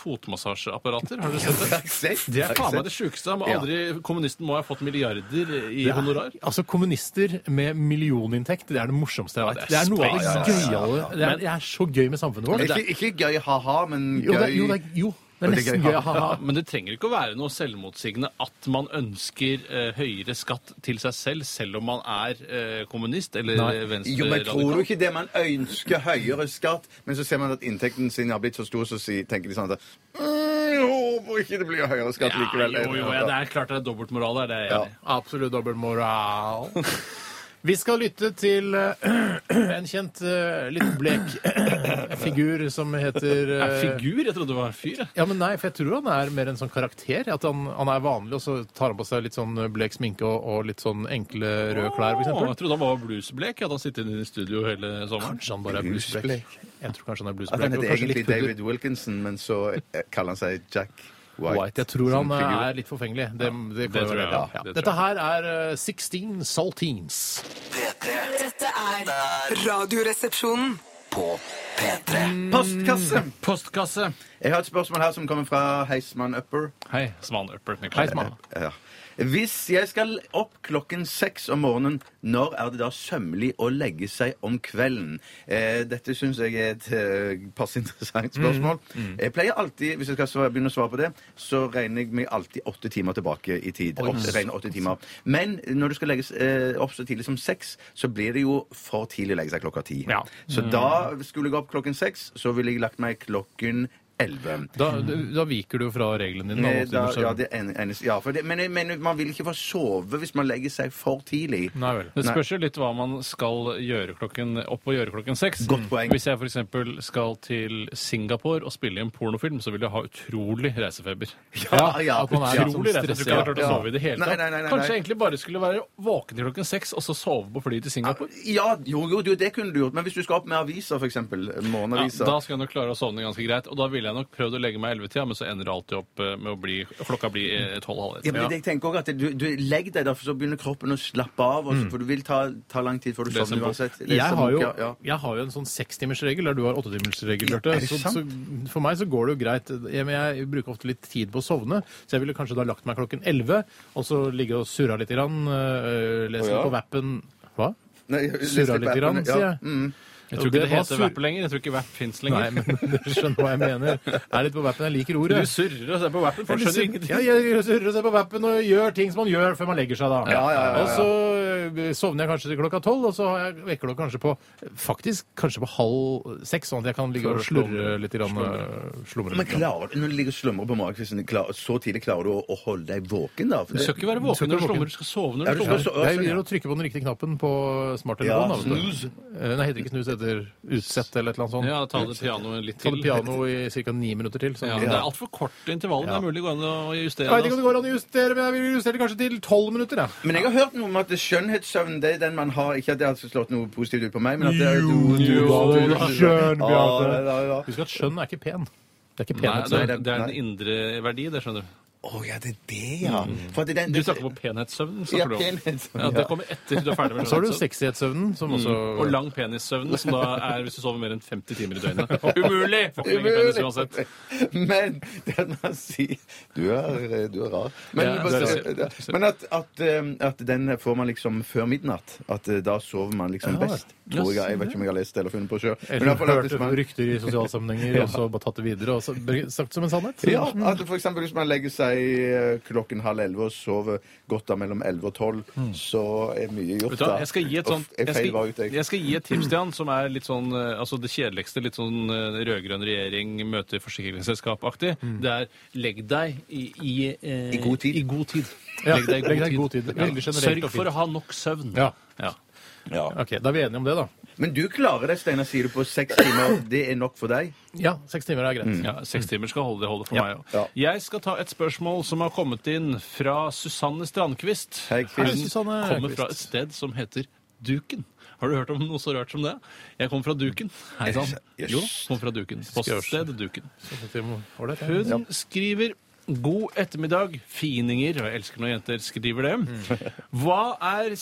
[SPEAKER 4] fotmassasjeapparater. Har dere sett det? Det er faen meg det sjukeste. Han må
[SPEAKER 5] Ja.
[SPEAKER 4] Aldri, kommunisten må ha fått milliarder i honorar.
[SPEAKER 3] Altså, Kommunister med millioninntekt, det er det morsomste jeg vet.
[SPEAKER 4] det
[SPEAKER 3] Det
[SPEAKER 4] er
[SPEAKER 3] er noe av
[SPEAKER 4] space,
[SPEAKER 3] det gøyale Det er, det er så gøy med samfunnet vårt.
[SPEAKER 5] Ikke, ikke gøy ha-ha, men gøy
[SPEAKER 3] Jo, det er, jo, det er, jo, det er
[SPEAKER 5] det er
[SPEAKER 3] nesten
[SPEAKER 5] gøy.
[SPEAKER 3] gøy. Ha-ha.
[SPEAKER 4] Ja, men det trenger ikke å være noe selvmotsigende at man ønsker eh, høyere skatt til seg selv, selv om man er eh, kommunist eller
[SPEAKER 3] Nei.
[SPEAKER 5] Jo, men tror du
[SPEAKER 4] venstre-radikal.
[SPEAKER 5] ikke det? Man ønsker høyere skatt, men så ser man at inntekten sin har blitt så stor, så si- tenker de sånn at «Mm, Jo, må ikke det bli høyere skatt
[SPEAKER 4] Ja, jo,
[SPEAKER 5] likevel?
[SPEAKER 4] jo, ja, det er klart det er dobbeltmoral der. Det er jeg
[SPEAKER 5] Ja.
[SPEAKER 4] enig i.
[SPEAKER 3] Absolutt dobbeltmoral. Vi skal lytte til eh, en kjent, eh, litt blek eh, figur som heter
[SPEAKER 4] Er
[SPEAKER 3] eh,
[SPEAKER 4] Figur? Jeg trodde det var en fyr. jeg.
[SPEAKER 3] Ja, men nei, for jeg tror han er mer en sånn karakter. At han, han er vanlig, og så tar han på seg litt sånn blek sminke og, og litt sånn enkle røde klær,
[SPEAKER 4] Å, Jeg
[SPEAKER 3] f.eks.
[SPEAKER 4] trodde han var bluesblek. Hadde han sittet inne i studio hele sommeren?
[SPEAKER 3] Kanskje han bare er bluesblek. Jeg tror kanskje han er
[SPEAKER 5] At Altså, han
[SPEAKER 3] bluesblek. og
[SPEAKER 5] heter
[SPEAKER 3] kanskje
[SPEAKER 5] egentlig
[SPEAKER 3] litt pudder.
[SPEAKER 5] David Wilkinson, men så eh, kaller han seg Jack White.
[SPEAKER 3] White. Jeg tror han
[SPEAKER 5] som
[SPEAKER 3] eh,
[SPEAKER 5] figur.
[SPEAKER 3] er litt forfengelig. Det, det,
[SPEAKER 4] det
[SPEAKER 3] kan jo
[SPEAKER 4] tror
[SPEAKER 3] være
[SPEAKER 4] jeg,
[SPEAKER 3] det.
[SPEAKER 4] ja.
[SPEAKER 3] Ja.
[SPEAKER 4] Det tror
[SPEAKER 3] Dette her er eh, 16 Saltines.
[SPEAKER 2] P3
[SPEAKER 6] Dette er Radioresepsjonen.
[SPEAKER 2] på P3.
[SPEAKER 5] Postkasse!
[SPEAKER 4] Postkasse.
[SPEAKER 5] Jeg har et spørsmål her som kommer fra Heisman Upper.
[SPEAKER 4] Hei, Sman Upper. Niklas.
[SPEAKER 3] Hei, Sman.
[SPEAKER 5] Ja. Hvis jeg skal opp klokken seks om morgenen, når er det da sømmelig å legge seg om kvelden? Eh, dette syns jeg er et eh, passe interessant spørsmål. Jeg pleier alltid, Hvis jeg skal svare, begynne å svare på det, så regner jeg meg alltid åtte timer tilbake i tid. Åtte, regner åtte timer. Men når du skal legges eh, opp så tidlig som seks, så blir det jo for tidlig å legge seg klokka ti.
[SPEAKER 3] Ja.
[SPEAKER 5] Så da skulle jeg opp klokken seks, så ville jeg lagt meg klokken elleve.
[SPEAKER 3] Da, da viker du jo fra reglene dine.
[SPEAKER 5] Eh,
[SPEAKER 3] da,
[SPEAKER 5] Da,
[SPEAKER 3] Åse
[SPEAKER 5] ja,
[SPEAKER 3] Andersen.
[SPEAKER 5] det en, eneste- ja, for det, men jeg mener, man vil ikke få sove hvis man legger seg for tidlig.
[SPEAKER 3] Nei vel.
[SPEAKER 4] Det spørs jo litt hva man skal gjøre klokken, opp og gjøre klokken seks.
[SPEAKER 5] Godt poeng.
[SPEAKER 4] Hvis jeg f.eks. skal til Singapore og spille i en pornofilm, så vil jeg ha utrolig reisefeber.
[SPEAKER 5] Ja, ja,
[SPEAKER 3] At man er
[SPEAKER 5] ja.
[SPEAKER 3] litt sånn
[SPEAKER 4] Utrolig reisefeber. Jeg tror ikke jeg har klart å
[SPEAKER 5] Ja.
[SPEAKER 4] sove i det hele
[SPEAKER 5] Nei,
[SPEAKER 4] tatt.
[SPEAKER 5] nei, nei, nei,
[SPEAKER 4] Kanskje
[SPEAKER 5] nei.
[SPEAKER 4] jeg egentlig bare skulle være våken til klokken seks, og så sove på flyet til Singapore?
[SPEAKER 5] Ja, jo, jo, jo, det kunne du gjort. Men hvis du skal opp med aviser, f.eks.
[SPEAKER 4] Ja,
[SPEAKER 5] Morgenaviser
[SPEAKER 4] da skal jeg nok klare å sovne ganske greit. Og da ville jeg nok prøvd å legge meg i 11-tida, men så ender det alltid opp eh, med å bli klokka blir eh, tolv-halv
[SPEAKER 5] ja, men det- jeg tenker også at du, du Legg deg der, for så begynner kroppen å slappe av.
[SPEAKER 3] Mm.
[SPEAKER 5] Også, for du vil ta, ta lang tid før du
[SPEAKER 4] Les en
[SPEAKER 5] sovner
[SPEAKER 4] bok.
[SPEAKER 5] uansett. Les en
[SPEAKER 3] Jeg har, jo,
[SPEAKER 5] bok, ja, ja.
[SPEAKER 3] jeg har jo en sånn sekstimersregel der du har åttetimersregel,
[SPEAKER 5] Ja,
[SPEAKER 3] Bjarte.
[SPEAKER 5] er det
[SPEAKER 3] Så, så for meg så går det jo greit. Jeg, men jeg bruker ofte litt tid på å sovne, så jeg ville kanskje da lagt meg klokken elleve, og så ligge og surra litt, grann, øh, lese
[SPEAKER 5] Å, ja.
[SPEAKER 3] litt på Vappen Hva?
[SPEAKER 5] Nei, jeg- les
[SPEAKER 3] Surra
[SPEAKER 5] litt på
[SPEAKER 3] litt, grann,
[SPEAKER 5] appen,
[SPEAKER 3] sier
[SPEAKER 5] ja.
[SPEAKER 3] jeg.
[SPEAKER 5] Mm.
[SPEAKER 4] Jeg tror ikke det,
[SPEAKER 3] var
[SPEAKER 4] heter
[SPEAKER 3] sur-
[SPEAKER 4] Vapp lenger. Jeg tror ikke Vapp fins lenger.
[SPEAKER 3] Nei, men du skjønner hva jeg mener. Jeg er litt på Vappen, jeg liker ordet.
[SPEAKER 4] Du surrer og ser på Vappen, for
[SPEAKER 3] Jeg
[SPEAKER 4] du skjønner
[SPEAKER 3] surrer- Ja,
[SPEAKER 4] ingenting.
[SPEAKER 3] jeg surrer og ser på Vappen og gjør ting som man gjør før man legger seg, da.
[SPEAKER 5] Ja, ja, ja, ja.
[SPEAKER 3] Og så øh, sovner jeg kanskje til klokka tolv, og så har jeg vekker det kanskje på faktisk kanskje på halv seks, sånn at jeg kan ligge og slurre litt. Grann, øh, slumre
[SPEAKER 5] Men
[SPEAKER 3] litt. grann.
[SPEAKER 5] klarer du, når du ligger og slumrer på magekvisten, klar- så tidlig klarer du å, å holde deg våken, da? For
[SPEAKER 4] Du
[SPEAKER 5] det-
[SPEAKER 4] skal ikke være
[SPEAKER 3] skal ikke
[SPEAKER 4] våken når du
[SPEAKER 3] være
[SPEAKER 4] slummer,
[SPEAKER 3] våken.
[SPEAKER 4] du skal sove
[SPEAKER 5] Er
[SPEAKER 4] når
[SPEAKER 5] du
[SPEAKER 4] du
[SPEAKER 5] så-
[SPEAKER 4] slummer.
[SPEAKER 5] så-
[SPEAKER 3] Det er jo å trykke på den riktige knappen på
[SPEAKER 5] Ja,
[SPEAKER 3] smarttelefonen. da, vet du.
[SPEAKER 5] snooze.
[SPEAKER 3] Eh, Nei, heter det ikke snus, det heter utsett eller et eller annet sånt.
[SPEAKER 4] Ja, ta det pianoet litt
[SPEAKER 3] Ta
[SPEAKER 4] til.
[SPEAKER 3] det piano i ca. ni minutter til. Sånn.
[SPEAKER 4] Ja, det er altfor kort intervall. Det
[SPEAKER 3] Ja.
[SPEAKER 4] er mulig å gå inn og
[SPEAKER 3] Jeg
[SPEAKER 4] justere.
[SPEAKER 3] vet ikke om
[SPEAKER 4] altså.
[SPEAKER 3] det går an å justere, men jeg vil justere kanskje til tolv minutter. Jeg.
[SPEAKER 5] Men jeg har hørt noe om at skjønnhetssøvn det er den man har Ikke at det har slått noe positivt ut på meg, men at det er
[SPEAKER 3] Jo, jo, det er skjønn, Bjarte.
[SPEAKER 5] Ja, det er- det er- det er-
[SPEAKER 3] Husk at skjønn er ikke pen. Det er ikke
[SPEAKER 4] Nei,
[SPEAKER 3] penhet.
[SPEAKER 4] det
[SPEAKER 3] Nei,
[SPEAKER 4] er, det er en indre verdi, det skjønner du.
[SPEAKER 5] Å ja, det er det, ja. For at det er den,
[SPEAKER 4] Mm. Du snakker om penhetssøvn.
[SPEAKER 5] ja,
[SPEAKER 4] snakker du om.
[SPEAKER 5] penhetssøvn,
[SPEAKER 4] Ja,
[SPEAKER 5] ja.
[SPEAKER 4] det kommer etter du er ferdig med
[SPEAKER 3] Så har du
[SPEAKER 4] skjønnhetssøvn.
[SPEAKER 3] sexighetssøvnen, som også
[SPEAKER 4] Og lang penissøvn, som da er hvis du sover mer enn 50 timer i døgnet. Umulig! Får ikke lenger penis uansett.
[SPEAKER 5] Men det at man sier Du er, eh, du er rar. Men,
[SPEAKER 4] Ja,
[SPEAKER 5] bare-
[SPEAKER 4] det er-
[SPEAKER 5] ja, men at, at, um, at den får man liksom før midnatt. At uh, da sover man liksom best.
[SPEAKER 4] Ja,
[SPEAKER 5] Tror jeg,
[SPEAKER 4] se
[SPEAKER 5] jeg vet ikke om jeg har lest det eller funnet på sjøl.
[SPEAKER 3] Eller hørt rykter i sosiale sammenhenger, og så bare tatt det videre og så, sagt som en sannhet.
[SPEAKER 5] Ja,
[SPEAKER 4] Mm.
[SPEAKER 5] at for eksempel hvis man legger seg eh, klokken halv elleve og sover godt da mellom elleve og tolv, så er mye gjort
[SPEAKER 4] Mm. Vet du hva,
[SPEAKER 5] da.
[SPEAKER 4] jeg skal gi et
[SPEAKER 5] Og
[SPEAKER 4] sånt
[SPEAKER 5] f-
[SPEAKER 4] jeg
[SPEAKER 5] Jeg feil var ute,
[SPEAKER 4] skal,
[SPEAKER 5] jeg.
[SPEAKER 4] jeg skal gi et tips til han som er litt sånn eh, altså det kjedeligste, litt sånn eh, rød-grønn regjering møter forsikringsselskap-aktig. Det er legg deg i, i, eh,
[SPEAKER 5] Mm. I god tid.
[SPEAKER 4] I god tid.
[SPEAKER 3] Ja,
[SPEAKER 4] Legg deg i god tid.
[SPEAKER 3] Veldig generelt
[SPEAKER 4] Sørg
[SPEAKER 3] og
[SPEAKER 4] for
[SPEAKER 3] fint.
[SPEAKER 4] å ha nok søvn.
[SPEAKER 3] Ja.
[SPEAKER 4] Ja.
[SPEAKER 5] Ja.
[SPEAKER 3] Ok, Da er vi enige om det, da.
[SPEAKER 5] Men du klarer det, Steinar, sier du på seks timer. Det er nok for deg?
[SPEAKER 3] Ja, seks timer er greit.
[SPEAKER 4] Mm. Ja, Seks timer skal holde det holde for
[SPEAKER 3] Mm. Ja.
[SPEAKER 4] meg òg. Jeg skal ta et spørsmål som har kommet inn fra Susanne Strandquist.
[SPEAKER 5] Hei, Kvist.
[SPEAKER 4] Hun
[SPEAKER 3] Hei, Susanne
[SPEAKER 4] kommer fra
[SPEAKER 3] Kvist.
[SPEAKER 4] et sted som heter Duken. Har du hørt om noe så rart som det? Jeg kommer fra Duken. Hei sann.
[SPEAKER 5] Yes.
[SPEAKER 4] Jo, kommer fra Duken. Poststed Duken.
[SPEAKER 3] Ålreit, ja.
[SPEAKER 4] Hun skriver God ettermiddag, fininger, og jeg elsker når jenter skriver det. Hva er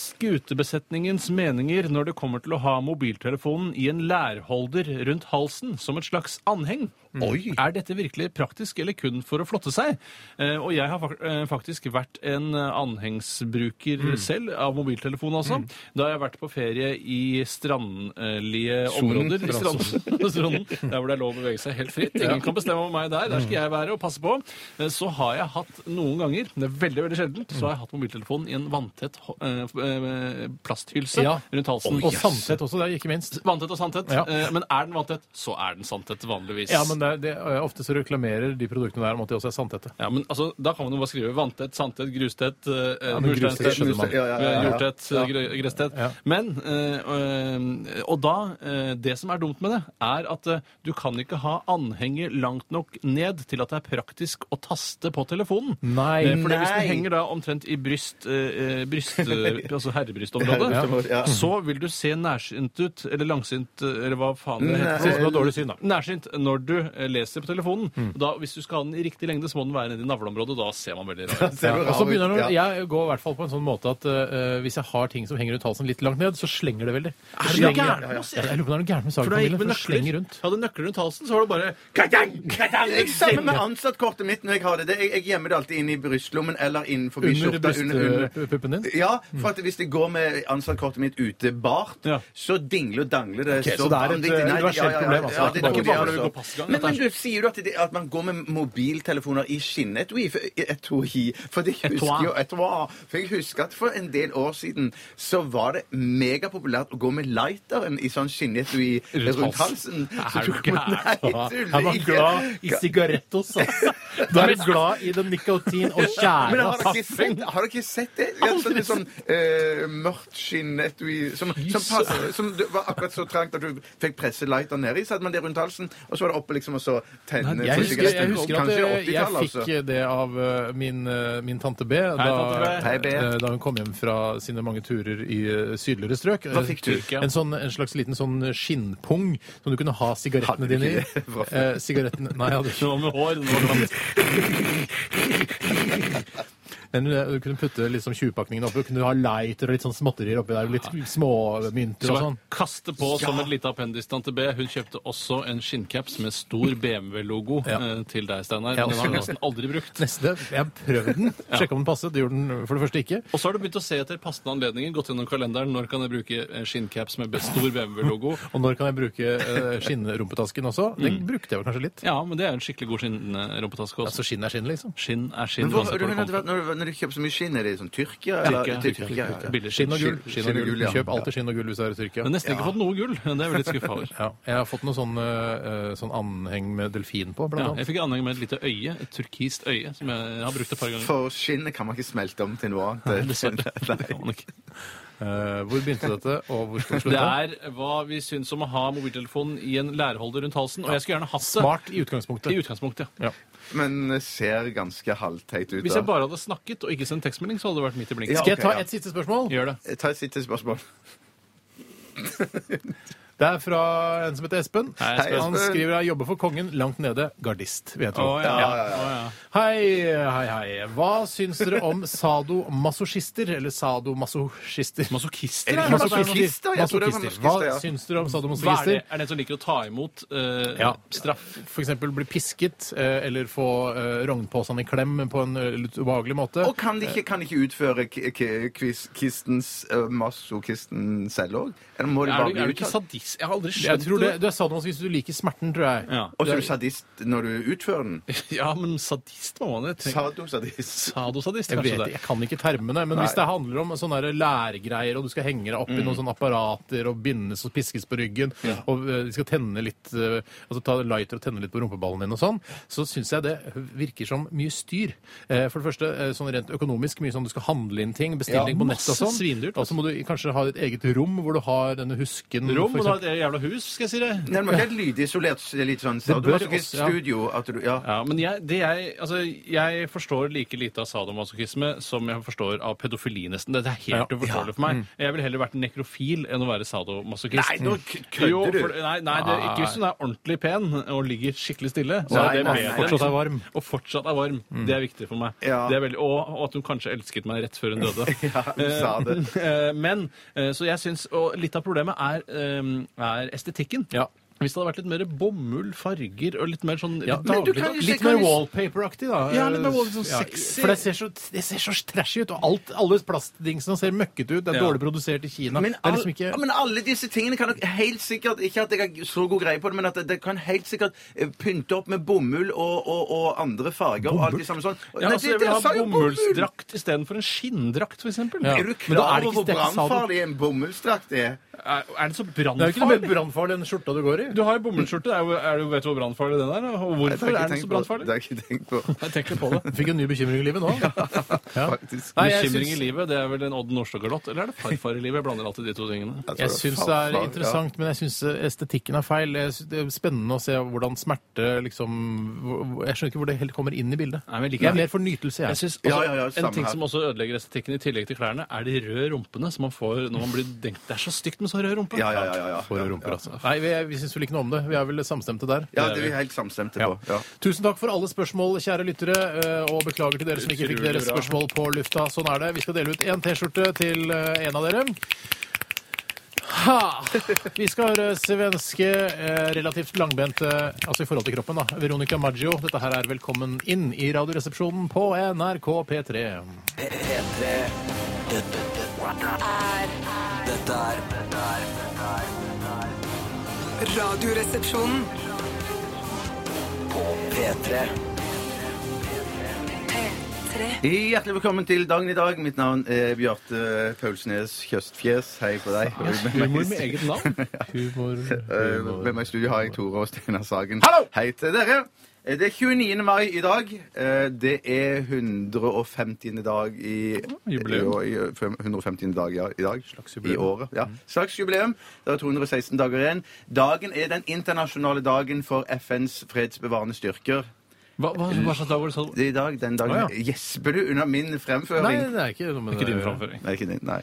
[SPEAKER 4] skutebesetningens meninger når det kommer til å ha mobiltelefonen i en lærholder rundt halsen som et slags anheng?
[SPEAKER 5] Oi.
[SPEAKER 4] Er dette virkelig praktisk eller kun for å flotte seg? Eh, og jeg har fak- eh, faktisk vært en eh, anhengsbruker
[SPEAKER 3] Mm.
[SPEAKER 4] selv, av mobiltelefon altså. Da har jeg vært på ferie i strandlige områder. I strand- stranden, der hvor det er lov å bevege seg helt fritt. Ingen kan bestemme over meg der. Der
[SPEAKER 3] Mm.
[SPEAKER 4] skal jeg være og passe på. Eh, Så har jeg hatt noen ganger, men det er veldig veldig sjeldent, så har jeg hatt mobiltelefonen i en vanntett ho- eh, f- eh, plasthylse
[SPEAKER 3] Ja.
[SPEAKER 4] rundt halsen.
[SPEAKER 3] Og sandtett også, det er ikke minst.
[SPEAKER 4] Vanntett og sanntett.
[SPEAKER 3] Ja.
[SPEAKER 4] Eh, Men er den vanntett, så er den sanntett vanligvis.
[SPEAKER 3] Ja, men det, er- det, er- Ofte så reklamerer de produktene der om at de også er sandtette.
[SPEAKER 4] Ja, men altså, Da kan man jo bare skrive vanntett, sandtett, grustett, eh, ja,
[SPEAKER 3] men grustett
[SPEAKER 4] mursteinstett,
[SPEAKER 3] skjønner man.
[SPEAKER 5] Ja, ja, ja, ja.
[SPEAKER 4] jordtett, eh, gre- gresstett.
[SPEAKER 3] Ja.
[SPEAKER 4] Men eh, eh, Og da eh, Det som er dumt med det, er at eh, du kan ikke ha anhenger langt nok ned til at det er praktisk å taste på telefonen.
[SPEAKER 3] Nei.
[SPEAKER 4] Eh, fordi hvis
[SPEAKER 5] Nei.
[SPEAKER 4] den henger da omtrent i bryst, eh, eh, bryst eh, altså herrebrystområdet,
[SPEAKER 5] Herrebrystområdet, ja.
[SPEAKER 4] så vil du se nærsynt ut, eller langsynt, eller hva faen det
[SPEAKER 5] Nei.
[SPEAKER 4] heter.
[SPEAKER 3] Sånn som du har dårlig syn, da.
[SPEAKER 4] Nærsynt når du eh, leser på telefonen.
[SPEAKER 3] Mm.
[SPEAKER 4] Da, hvis du skal ha den i riktig lengde, så må den være nede i navleområdet. Da ser man veldig rar ut.
[SPEAKER 5] Ser
[SPEAKER 3] Ja,
[SPEAKER 5] du
[SPEAKER 3] og
[SPEAKER 5] rar
[SPEAKER 3] så
[SPEAKER 5] ut?
[SPEAKER 3] begynner det,
[SPEAKER 5] Ja.
[SPEAKER 3] Jeg går i hvert fall på en sånn måte at eh, hvis jeg har ting som henger rundt halsen litt langt ned, så slenger det veldig.
[SPEAKER 4] Er det
[SPEAKER 3] Slenger-
[SPEAKER 4] noe gærent med
[SPEAKER 3] Ja, ja.
[SPEAKER 4] oss?
[SPEAKER 3] Jeg lurer på om det er noe gærent med
[SPEAKER 4] For da
[SPEAKER 3] sagfamilien,
[SPEAKER 4] jeg gikk med
[SPEAKER 3] for det slenger
[SPEAKER 4] nøkler,
[SPEAKER 3] rundt.
[SPEAKER 4] hadde nøkler rundt halsen, så var det bare katang, katang,
[SPEAKER 5] Jeg stemmer med ansattkortet mitt når jeg har det. det jeg, jeg gjemmer det alltid inn i brystlommen eller inn forbi
[SPEAKER 3] Under
[SPEAKER 5] skjorta.
[SPEAKER 3] brystpuppen din. Mm.
[SPEAKER 5] Ja, for at hvis det går med ansattkortet mitt ute bart,
[SPEAKER 4] Ja.
[SPEAKER 5] så dingler og dangler det.
[SPEAKER 3] Ok, så det er et,
[SPEAKER 5] vanvittig.
[SPEAKER 3] eh,
[SPEAKER 5] Nei,
[SPEAKER 3] universelt problem, altså.
[SPEAKER 5] det
[SPEAKER 3] Det er
[SPEAKER 5] dårlig,
[SPEAKER 3] ikke bare
[SPEAKER 4] når det
[SPEAKER 5] altså.
[SPEAKER 4] går passgang,
[SPEAKER 5] Men, men
[SPEAKER 4] dette
[SPEAKER 5] du sier jo at, det, at man går med mobiltelefoner i skinnetui. For, etui, for det jeg
[SPEAKER 4] Etoi.
[SPEAKER 5] husker jo etoi. For jeg husker at for en del år siden så var det megapopulært å gå med lighteren i sånn skinnetui
[SPEAKER 4] Rundt
[SPEAKER 5] rundt halsen.
[SPEAKER 4] halsen.
[SPEAKER 5] Så
[SPEAKER 4] Er
[SPEAKER 5] du
[SPEAKER 4] du
[SPEAKER 5] kom-
[SPEAKER 4] gæren? altså?
[SPEAKER 5] Nei,
[SPEAKER 3] Er
[SPEAKER 5] tuller
[SPEAKER 3] man glad i sigarettos, altså? Da er du glad i den nikotin og
[SPEAKER 5] Men
[SPEAKER 3] tjæra
[SPEAKER 5] har dere,
[SPEAKER 3] kaffen.
[SPEAKER 5] ikke sett, har dere ikke sett det? Ja, sånn, litt sånn eh, mørkt skinnetui som, som, passer, som det var akkurat så trangt at du fikk presse lighteren nedi. Så hadde man det rundt halsen, og så var det oppe liksom og så tenne
[SPEAKER 3] Jeg
[SPEAKER 5] på
[SPEAKER 3] husker, jeg
[SPEAKER 5] sigaretten.
[SPEAKER 3] husker at
[SPEAKER 5] Kanskje altså.
[SPEAKER 3] eh, jeg
[SPEAKER 5] 80-tallet,
[SPEAKER 3] fikk eh, det av eh, min, eh, min tante B da,
[SPEAKER 4] tante B.
[SPEAKER 5] Hei, B.
[SPEAKER 3] eh, da hun kom hjem fra sine mange turer i eh, sydligere strøk.
[SPEAKER 5] Hva fikk du?
[SPEAKER 3] En, sånn, en slags liten sånn skinnpung som du kunne ha sigarettene
[SPEAKER 5] Hadde du
[SPEAKER 3] dine i.
[SPEAKER 5] ikke det? Hva for-
[SPEAKER 3] Eh, Sigaretten Nei, jeg hadde ikke
[SPEAKER 4] Det var med hår. Det var med
[SPEAKER 3] Men eh, du kunne putte liksom tjuvpakningen oppi, og kunne ha lighter og litt sånn småtterier oppi der, og litt småmynter
[SPEAKER 4] Så
[SPEAKER 3] og
[SPEAKER 4] bare
[SPEAKER 3] sånn.
[SPEAKER 4] kaste på som et lite appendis, tante B. Hun kjøpte også en skinncaps med stor BMW-logo
[SPEAKER 3] Ja.
[SPEAKER 4] eh, til deg, Steinar.
[SPEAKER 3] Ja,
[SPEAKER 4] Den har
[SPEAKER 3] også.
[SPEAKER 4] hun nesten aldri brukt.
[SPEAKER 3] Neste. Jeg har prøvd den. Sjekka om den passet. Det gjorde den for det første ikke.
[SPEAKER 4] Og så har du begynt å se etter passende anledninger, gått gjennom kalenderen. Når kan jeg bruke eh, skinncaps med be- stor BMW-logo?
[SPEAKER 3] Og når kan jeg bruke eh, skinnrumpetasken også? Den brukte jeg vel kanskje litt.
[SPEAKER 4] Ja, men det er jo en skikkelig god skinnrumpetaske
[SPEAKER 3] Altså
[SPEAKER 4] også.
[SPEAKER 3] skinn er skinn, liksom.
[SPEAKER 4] Skinn er skinn.
[SPEAKER 5] Men hvor, du,
[SPEAKER 4] uansett hvor det
[SPEAKER 5] mener at det
[SPEAKER 4] kommer
[SPEAKER 5] var- når, du- når du kjøper så mye skinn, er det sånn Tyrkia? eller-
[SPEAKER 4] Tyrkia,
[SPEAKER 5] til Tyrkia, ja,
[SPEAKER 4] fra.
[SPEAKER 5] ja.
[SPEAKER 4] Billig skinn.
[SPEAKER 3] Skinn og gull.
[SPEAKER 5] Skinn-
[SPEAKER 3] Skinn og
[SPEAKER 5] skinn og
[SPEAKER 3] gull.
[SPEAKER 5] gull, ja.
[SPEAKER 3] Kjøp alltid skinn og gull hvis du er i Tyrkia.
[SPEAKER 4] Jeg har nesten ikke fått noe gull. Det er jeg veldig skuffa over.
[SPEAKER 3] Ja, jeg har fått noe sånn eh, sånn anheng med delfin på,
[SPEAKER 4] Ja,
[SPEAKER 3] blant
[SPEAKER 4] jeg
[SPEAKER 3] annet.
[SPEAKER 4] fikk anlegg med et lite øye, et turkist øye, som jeg har brukt et par ganger.
[SPEAKER 5] For skinnet kan man ikke smelte om til noe
[SPEAKER 4] Dessverre.
[SPEAKER 5] annet.
[SPEAKER 4] Det kan man ikke.
[SPEAKER 3] Eh, hvor begynte dette, og hvor skal det
[SPEAKER 4] Det
[SPEAKER 3] slutte?
[SPEAKER 4] er hva vi syns om å ha mobiltelefonen i en lærholder rundt halsen. Og jeg skulle gjerne hatt det.
[SPEAKER 3] Smart i utgangspunktet.
[SPEAKER 4] I utgangspunktet, ja.
[SPEAKER 3] Ja.
[SPEAKER 5] Men eh, ser ganske halvteit ut.
[SPEAKER 4] Hvis
[SPEAKER 5] da.
[SPEAKER 4] jeg bare hadde snakket og ikke sendt tekstmelding, så hadde det vært midt i blinken.
[SPEAKER 5] Ja,
[SPEAKER 3] Skal jeg
[SPEAKER 5] ok,
[SPEAKER 3] ta
[SPEAKER 5] ja.
[SPEAKER 3] et siste spørsmål?
[SPEAKER 4] Gjør det.
[SPEAKER 5] Eh, Ta et siste spørsmål.
[SPEAKER 3] Det er fra en som heter Espen.
[SPEAKER 4] Hei, Espen.
[SPEAKER 3] Han skriver at jobber for kongen langt nede. Gardist, vil jeg tro.
[SPEAKER 4] Å, ja, ja, ja.
[SPEAKER 3] Hei, hei, hei. Hva syns dere om sadomasochister? Eller sadomasochister?
[SPEAKER 4] Masochister?
[SPEAKER 5] Er det
[SPEAKER 4] er det?
[SPEAKER 5] masochister? Jeg tror det var
[SPEAKER 3] Masochister. Hva
[SPEAKER 5] masochister, ja.
[SPEAKER 3] syns dere om
[SPEAKER 4] Hva er det?
[SPEAKER 3] sadomasochister?
[SPEAKER 4] Er det en som liker å ta imot eh,
[SPEAKER 3] Ja.
[SPEAKER 4] straff?
[SPEAKER 3] F.eks. bli pisket, eh, eller få eh, rognposen i klem på en eh, litt ubehagelig måte.
[SPEAKER 5] Og kan de ikke, kan de ikke utføre k k quiz- kistens uh, masochisten selv òg? Eller må de
[SPEAKER 4] Er
[SPEAKER 5] bare
[SPEAKER 4] du,
[SPEAKER 5] bli
[SPEAKER 4] er du ikke
[SPEAKER 5] uttalt?
[SPEAKER 4] sadist? Jeg har aldri
[SPEAKER 3] Jeg
[SPEAKER 4] skjønt
[SPEAKER 3] tror det, du er sadomasochist hvis du liker smerten, tror jeg.
[SPEAKER 4] Ja.
[SPEAKER 5] Og så er du sadist når du utfører den?
[SPEAKER 4] ja, men sadist må man jo tenke.
[SPEAKER 5] Sadosadist.
[SPEAKER 4] Sadosadist,
[SPEAKER 3] Jeg,
[SPEAKER 4] kanskje
[SPEAKER 3] vet,
[SPEAKER 4] det.
[SPEAKER 3] jeg kan ikke termene, men hvis det handler om sånne der lærgreier, og du skal henge deg opp i
[SPEAKER 4] Mm.
[SPEAKER 3] noen sånne apparater og bindes og piskes på ryggen, og eh, de skal tenne litt eh, altså ta lighter og tenne litt på rumpeballen din og sånn, så syns jeg det virker som mye styr. Eh, For det første eh, sånn rent økonomisk, mye sånn du skal handle inn ting, bestille
[SPEAKER 4] Ja,
[SPEAKER 3] ting på nett og
[SPEAKER 4] masse
[SPEAKER 3] sånn.
[SPEAKER 4] svindyrt, altså.
[SPEAKER 3] Og så må du kanskje ha et eget rom hvor du har denne husken.
[SPEAKER 4] Rom
[SPEAKER 3] for
[SPEAKER 4] og da
[SPEAKER 3] eksempel.
[SPEAKER 4] et jævla hus, skal jeg si det.
[SPEAKER 5] Nei, man kan lydisolert s- litt sånn
[SPEAKER 3] Det bør også, ja.
[SPEAKER 5] sadomasochist-studio. at du- Ja.
[SPEAKER 4] Ja, men jeg, det jeg, altså, jeg forstår like lite av sadomasochisme som jeg forstår av pedofili, nesten. Dette er helt
[SPEAKER 3] Ja.
[SPEAKER 4] uforståelig for meg. Jeg ville heller vært nekrofil enn å være sadomasochist.
[SPEAKER 5] Nei, nå k- kødder
[SPEAKER 4] Jo,
[SPEAKER 5] du.
[SPEAKER 4] for- Nei, nei det, ikke hvis hun er ordentlig pen og ligger skikkelig stille. Så
[SPEAKER 5] Nei,
[SPEAKER 4] er det
[SPEAKER 5] nei, nei,
[SPEAKER 4] bedre.
[SPEAKER 3] fortsatt er varm.
[SPEAKER 4] Og fortsatt er varm. Det er viktig for meg.
[SPEAKER 5] Mm. Ja.
[SPEAKER 4] Det er veldig, og, og at hun kanskje elsket meg rett før hun døde.
[SPEAKER 5] hun sa det.
[SPEAKER 4] Eh, Men, eh, så jeg synes, og litt av problemet er, eh, er estetikken.
[SPEAKER 3] Ja.
[SPEAKER 4] Hvis det hadde vært litt mer bomull, farger og litt mer sånn
[SPEAKER 3] Ja,
[SPEAKER 4] litt
[SPEAKER 5] men du
[SPEAKER 3] litt,
[SPEAKER 5] kan jo se-
[SPEAKER 3] litt
[SPEAKER 5] kan
[SPEAKER 3] mer
[SPEAKER 5] jo se-
[SPEAKER 3] wallpaper-aktig, da.
[SPEAKER 4] Ja, litt mer wall- sånn
[SPEAKER 3] Ja,
[SPEAKER 4] sexy.
[SPEAKER 3] For det ser, så, det ser så trashy ut, og alt, alle plastdingsene ser møkkete ut. Det er
[SPEAKER 4] Ja.
[SPEAKER 3] dårlig produsert i Kina.
[SPEAKER 5] Men,
[SPEAKER 3] det er liksom
[SPEAKER 5] all-
[SPEAKER 3] ikke...
[SPEAKER 5] men alle disse tingene kan nok helt sikkert Ikke at jeg har så god greie på det, men at det, det kan helt sikkert eh, pynte opp med bomull og, og, og andre farger. og alt det samme sånn.
[SPEAKER 4] Ja,
[SPEAKER 5] Nei,
[SPEAKER 4] altså,
[SPEAKER 5] det-
[SPEAKER 4] jeg vil
[SPEAKER 5] det
[SPEAKER 4] ha
[SPEAKER 5] sa jo bomull!
[SPEAKER 4] bomullsdrakt istedenfor en skinndrakt, f.eks.
[SPEAKER 3] Ja.
[SPEAKER 4] Ja.
[SPEAKER 5] Er du
[SPEAKER 3] Men da
[SPEAKER 5] klar
[SPEAKER 3] er det
[SPEAKER 5] over
[SPEAKER 3] ikke
[SPEAKER 5] hvor
[SPEAKER 3] stekk sado.
[SPEAKER 5] brannfarlig en bomullsdrakt er?
[SPEAKER 4] Er, er det så
[SPEAKER 3] Det er jo ikke noe mer
[SPEAKER 4] brannfarlig?
[SPEAKER 3] brannfarlig enn skjorta du går i.
[SPEAKER 4] Du har jo bomullsskjorte. Er, jo- er, du- vet du hvor brannfarlig den er? Og hvorfor
[SPEAKER 5] Det
[SPEAKER 4] er
[SPEAKER 5] har
[SPEAKER 4] den
[SPEAKER 5] jeg ikke tenkt på.
[SPEAKER 4] så
[SPEAKER 5] Det
[SPEAKER 4] brannfarlig?
[SPEAKER 5] har jeg ikke tenkt på.
[SPEAKER 4] Jeg tenker på det.
[SPEAKER 3] Fikk en ny bekymring i livet nå. Ja.
[SPEAKER 5] Faktisk.
[SPEAKER 3] Nei, jeg
[SPEAKER 4] Bekymring i
[SPEAKER 3] syns-
[SPEAKER 4] livet, det er vel en Odd Nordstoga-låt? Eller er det farfar i livet? Jeg blander alltid de to tingene.
[SPEAKER 3] Jeg syns det er interessant, men jeg syns estetikken er feil. Jeg synes det er spennende å se hvordan smerte liksom hvor- Jeg skjønner ikke hvor det helt kommer inn i bildet.
[SPEAKER 4] Nei, men jeg liker
[SPEAKER 3] jeg er
[SPEAKER 4] det.
[SPEAKER 3] mer for nytelse,
[SPEAKER 4] Jeg
[SPEAKER 3] jeg.
[SPEAKER 4] synes også,
[SPEAKER 5] Ja, ja, ja, samme
[SPEAKER 4] En ting
[SPEAKER 5] her.
[SPEAKER 4] som også ødelegger estetikken i tillegg til klærne, er de røde rumpene som man får når man blir denkt. Det er så stygt med så rød rumpe.
[SPEAKER 5] Ja, ja, ja. ja, ja.
[SPEAKER 3] For rumper, altså. Nei, vi, vi syns syns vel ikke noe om det. Vi er vel samstemte der.
[SPEAKER 5] Ja, det er vi helt samstemte
[SPEAKER 3] Ja.
[SPEAKER 5] på. Ja.
[SPEAKER 3] Tusen takk for alle spørsmål, kjære lyttere. eh, Og beklager til dere som ikke fikk deres spørsmål på lufta. Sånn er det. Vi skal dele ut en T-skjorte til eh, en av dere. Ha! Vi skal høre svenske, eh, relativt langbente Altså i forhold til kroppen, da. Veronica Maggio. Dette her er Velkommen inn i Radioresepsjonen på NRK P3.
[SPEAKER 2] P- P3 Dette- dette- Dette er Dette er
[SPEAKER 6] Radioresepsjonen.
[SPEAKER 2] På P3
[SPEAKER 6] P3.
[SPEAKER 5] Hjertelig velkommen til dagen i dag. Mitt navn er Bjarte Paulsnes Kjøstfjes. Hei på deg. Og med meg-
[SPEAKER 4] Humor med eget navn.
[SPEAKER 3] Humor,
[SPEAKER 5] Eh,
[SPEAKER 3] humor.
[SPEAKER 5] Med meg i studio har jeg Tore og Steinar Sagen.
[SPEAKER 3] Hallo!
[SPEAKER 5] Hei til dere. Eh, Det er 29. mai i dag. Eh, Det er 150. dag i
[SPEAKER 4] Jubileum.
[SPEAKER 5] i- i- 150. dag ja, i dag. Slags
[SPEAKER 3] jubileum. Mm.
[SPEAKER 5] I året. Ja. Slags jubileum. Det er 216 dager igjen. Dagen er den internasjonale dagen for FNs fredsbevarende styrker.
[SPEAKER 4] Hva, hva, hva slags dag var det sånn?
[SPEAKER 5] Det er i dag, den dagen
[SPEAKER 3] Å, ja.
[SPEAKER 5] Gjesper du under min
[SPEAKER 3] Nei,
[SPEAKER 5] fremføring?
[SPEAKER 3] det er ikke noe med
[SPEAKER 4] Ikke din
[SPEAKER 3] å gjøre.
[SPEAKER 4] framføring.
[SPEAKER 5] Nei, ikke din. Nei.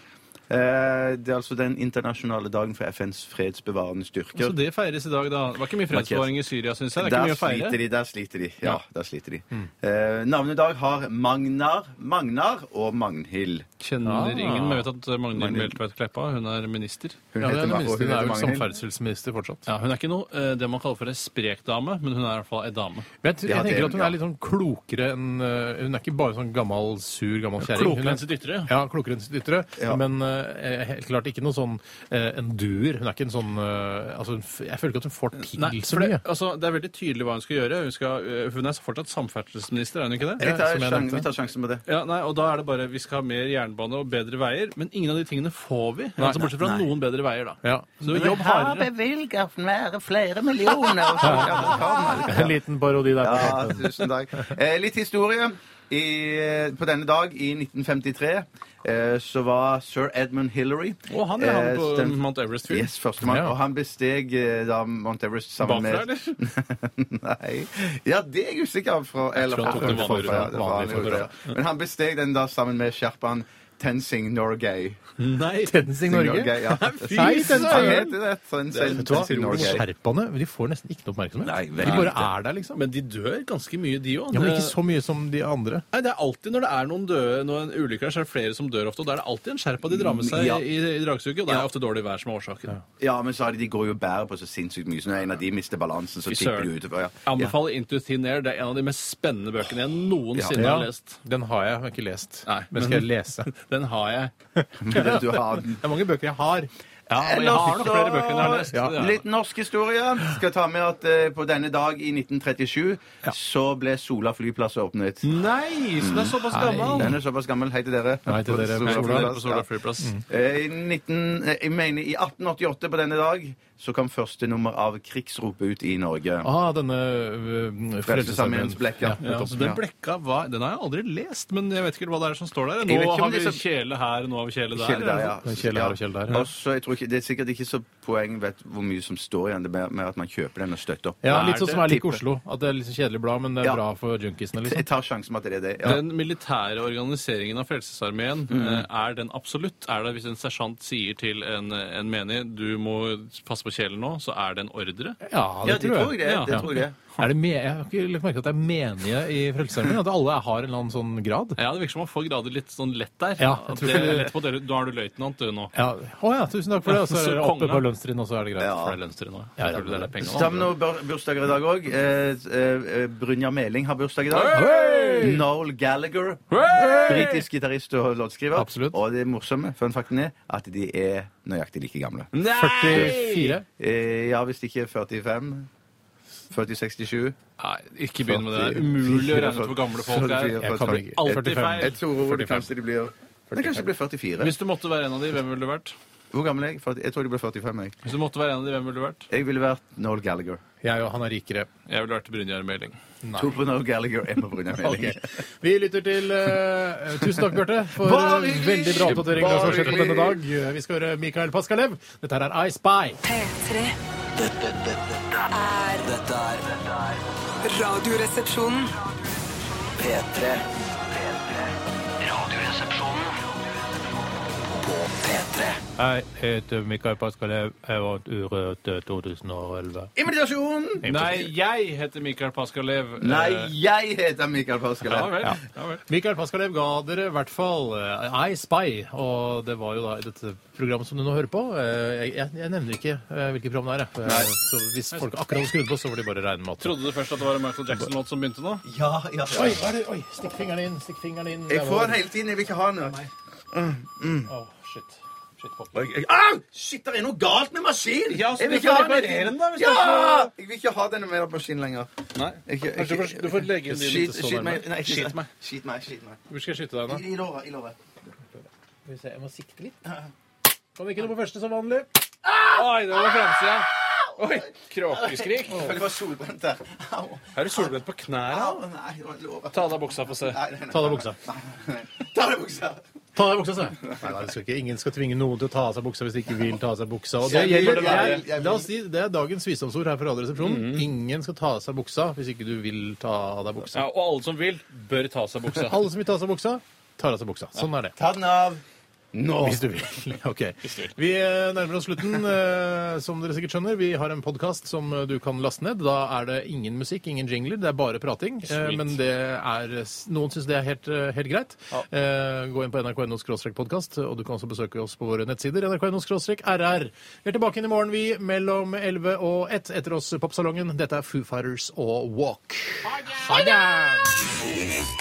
[SPEAKER 5] Eh, Det er altså den internasjonale dagen for FNs fredsbevarende styrker.
[SPEAKER 3] Altså,
[SPEAKER 4] Så det feires i dag, da. Det var ikke mye fredsbevaring i Syria, syns jeg. Det er ikke
[SPEAKER 5] Der
[SPEAKER 4] mye å
[SPEAKER 5] sliter
[SPEAKER 4] feire.
[SPEAKER 5] de. der sliter de. Ja,
[SPEAKER 4] Ja. Mm.
[SPEAKER 5] der sliter de. Eh, navnet i dag har Magnar, Magnar og Magnhild.
[SPEAKER 4] Kjenner ingen, men jeg vet at Magnhild
[SPEAKER 5] Ah. Magnhild.
[SPEAKER 4] Meltveit Kleppa, hun er minister.
[SPEAKER 5] Hun
[SPEAKER 3] Ja, det er det
[SPEAKER 5] Ma- og
[SPEAKER 3] minste.
[SPEAKER 5] hun
[SPEAKER 3] Hun
[SPEAKER 5] heter
[SPEAKER 3] er vel
[SPEAKER 5] Magnhild.
[SPEAKER 3] samferdselsminister fortsatt.
[SPEAKER 4] Ja, Hun er ikke noe eh, det man kaller for en sprek dame, men hun er i hvert fall ei dame.
[SPEAKER 3] Men jeg, tror-
[SPEAKER 5] Ja,
[SPEAKER 3] jeg
[SPEAKER 5] det-
[SPEAKER 3] tenker at hun
[SPEAKER 5] ja.
[SPEAKER 3] er litt sånn klokere enn eh, Hun er ikke bare sånn gammel, sur, gammel kjerring.
[SPEAKER 4] Klokere
[SPEAKER 3] Hun er-
[SPEAKER 4] enn sitt ytre.
[SPEAKER 3] Ja, klokere enn sitt ytre.
[SPEAKER 5] Ja.
[SPEAKER 3] Men eh, helt klart ikke noe sånn eh, en duer. Hun er ikke en sånn eh, altså, hun f- Jeg føler ikke at hun får til
[SPEAKER 4] Nei,
[SPEAKER 3] så
[SPEAKER 4] for det,
[SPEAKER 3] mye.
[SPEAKER 4] altså, det er veldig tydelig hva hun skal gjøre. Hun, skal, eh, hun er fortsatt samferdselsminister, er hun ikke det?
[SPEAKER 5] Jeg tar
[SPEAKER 3] som jeg
[SPEAKER 5] sjan-
[SPEAKER 3] nevnte.
[SPEAKER 5] Vi tar sjansen på det.
[SPEAKER 4] Ja, nei, og da er det bare vi skal ha mer jernbane og bedre veier, men ingen av de tingene får vi. altså, bortsett fra noen bedre veier, da.
[SPEAKER 3] Ja.
[SPEAKER 4] Så jobb hardere.
[SPEAKER 5] bevilget flere, flere millioner.
[SPEAKER 3] En liten parodi der.
[SPEAKER 5] Ja, tusen takk. Eh, litt historie. I, på denne dag i 1953 eh, så var sir Edmund Hillary
[SPEAKER 4] Og han er han
[SPEAKER 5] eh,
[SPEAKER 4] på
[SPEAKER 5] den-
[SPEAKER 4] Mount Everest fyr.
[SPEAKER 5] Yes, førstemann.
[SPEAKER 3] Ja.
[SPEAKER 5] Og han besteg eh, da Mount Everest sammen
[SPEAKER 4] Bakfra,
[SPEAKER 5] med
[SPEAKER 4] eller?
[SPEAKER 5] Nei Ja, det er jeg usikker på. Eller
[SPEAKER 4] tror han tok
[SPEAKER 5] fra-
[SPEAKER 4] den
[SPEAKER 5] fra-
[SPEAKER 4] vanlige
[SPEAKER 5] fra-
[SPEAKER 4] ruta.
[SPEAKER 5] det var
[SPEAKER 3] Vanlige
[SPEAKER 5] vanlige
[SPEAKER 3] ruta.
[SPEAKER 5] ruta. Men han besteg den da sammen med sherpaen Tenzing Norgay.
[SPEAKER 4] Nei.
[SPEAKER 3] Tensing Norge.
[SPEAKER 5] Norgay, ja.
[SPEAKER 3] Nei,
[SPEAKER 5] Han
[SPEAKER 3] Tensing
[SPEAKER 5] heter det. Tenzing
[SPEAKER 3] Vet du hva?
[SPEAKER 5] Tenzing Norgay.
[SPEAKER 3] Sherpaene de får nesten ikke noe oppmerksomhet.
[SPEAKER 2] Nei,
[SPEAKER 3] de
[SPEAKER 2] veldig
[SPEAKER 3] bare er der, liksom.
[SPEAKER 4] Men de dør ganske mye, de òg.
[SPEAKER 3] Ja, men ikke så mye som de andre.
[SPEAKER 4] Nei, det er alltid når det er noen døde, når en ulykke er, så er det flere som dør ofte. Og da er det alltid en sherpa de drar med seg
[SPEAKER 5] Ja.
[SPEAKER 4] i, i dragsuget, og det er ofte dårlig vær som er årsaken.
[SPEAKER 5] Ja, men så er det, de går jo og bærer på så sinnssykt mye. Så når en av de mister balansen, så
[SPEAKER 4] Fy
[SPEAKER 5] tipper de
[SPEAKER 4] søren.
[SPEAKER 5] utover. Ja.
[SPEAKER 4] Jeg anbefaler Into Thin Air. Det er en av de mest spennende bøkene jeg noensinne
[SPEAKER 3] Ja,
[SPEAKER 4] har lest.
[SPEAKER 3] Den har jeg, jeg har ikke lest.
[SPEAKER 4] Nei,
[SPEAKER 3] men
[SPEAKER 4] men-
[SPEAKER 3] skal jeg lese?
[SPEAKER 4] Den har jeg.
[SPEAKER 5] Men Du har den.
[SPEAKER 3] Det er mange bøker jeg har.
[SPEAKER 4] Ja, og jeg har nok flere bøker enn jeg har lest.
[SPEAKER 5] Ja.
[SPEAKER 4] Det er-
[SPEAKER 5] Litt norsk historie. Skal ta med at eh, på denne dag i 1937 så ble Sola flyplass åpnet.
[SPEAKER 4] Nei, så det er såpass gammel!
[SPEAKER 5] Den er såpass gammel. Hei til dere.
[SPEAKER 3] Hei til dere, Mm. Sola.
[SPEAKER 5] Sola flyplass,
[SPEAKER 4] På Sola
[SPEAKER 5] ja.
[SPEAKER 4] flyplass.
[SPEAKER 5] Eh, I, 19, eh, jeg mener, I 1888 på denne dag så kom første nummer av krigsropet ut i Norge.
[SPEAKER 3] Ah, denne øh,
[SPEAKER 5] Frelsesarmeens blekk, ja.
[SPEAKER 4] Ja, så den blekka var, Den har jeg aldri lest, men jeg vet ikke hva det er som står der.
[SPEAKER 5] Jeg vet
[SPEAKER 4] Nå
[SPEAKER 5] ikke om
[SPEAKER 4] har
[SPEAKER 5] det
[SPEAKER 4] vi
[SPEAKER 5] er så-
[SPEAKER 4] kjele her, nå har vi kjele der.
[SPEAKER 5] Kjell der, ja.
[SPEAKER 3] Den kjell her og kjell der, ja.
[SPEAKER 5] Ja. Også, jeg tror ikke, det er sikkert ikke så poeng vet hvor mye som står igjen, det er mer- mer at man kjøper den og støtter opp.
[SPEAKER 3] Ja,
[SPEAKER 4] Er
[SPEAKER 3] litt sånn
[SPEAKER 4] det
[SPEAKER 3] som er lik
[SPEAKER 5] tippet?
[SPEAKER 3] Oslo. At det er litt sånn kjedelig blad, men det er
[SPEAKER 5] Ja.
[SPEAKER 3] bra for junkiesene.
[SPEAKER 5] Jeg
[SPEAKER 3] Liksom.
[SPEAKER 5] tar sjansen med at det er det. Ja. Mm.
[SPEAKER 4] Den militære organiseringen av Frelsesarmeen, eh, er den absolutt? Er det Hvis en sersjant sier til en, en menig du må passe på kjelen nå, så er det en ordre?
[SPEAKER 3] Ja,
[SPEAKER 5] ja, det tror jeg det.
[SPEAKER 4] Ja.
[SPEAKER 5] det, tror jeg.
[SPEAKER 3] Er det me jeg har ikke lagt merke til at det er menige i Frelsesarmeen. At alle har en eller annen sånn grad.
[SPEAKER 4] Ja, Det virker som man får grader litt sånn lett der.
[SPEAKER 3] Ja, jeg
[SPEAKER 4] At
[SPEAKER 3] tror
[SPEAKER 4] det er
[SPEAKER 3] det-
[SPEAKER 4] lett på å dele ut. Nå er du løytnant, du nå.
[SPEAKER 3] Ja. Å ja, tusen takk for det. Og så
[SPEAKER 4] Så
[SPEAKER 3] er det oppe
[SPEAKER 4] kongen,
[SPEAKER 3] på
[SPEAKER 4] da.
[SPEAKER 3] lønnstrinn, og så er det greit.
[SPEAKER 4] For det er lønnstrinn nå.
[SPEAKER 3] Ja, ja,
[SPEAKER 4] Jeg tror du deler penger nå.
[SPEAKER 5] Sammen med bur- bursdager i dag òg. Eh, eh, Brynja Meling har bursdag i dag.
[SPEAKER 3] Hey!
[SPEAKER 5] Noel Gallagher. Britisk gitarist og låtskriver.
[SPEAKER 3] Absolutt.
[SPEAKER 5] Og det morsomme fun facten er at de er nøyaktig like gamle.
[SPEAKER 4] Nei!
[SPEAKER 3] 44.
[SPEAKER 5] Eh, ja, hvis ikke 45. 4067.
[SPEAKER 4] Nei, ikke begynn med det. Det er umulig å regne ut hvor gamle folk er.
[SPEAKER 3] Jeg kan ikke.
[SPEAKER 4] Alltid feil.
[SPEAKER 5] Jeg tror det kanskje de blir Men kanskje de blir 44.
[SPEAKER 4] Hvis du måtte være en av de, hvem ville du vært?
[SPEAKER 5] Hvor gammel er jeg? 40 Jeg tror de blir 45. Jeg,
[SPEAKER 4] Hvis du måtte være en av de, hvem ville du vært?
[SPEAKER 5] jeg ville vært Noel Gallagher.
[SPEAKER 3] Jeg og han er rikere.
[SPEAKER 4] Jeg ville vært Brynjar Meling.
[SPEAKER 5] To på Noel Gallagher, én på Brynja Meling.
[SPEAKER 3] Ok. Vi lytter til eh, Tusen takk, Bjarte, for
[SPEAKER 5] Bare
[SPEAKER 3] eh,
[SPEAKER 5] hyggelig!
[SPEAKER 3] veldig bra oppdatering av hva som har skjedd på
[SPEAKER 5] Bare
[SPEAKER 3] denne dag. Vi skal høre Mikael Paskalev. Dette her er I Spy.
[SPEAKER 6] P3.
[SPEAKER 2] Dette dette- dette er Dette er dette er
[SPEAKER 6] Radioresepsjonen.
[SPEAKER 2] P3 Radioresepsjonen På P3
[SPEAKER 3] Jeg heter Mikael Paskalev. Jeg vant Urørt eh, 2011.
[SPEAKER 5] Imitasjon!
[SPEAKER 4] Nei, jeg heter Mikael Paskalev.
[SPEAKER 5] Nei,
[SPEAKER 4] Eh,
[SPEAKER 5] jeg heter Mikael
[SPEAKER 4] Ja
[SPEAKER 5] Paskelev.
[SPEAKER 4] vel. Ja vel.
[SPEAKER 3] Mikael Paskalev ga dere i hvert fall eh, I Spy, og det var jo da i dette programmet som du nå hører på. Eh, Jeg, jeg, jeg nevner ikke eh, hvilket program det er, jeg. Eh, så hvis folk akkurat hadde skrudd på, så får de bare regne med at
[SPEAKER 4] Trodde du først at det var en Michael Jackson-låt som begynte nå?
[SPEAKER 5] Ja, ja,
[SPEAKER 3] Oi,
[SPEAKER 5] ja.
[SPEAKER 3] hva er det? Oi, stikk fingeren inn, stikk fingeren inn.
[SPEAKER 5] Jeg får den hele tiden. Jeg vil ikke ha den.
[SPEAKER 3] Å, shit. Shit, pokker.
[SPEAKER 5] Og jeg- Au! Shit, det er noe galt med maskinen!
[SPEAKER 4] Ja, så
[SPEAKER 5] jeg vil
[SPEAKER 4] du
[SPEAKER 5] ikke ha
[SPEAKER 4] får
[SPEAKER 5] den
[SPEAKER 4] reparere den da, hvis
[SPEAKER 5] Ja!
[SPEAKER 4] du
[SPEAKER 5] Jeg vil ikke ha denne mer maskinen lenger.
[SPEAKER 4] Nei.
[SPEAKER 5] Ikke-
[SPEAKER 4] Kanskje du får- du får legge den din
[SPEAKER 5] Skyt-
[SPEAKER 4] ikke så
[SPEAKER 5] skyt
[SPEAKER 4] nærme.
[SPEAKER 5] meg. Nei, ikke-
[SPEAKER 4] Skyt meg.
[SPEAKER 5] Skyt meg. Skyt meg.
[SPEAKER 3] Hvor skal jeg skyte deg, da?
[SPEAKER 5] I låret. I låret.
[SPEAKER 3] Skal vi se, Jeg må sikte litt. Kom ikke noe på første som vanlig.
[SPEAKER 4] Oi, det var fremsida. Oi, kråkeskrik.
[SPEAKER 5] Jeg var solbrent der. Au.
[SPEAKER 4] Er du solbrent på knærne?
[SPEAKER 5] Au. Nei, det var låret.
[SPEAKER 4] Ta av deg buksa, få se.
[SPEAKER 5] Nei, nei, nei.
[SPEAKER 3] Ta av deg buksa.
[SPEAKER 5] Ta av deg buksa.
[SPEAKER 3] Ta av deg buksa, sa jeg. Nei, nei, det skal ikke. Ingen skal tvinge noen til å ta av seg buksa hvis de ikke vil ta av seg buksa. Og det,
[SPEAKER 5] Jeg Mm. gjør
[SPEAKER 3] gjelder,
[SPEAKER 5] det bare.
[SPEAKER 3] jeg, la oss si, det er dagens visdomsord her fra Radioresepsjonen. Ingen skal ta av seg buksa hvis ikke du vil ta av deg buksa.
[SPEAKER 4] Ja, og alle som vil, bør ta av seg buksa.
[SPEAKER 3] Alle som vil ta av seg buksa, tar av seg buksa. Sånn er det.
[SPEAKER 5] Ta den av. Nå.
[SPEAKER 3] Hvis du vil. Ok. Vi eh, nærmer oss slutten, eh, som dere sikkert skjønner. Vi har en podkast som eh, du kan laste ned. Da er det ingen musikk, ingen jingler, det er bare prating. Eh,
[SPEAKER 4] Sweet.
[SPEAKER 3] Men det er Noen syns det er helt, eh, helt greit. Eh, Gå inn på nrk.no podkast, og du kan også besøke oss på våre nettsider. nrk.no rr. Vi er tilbake inn i morgen, vi, mellom 11 og 1. Etter oss Popsalongen. Dette er Foo Fighters og Walk. Ha det!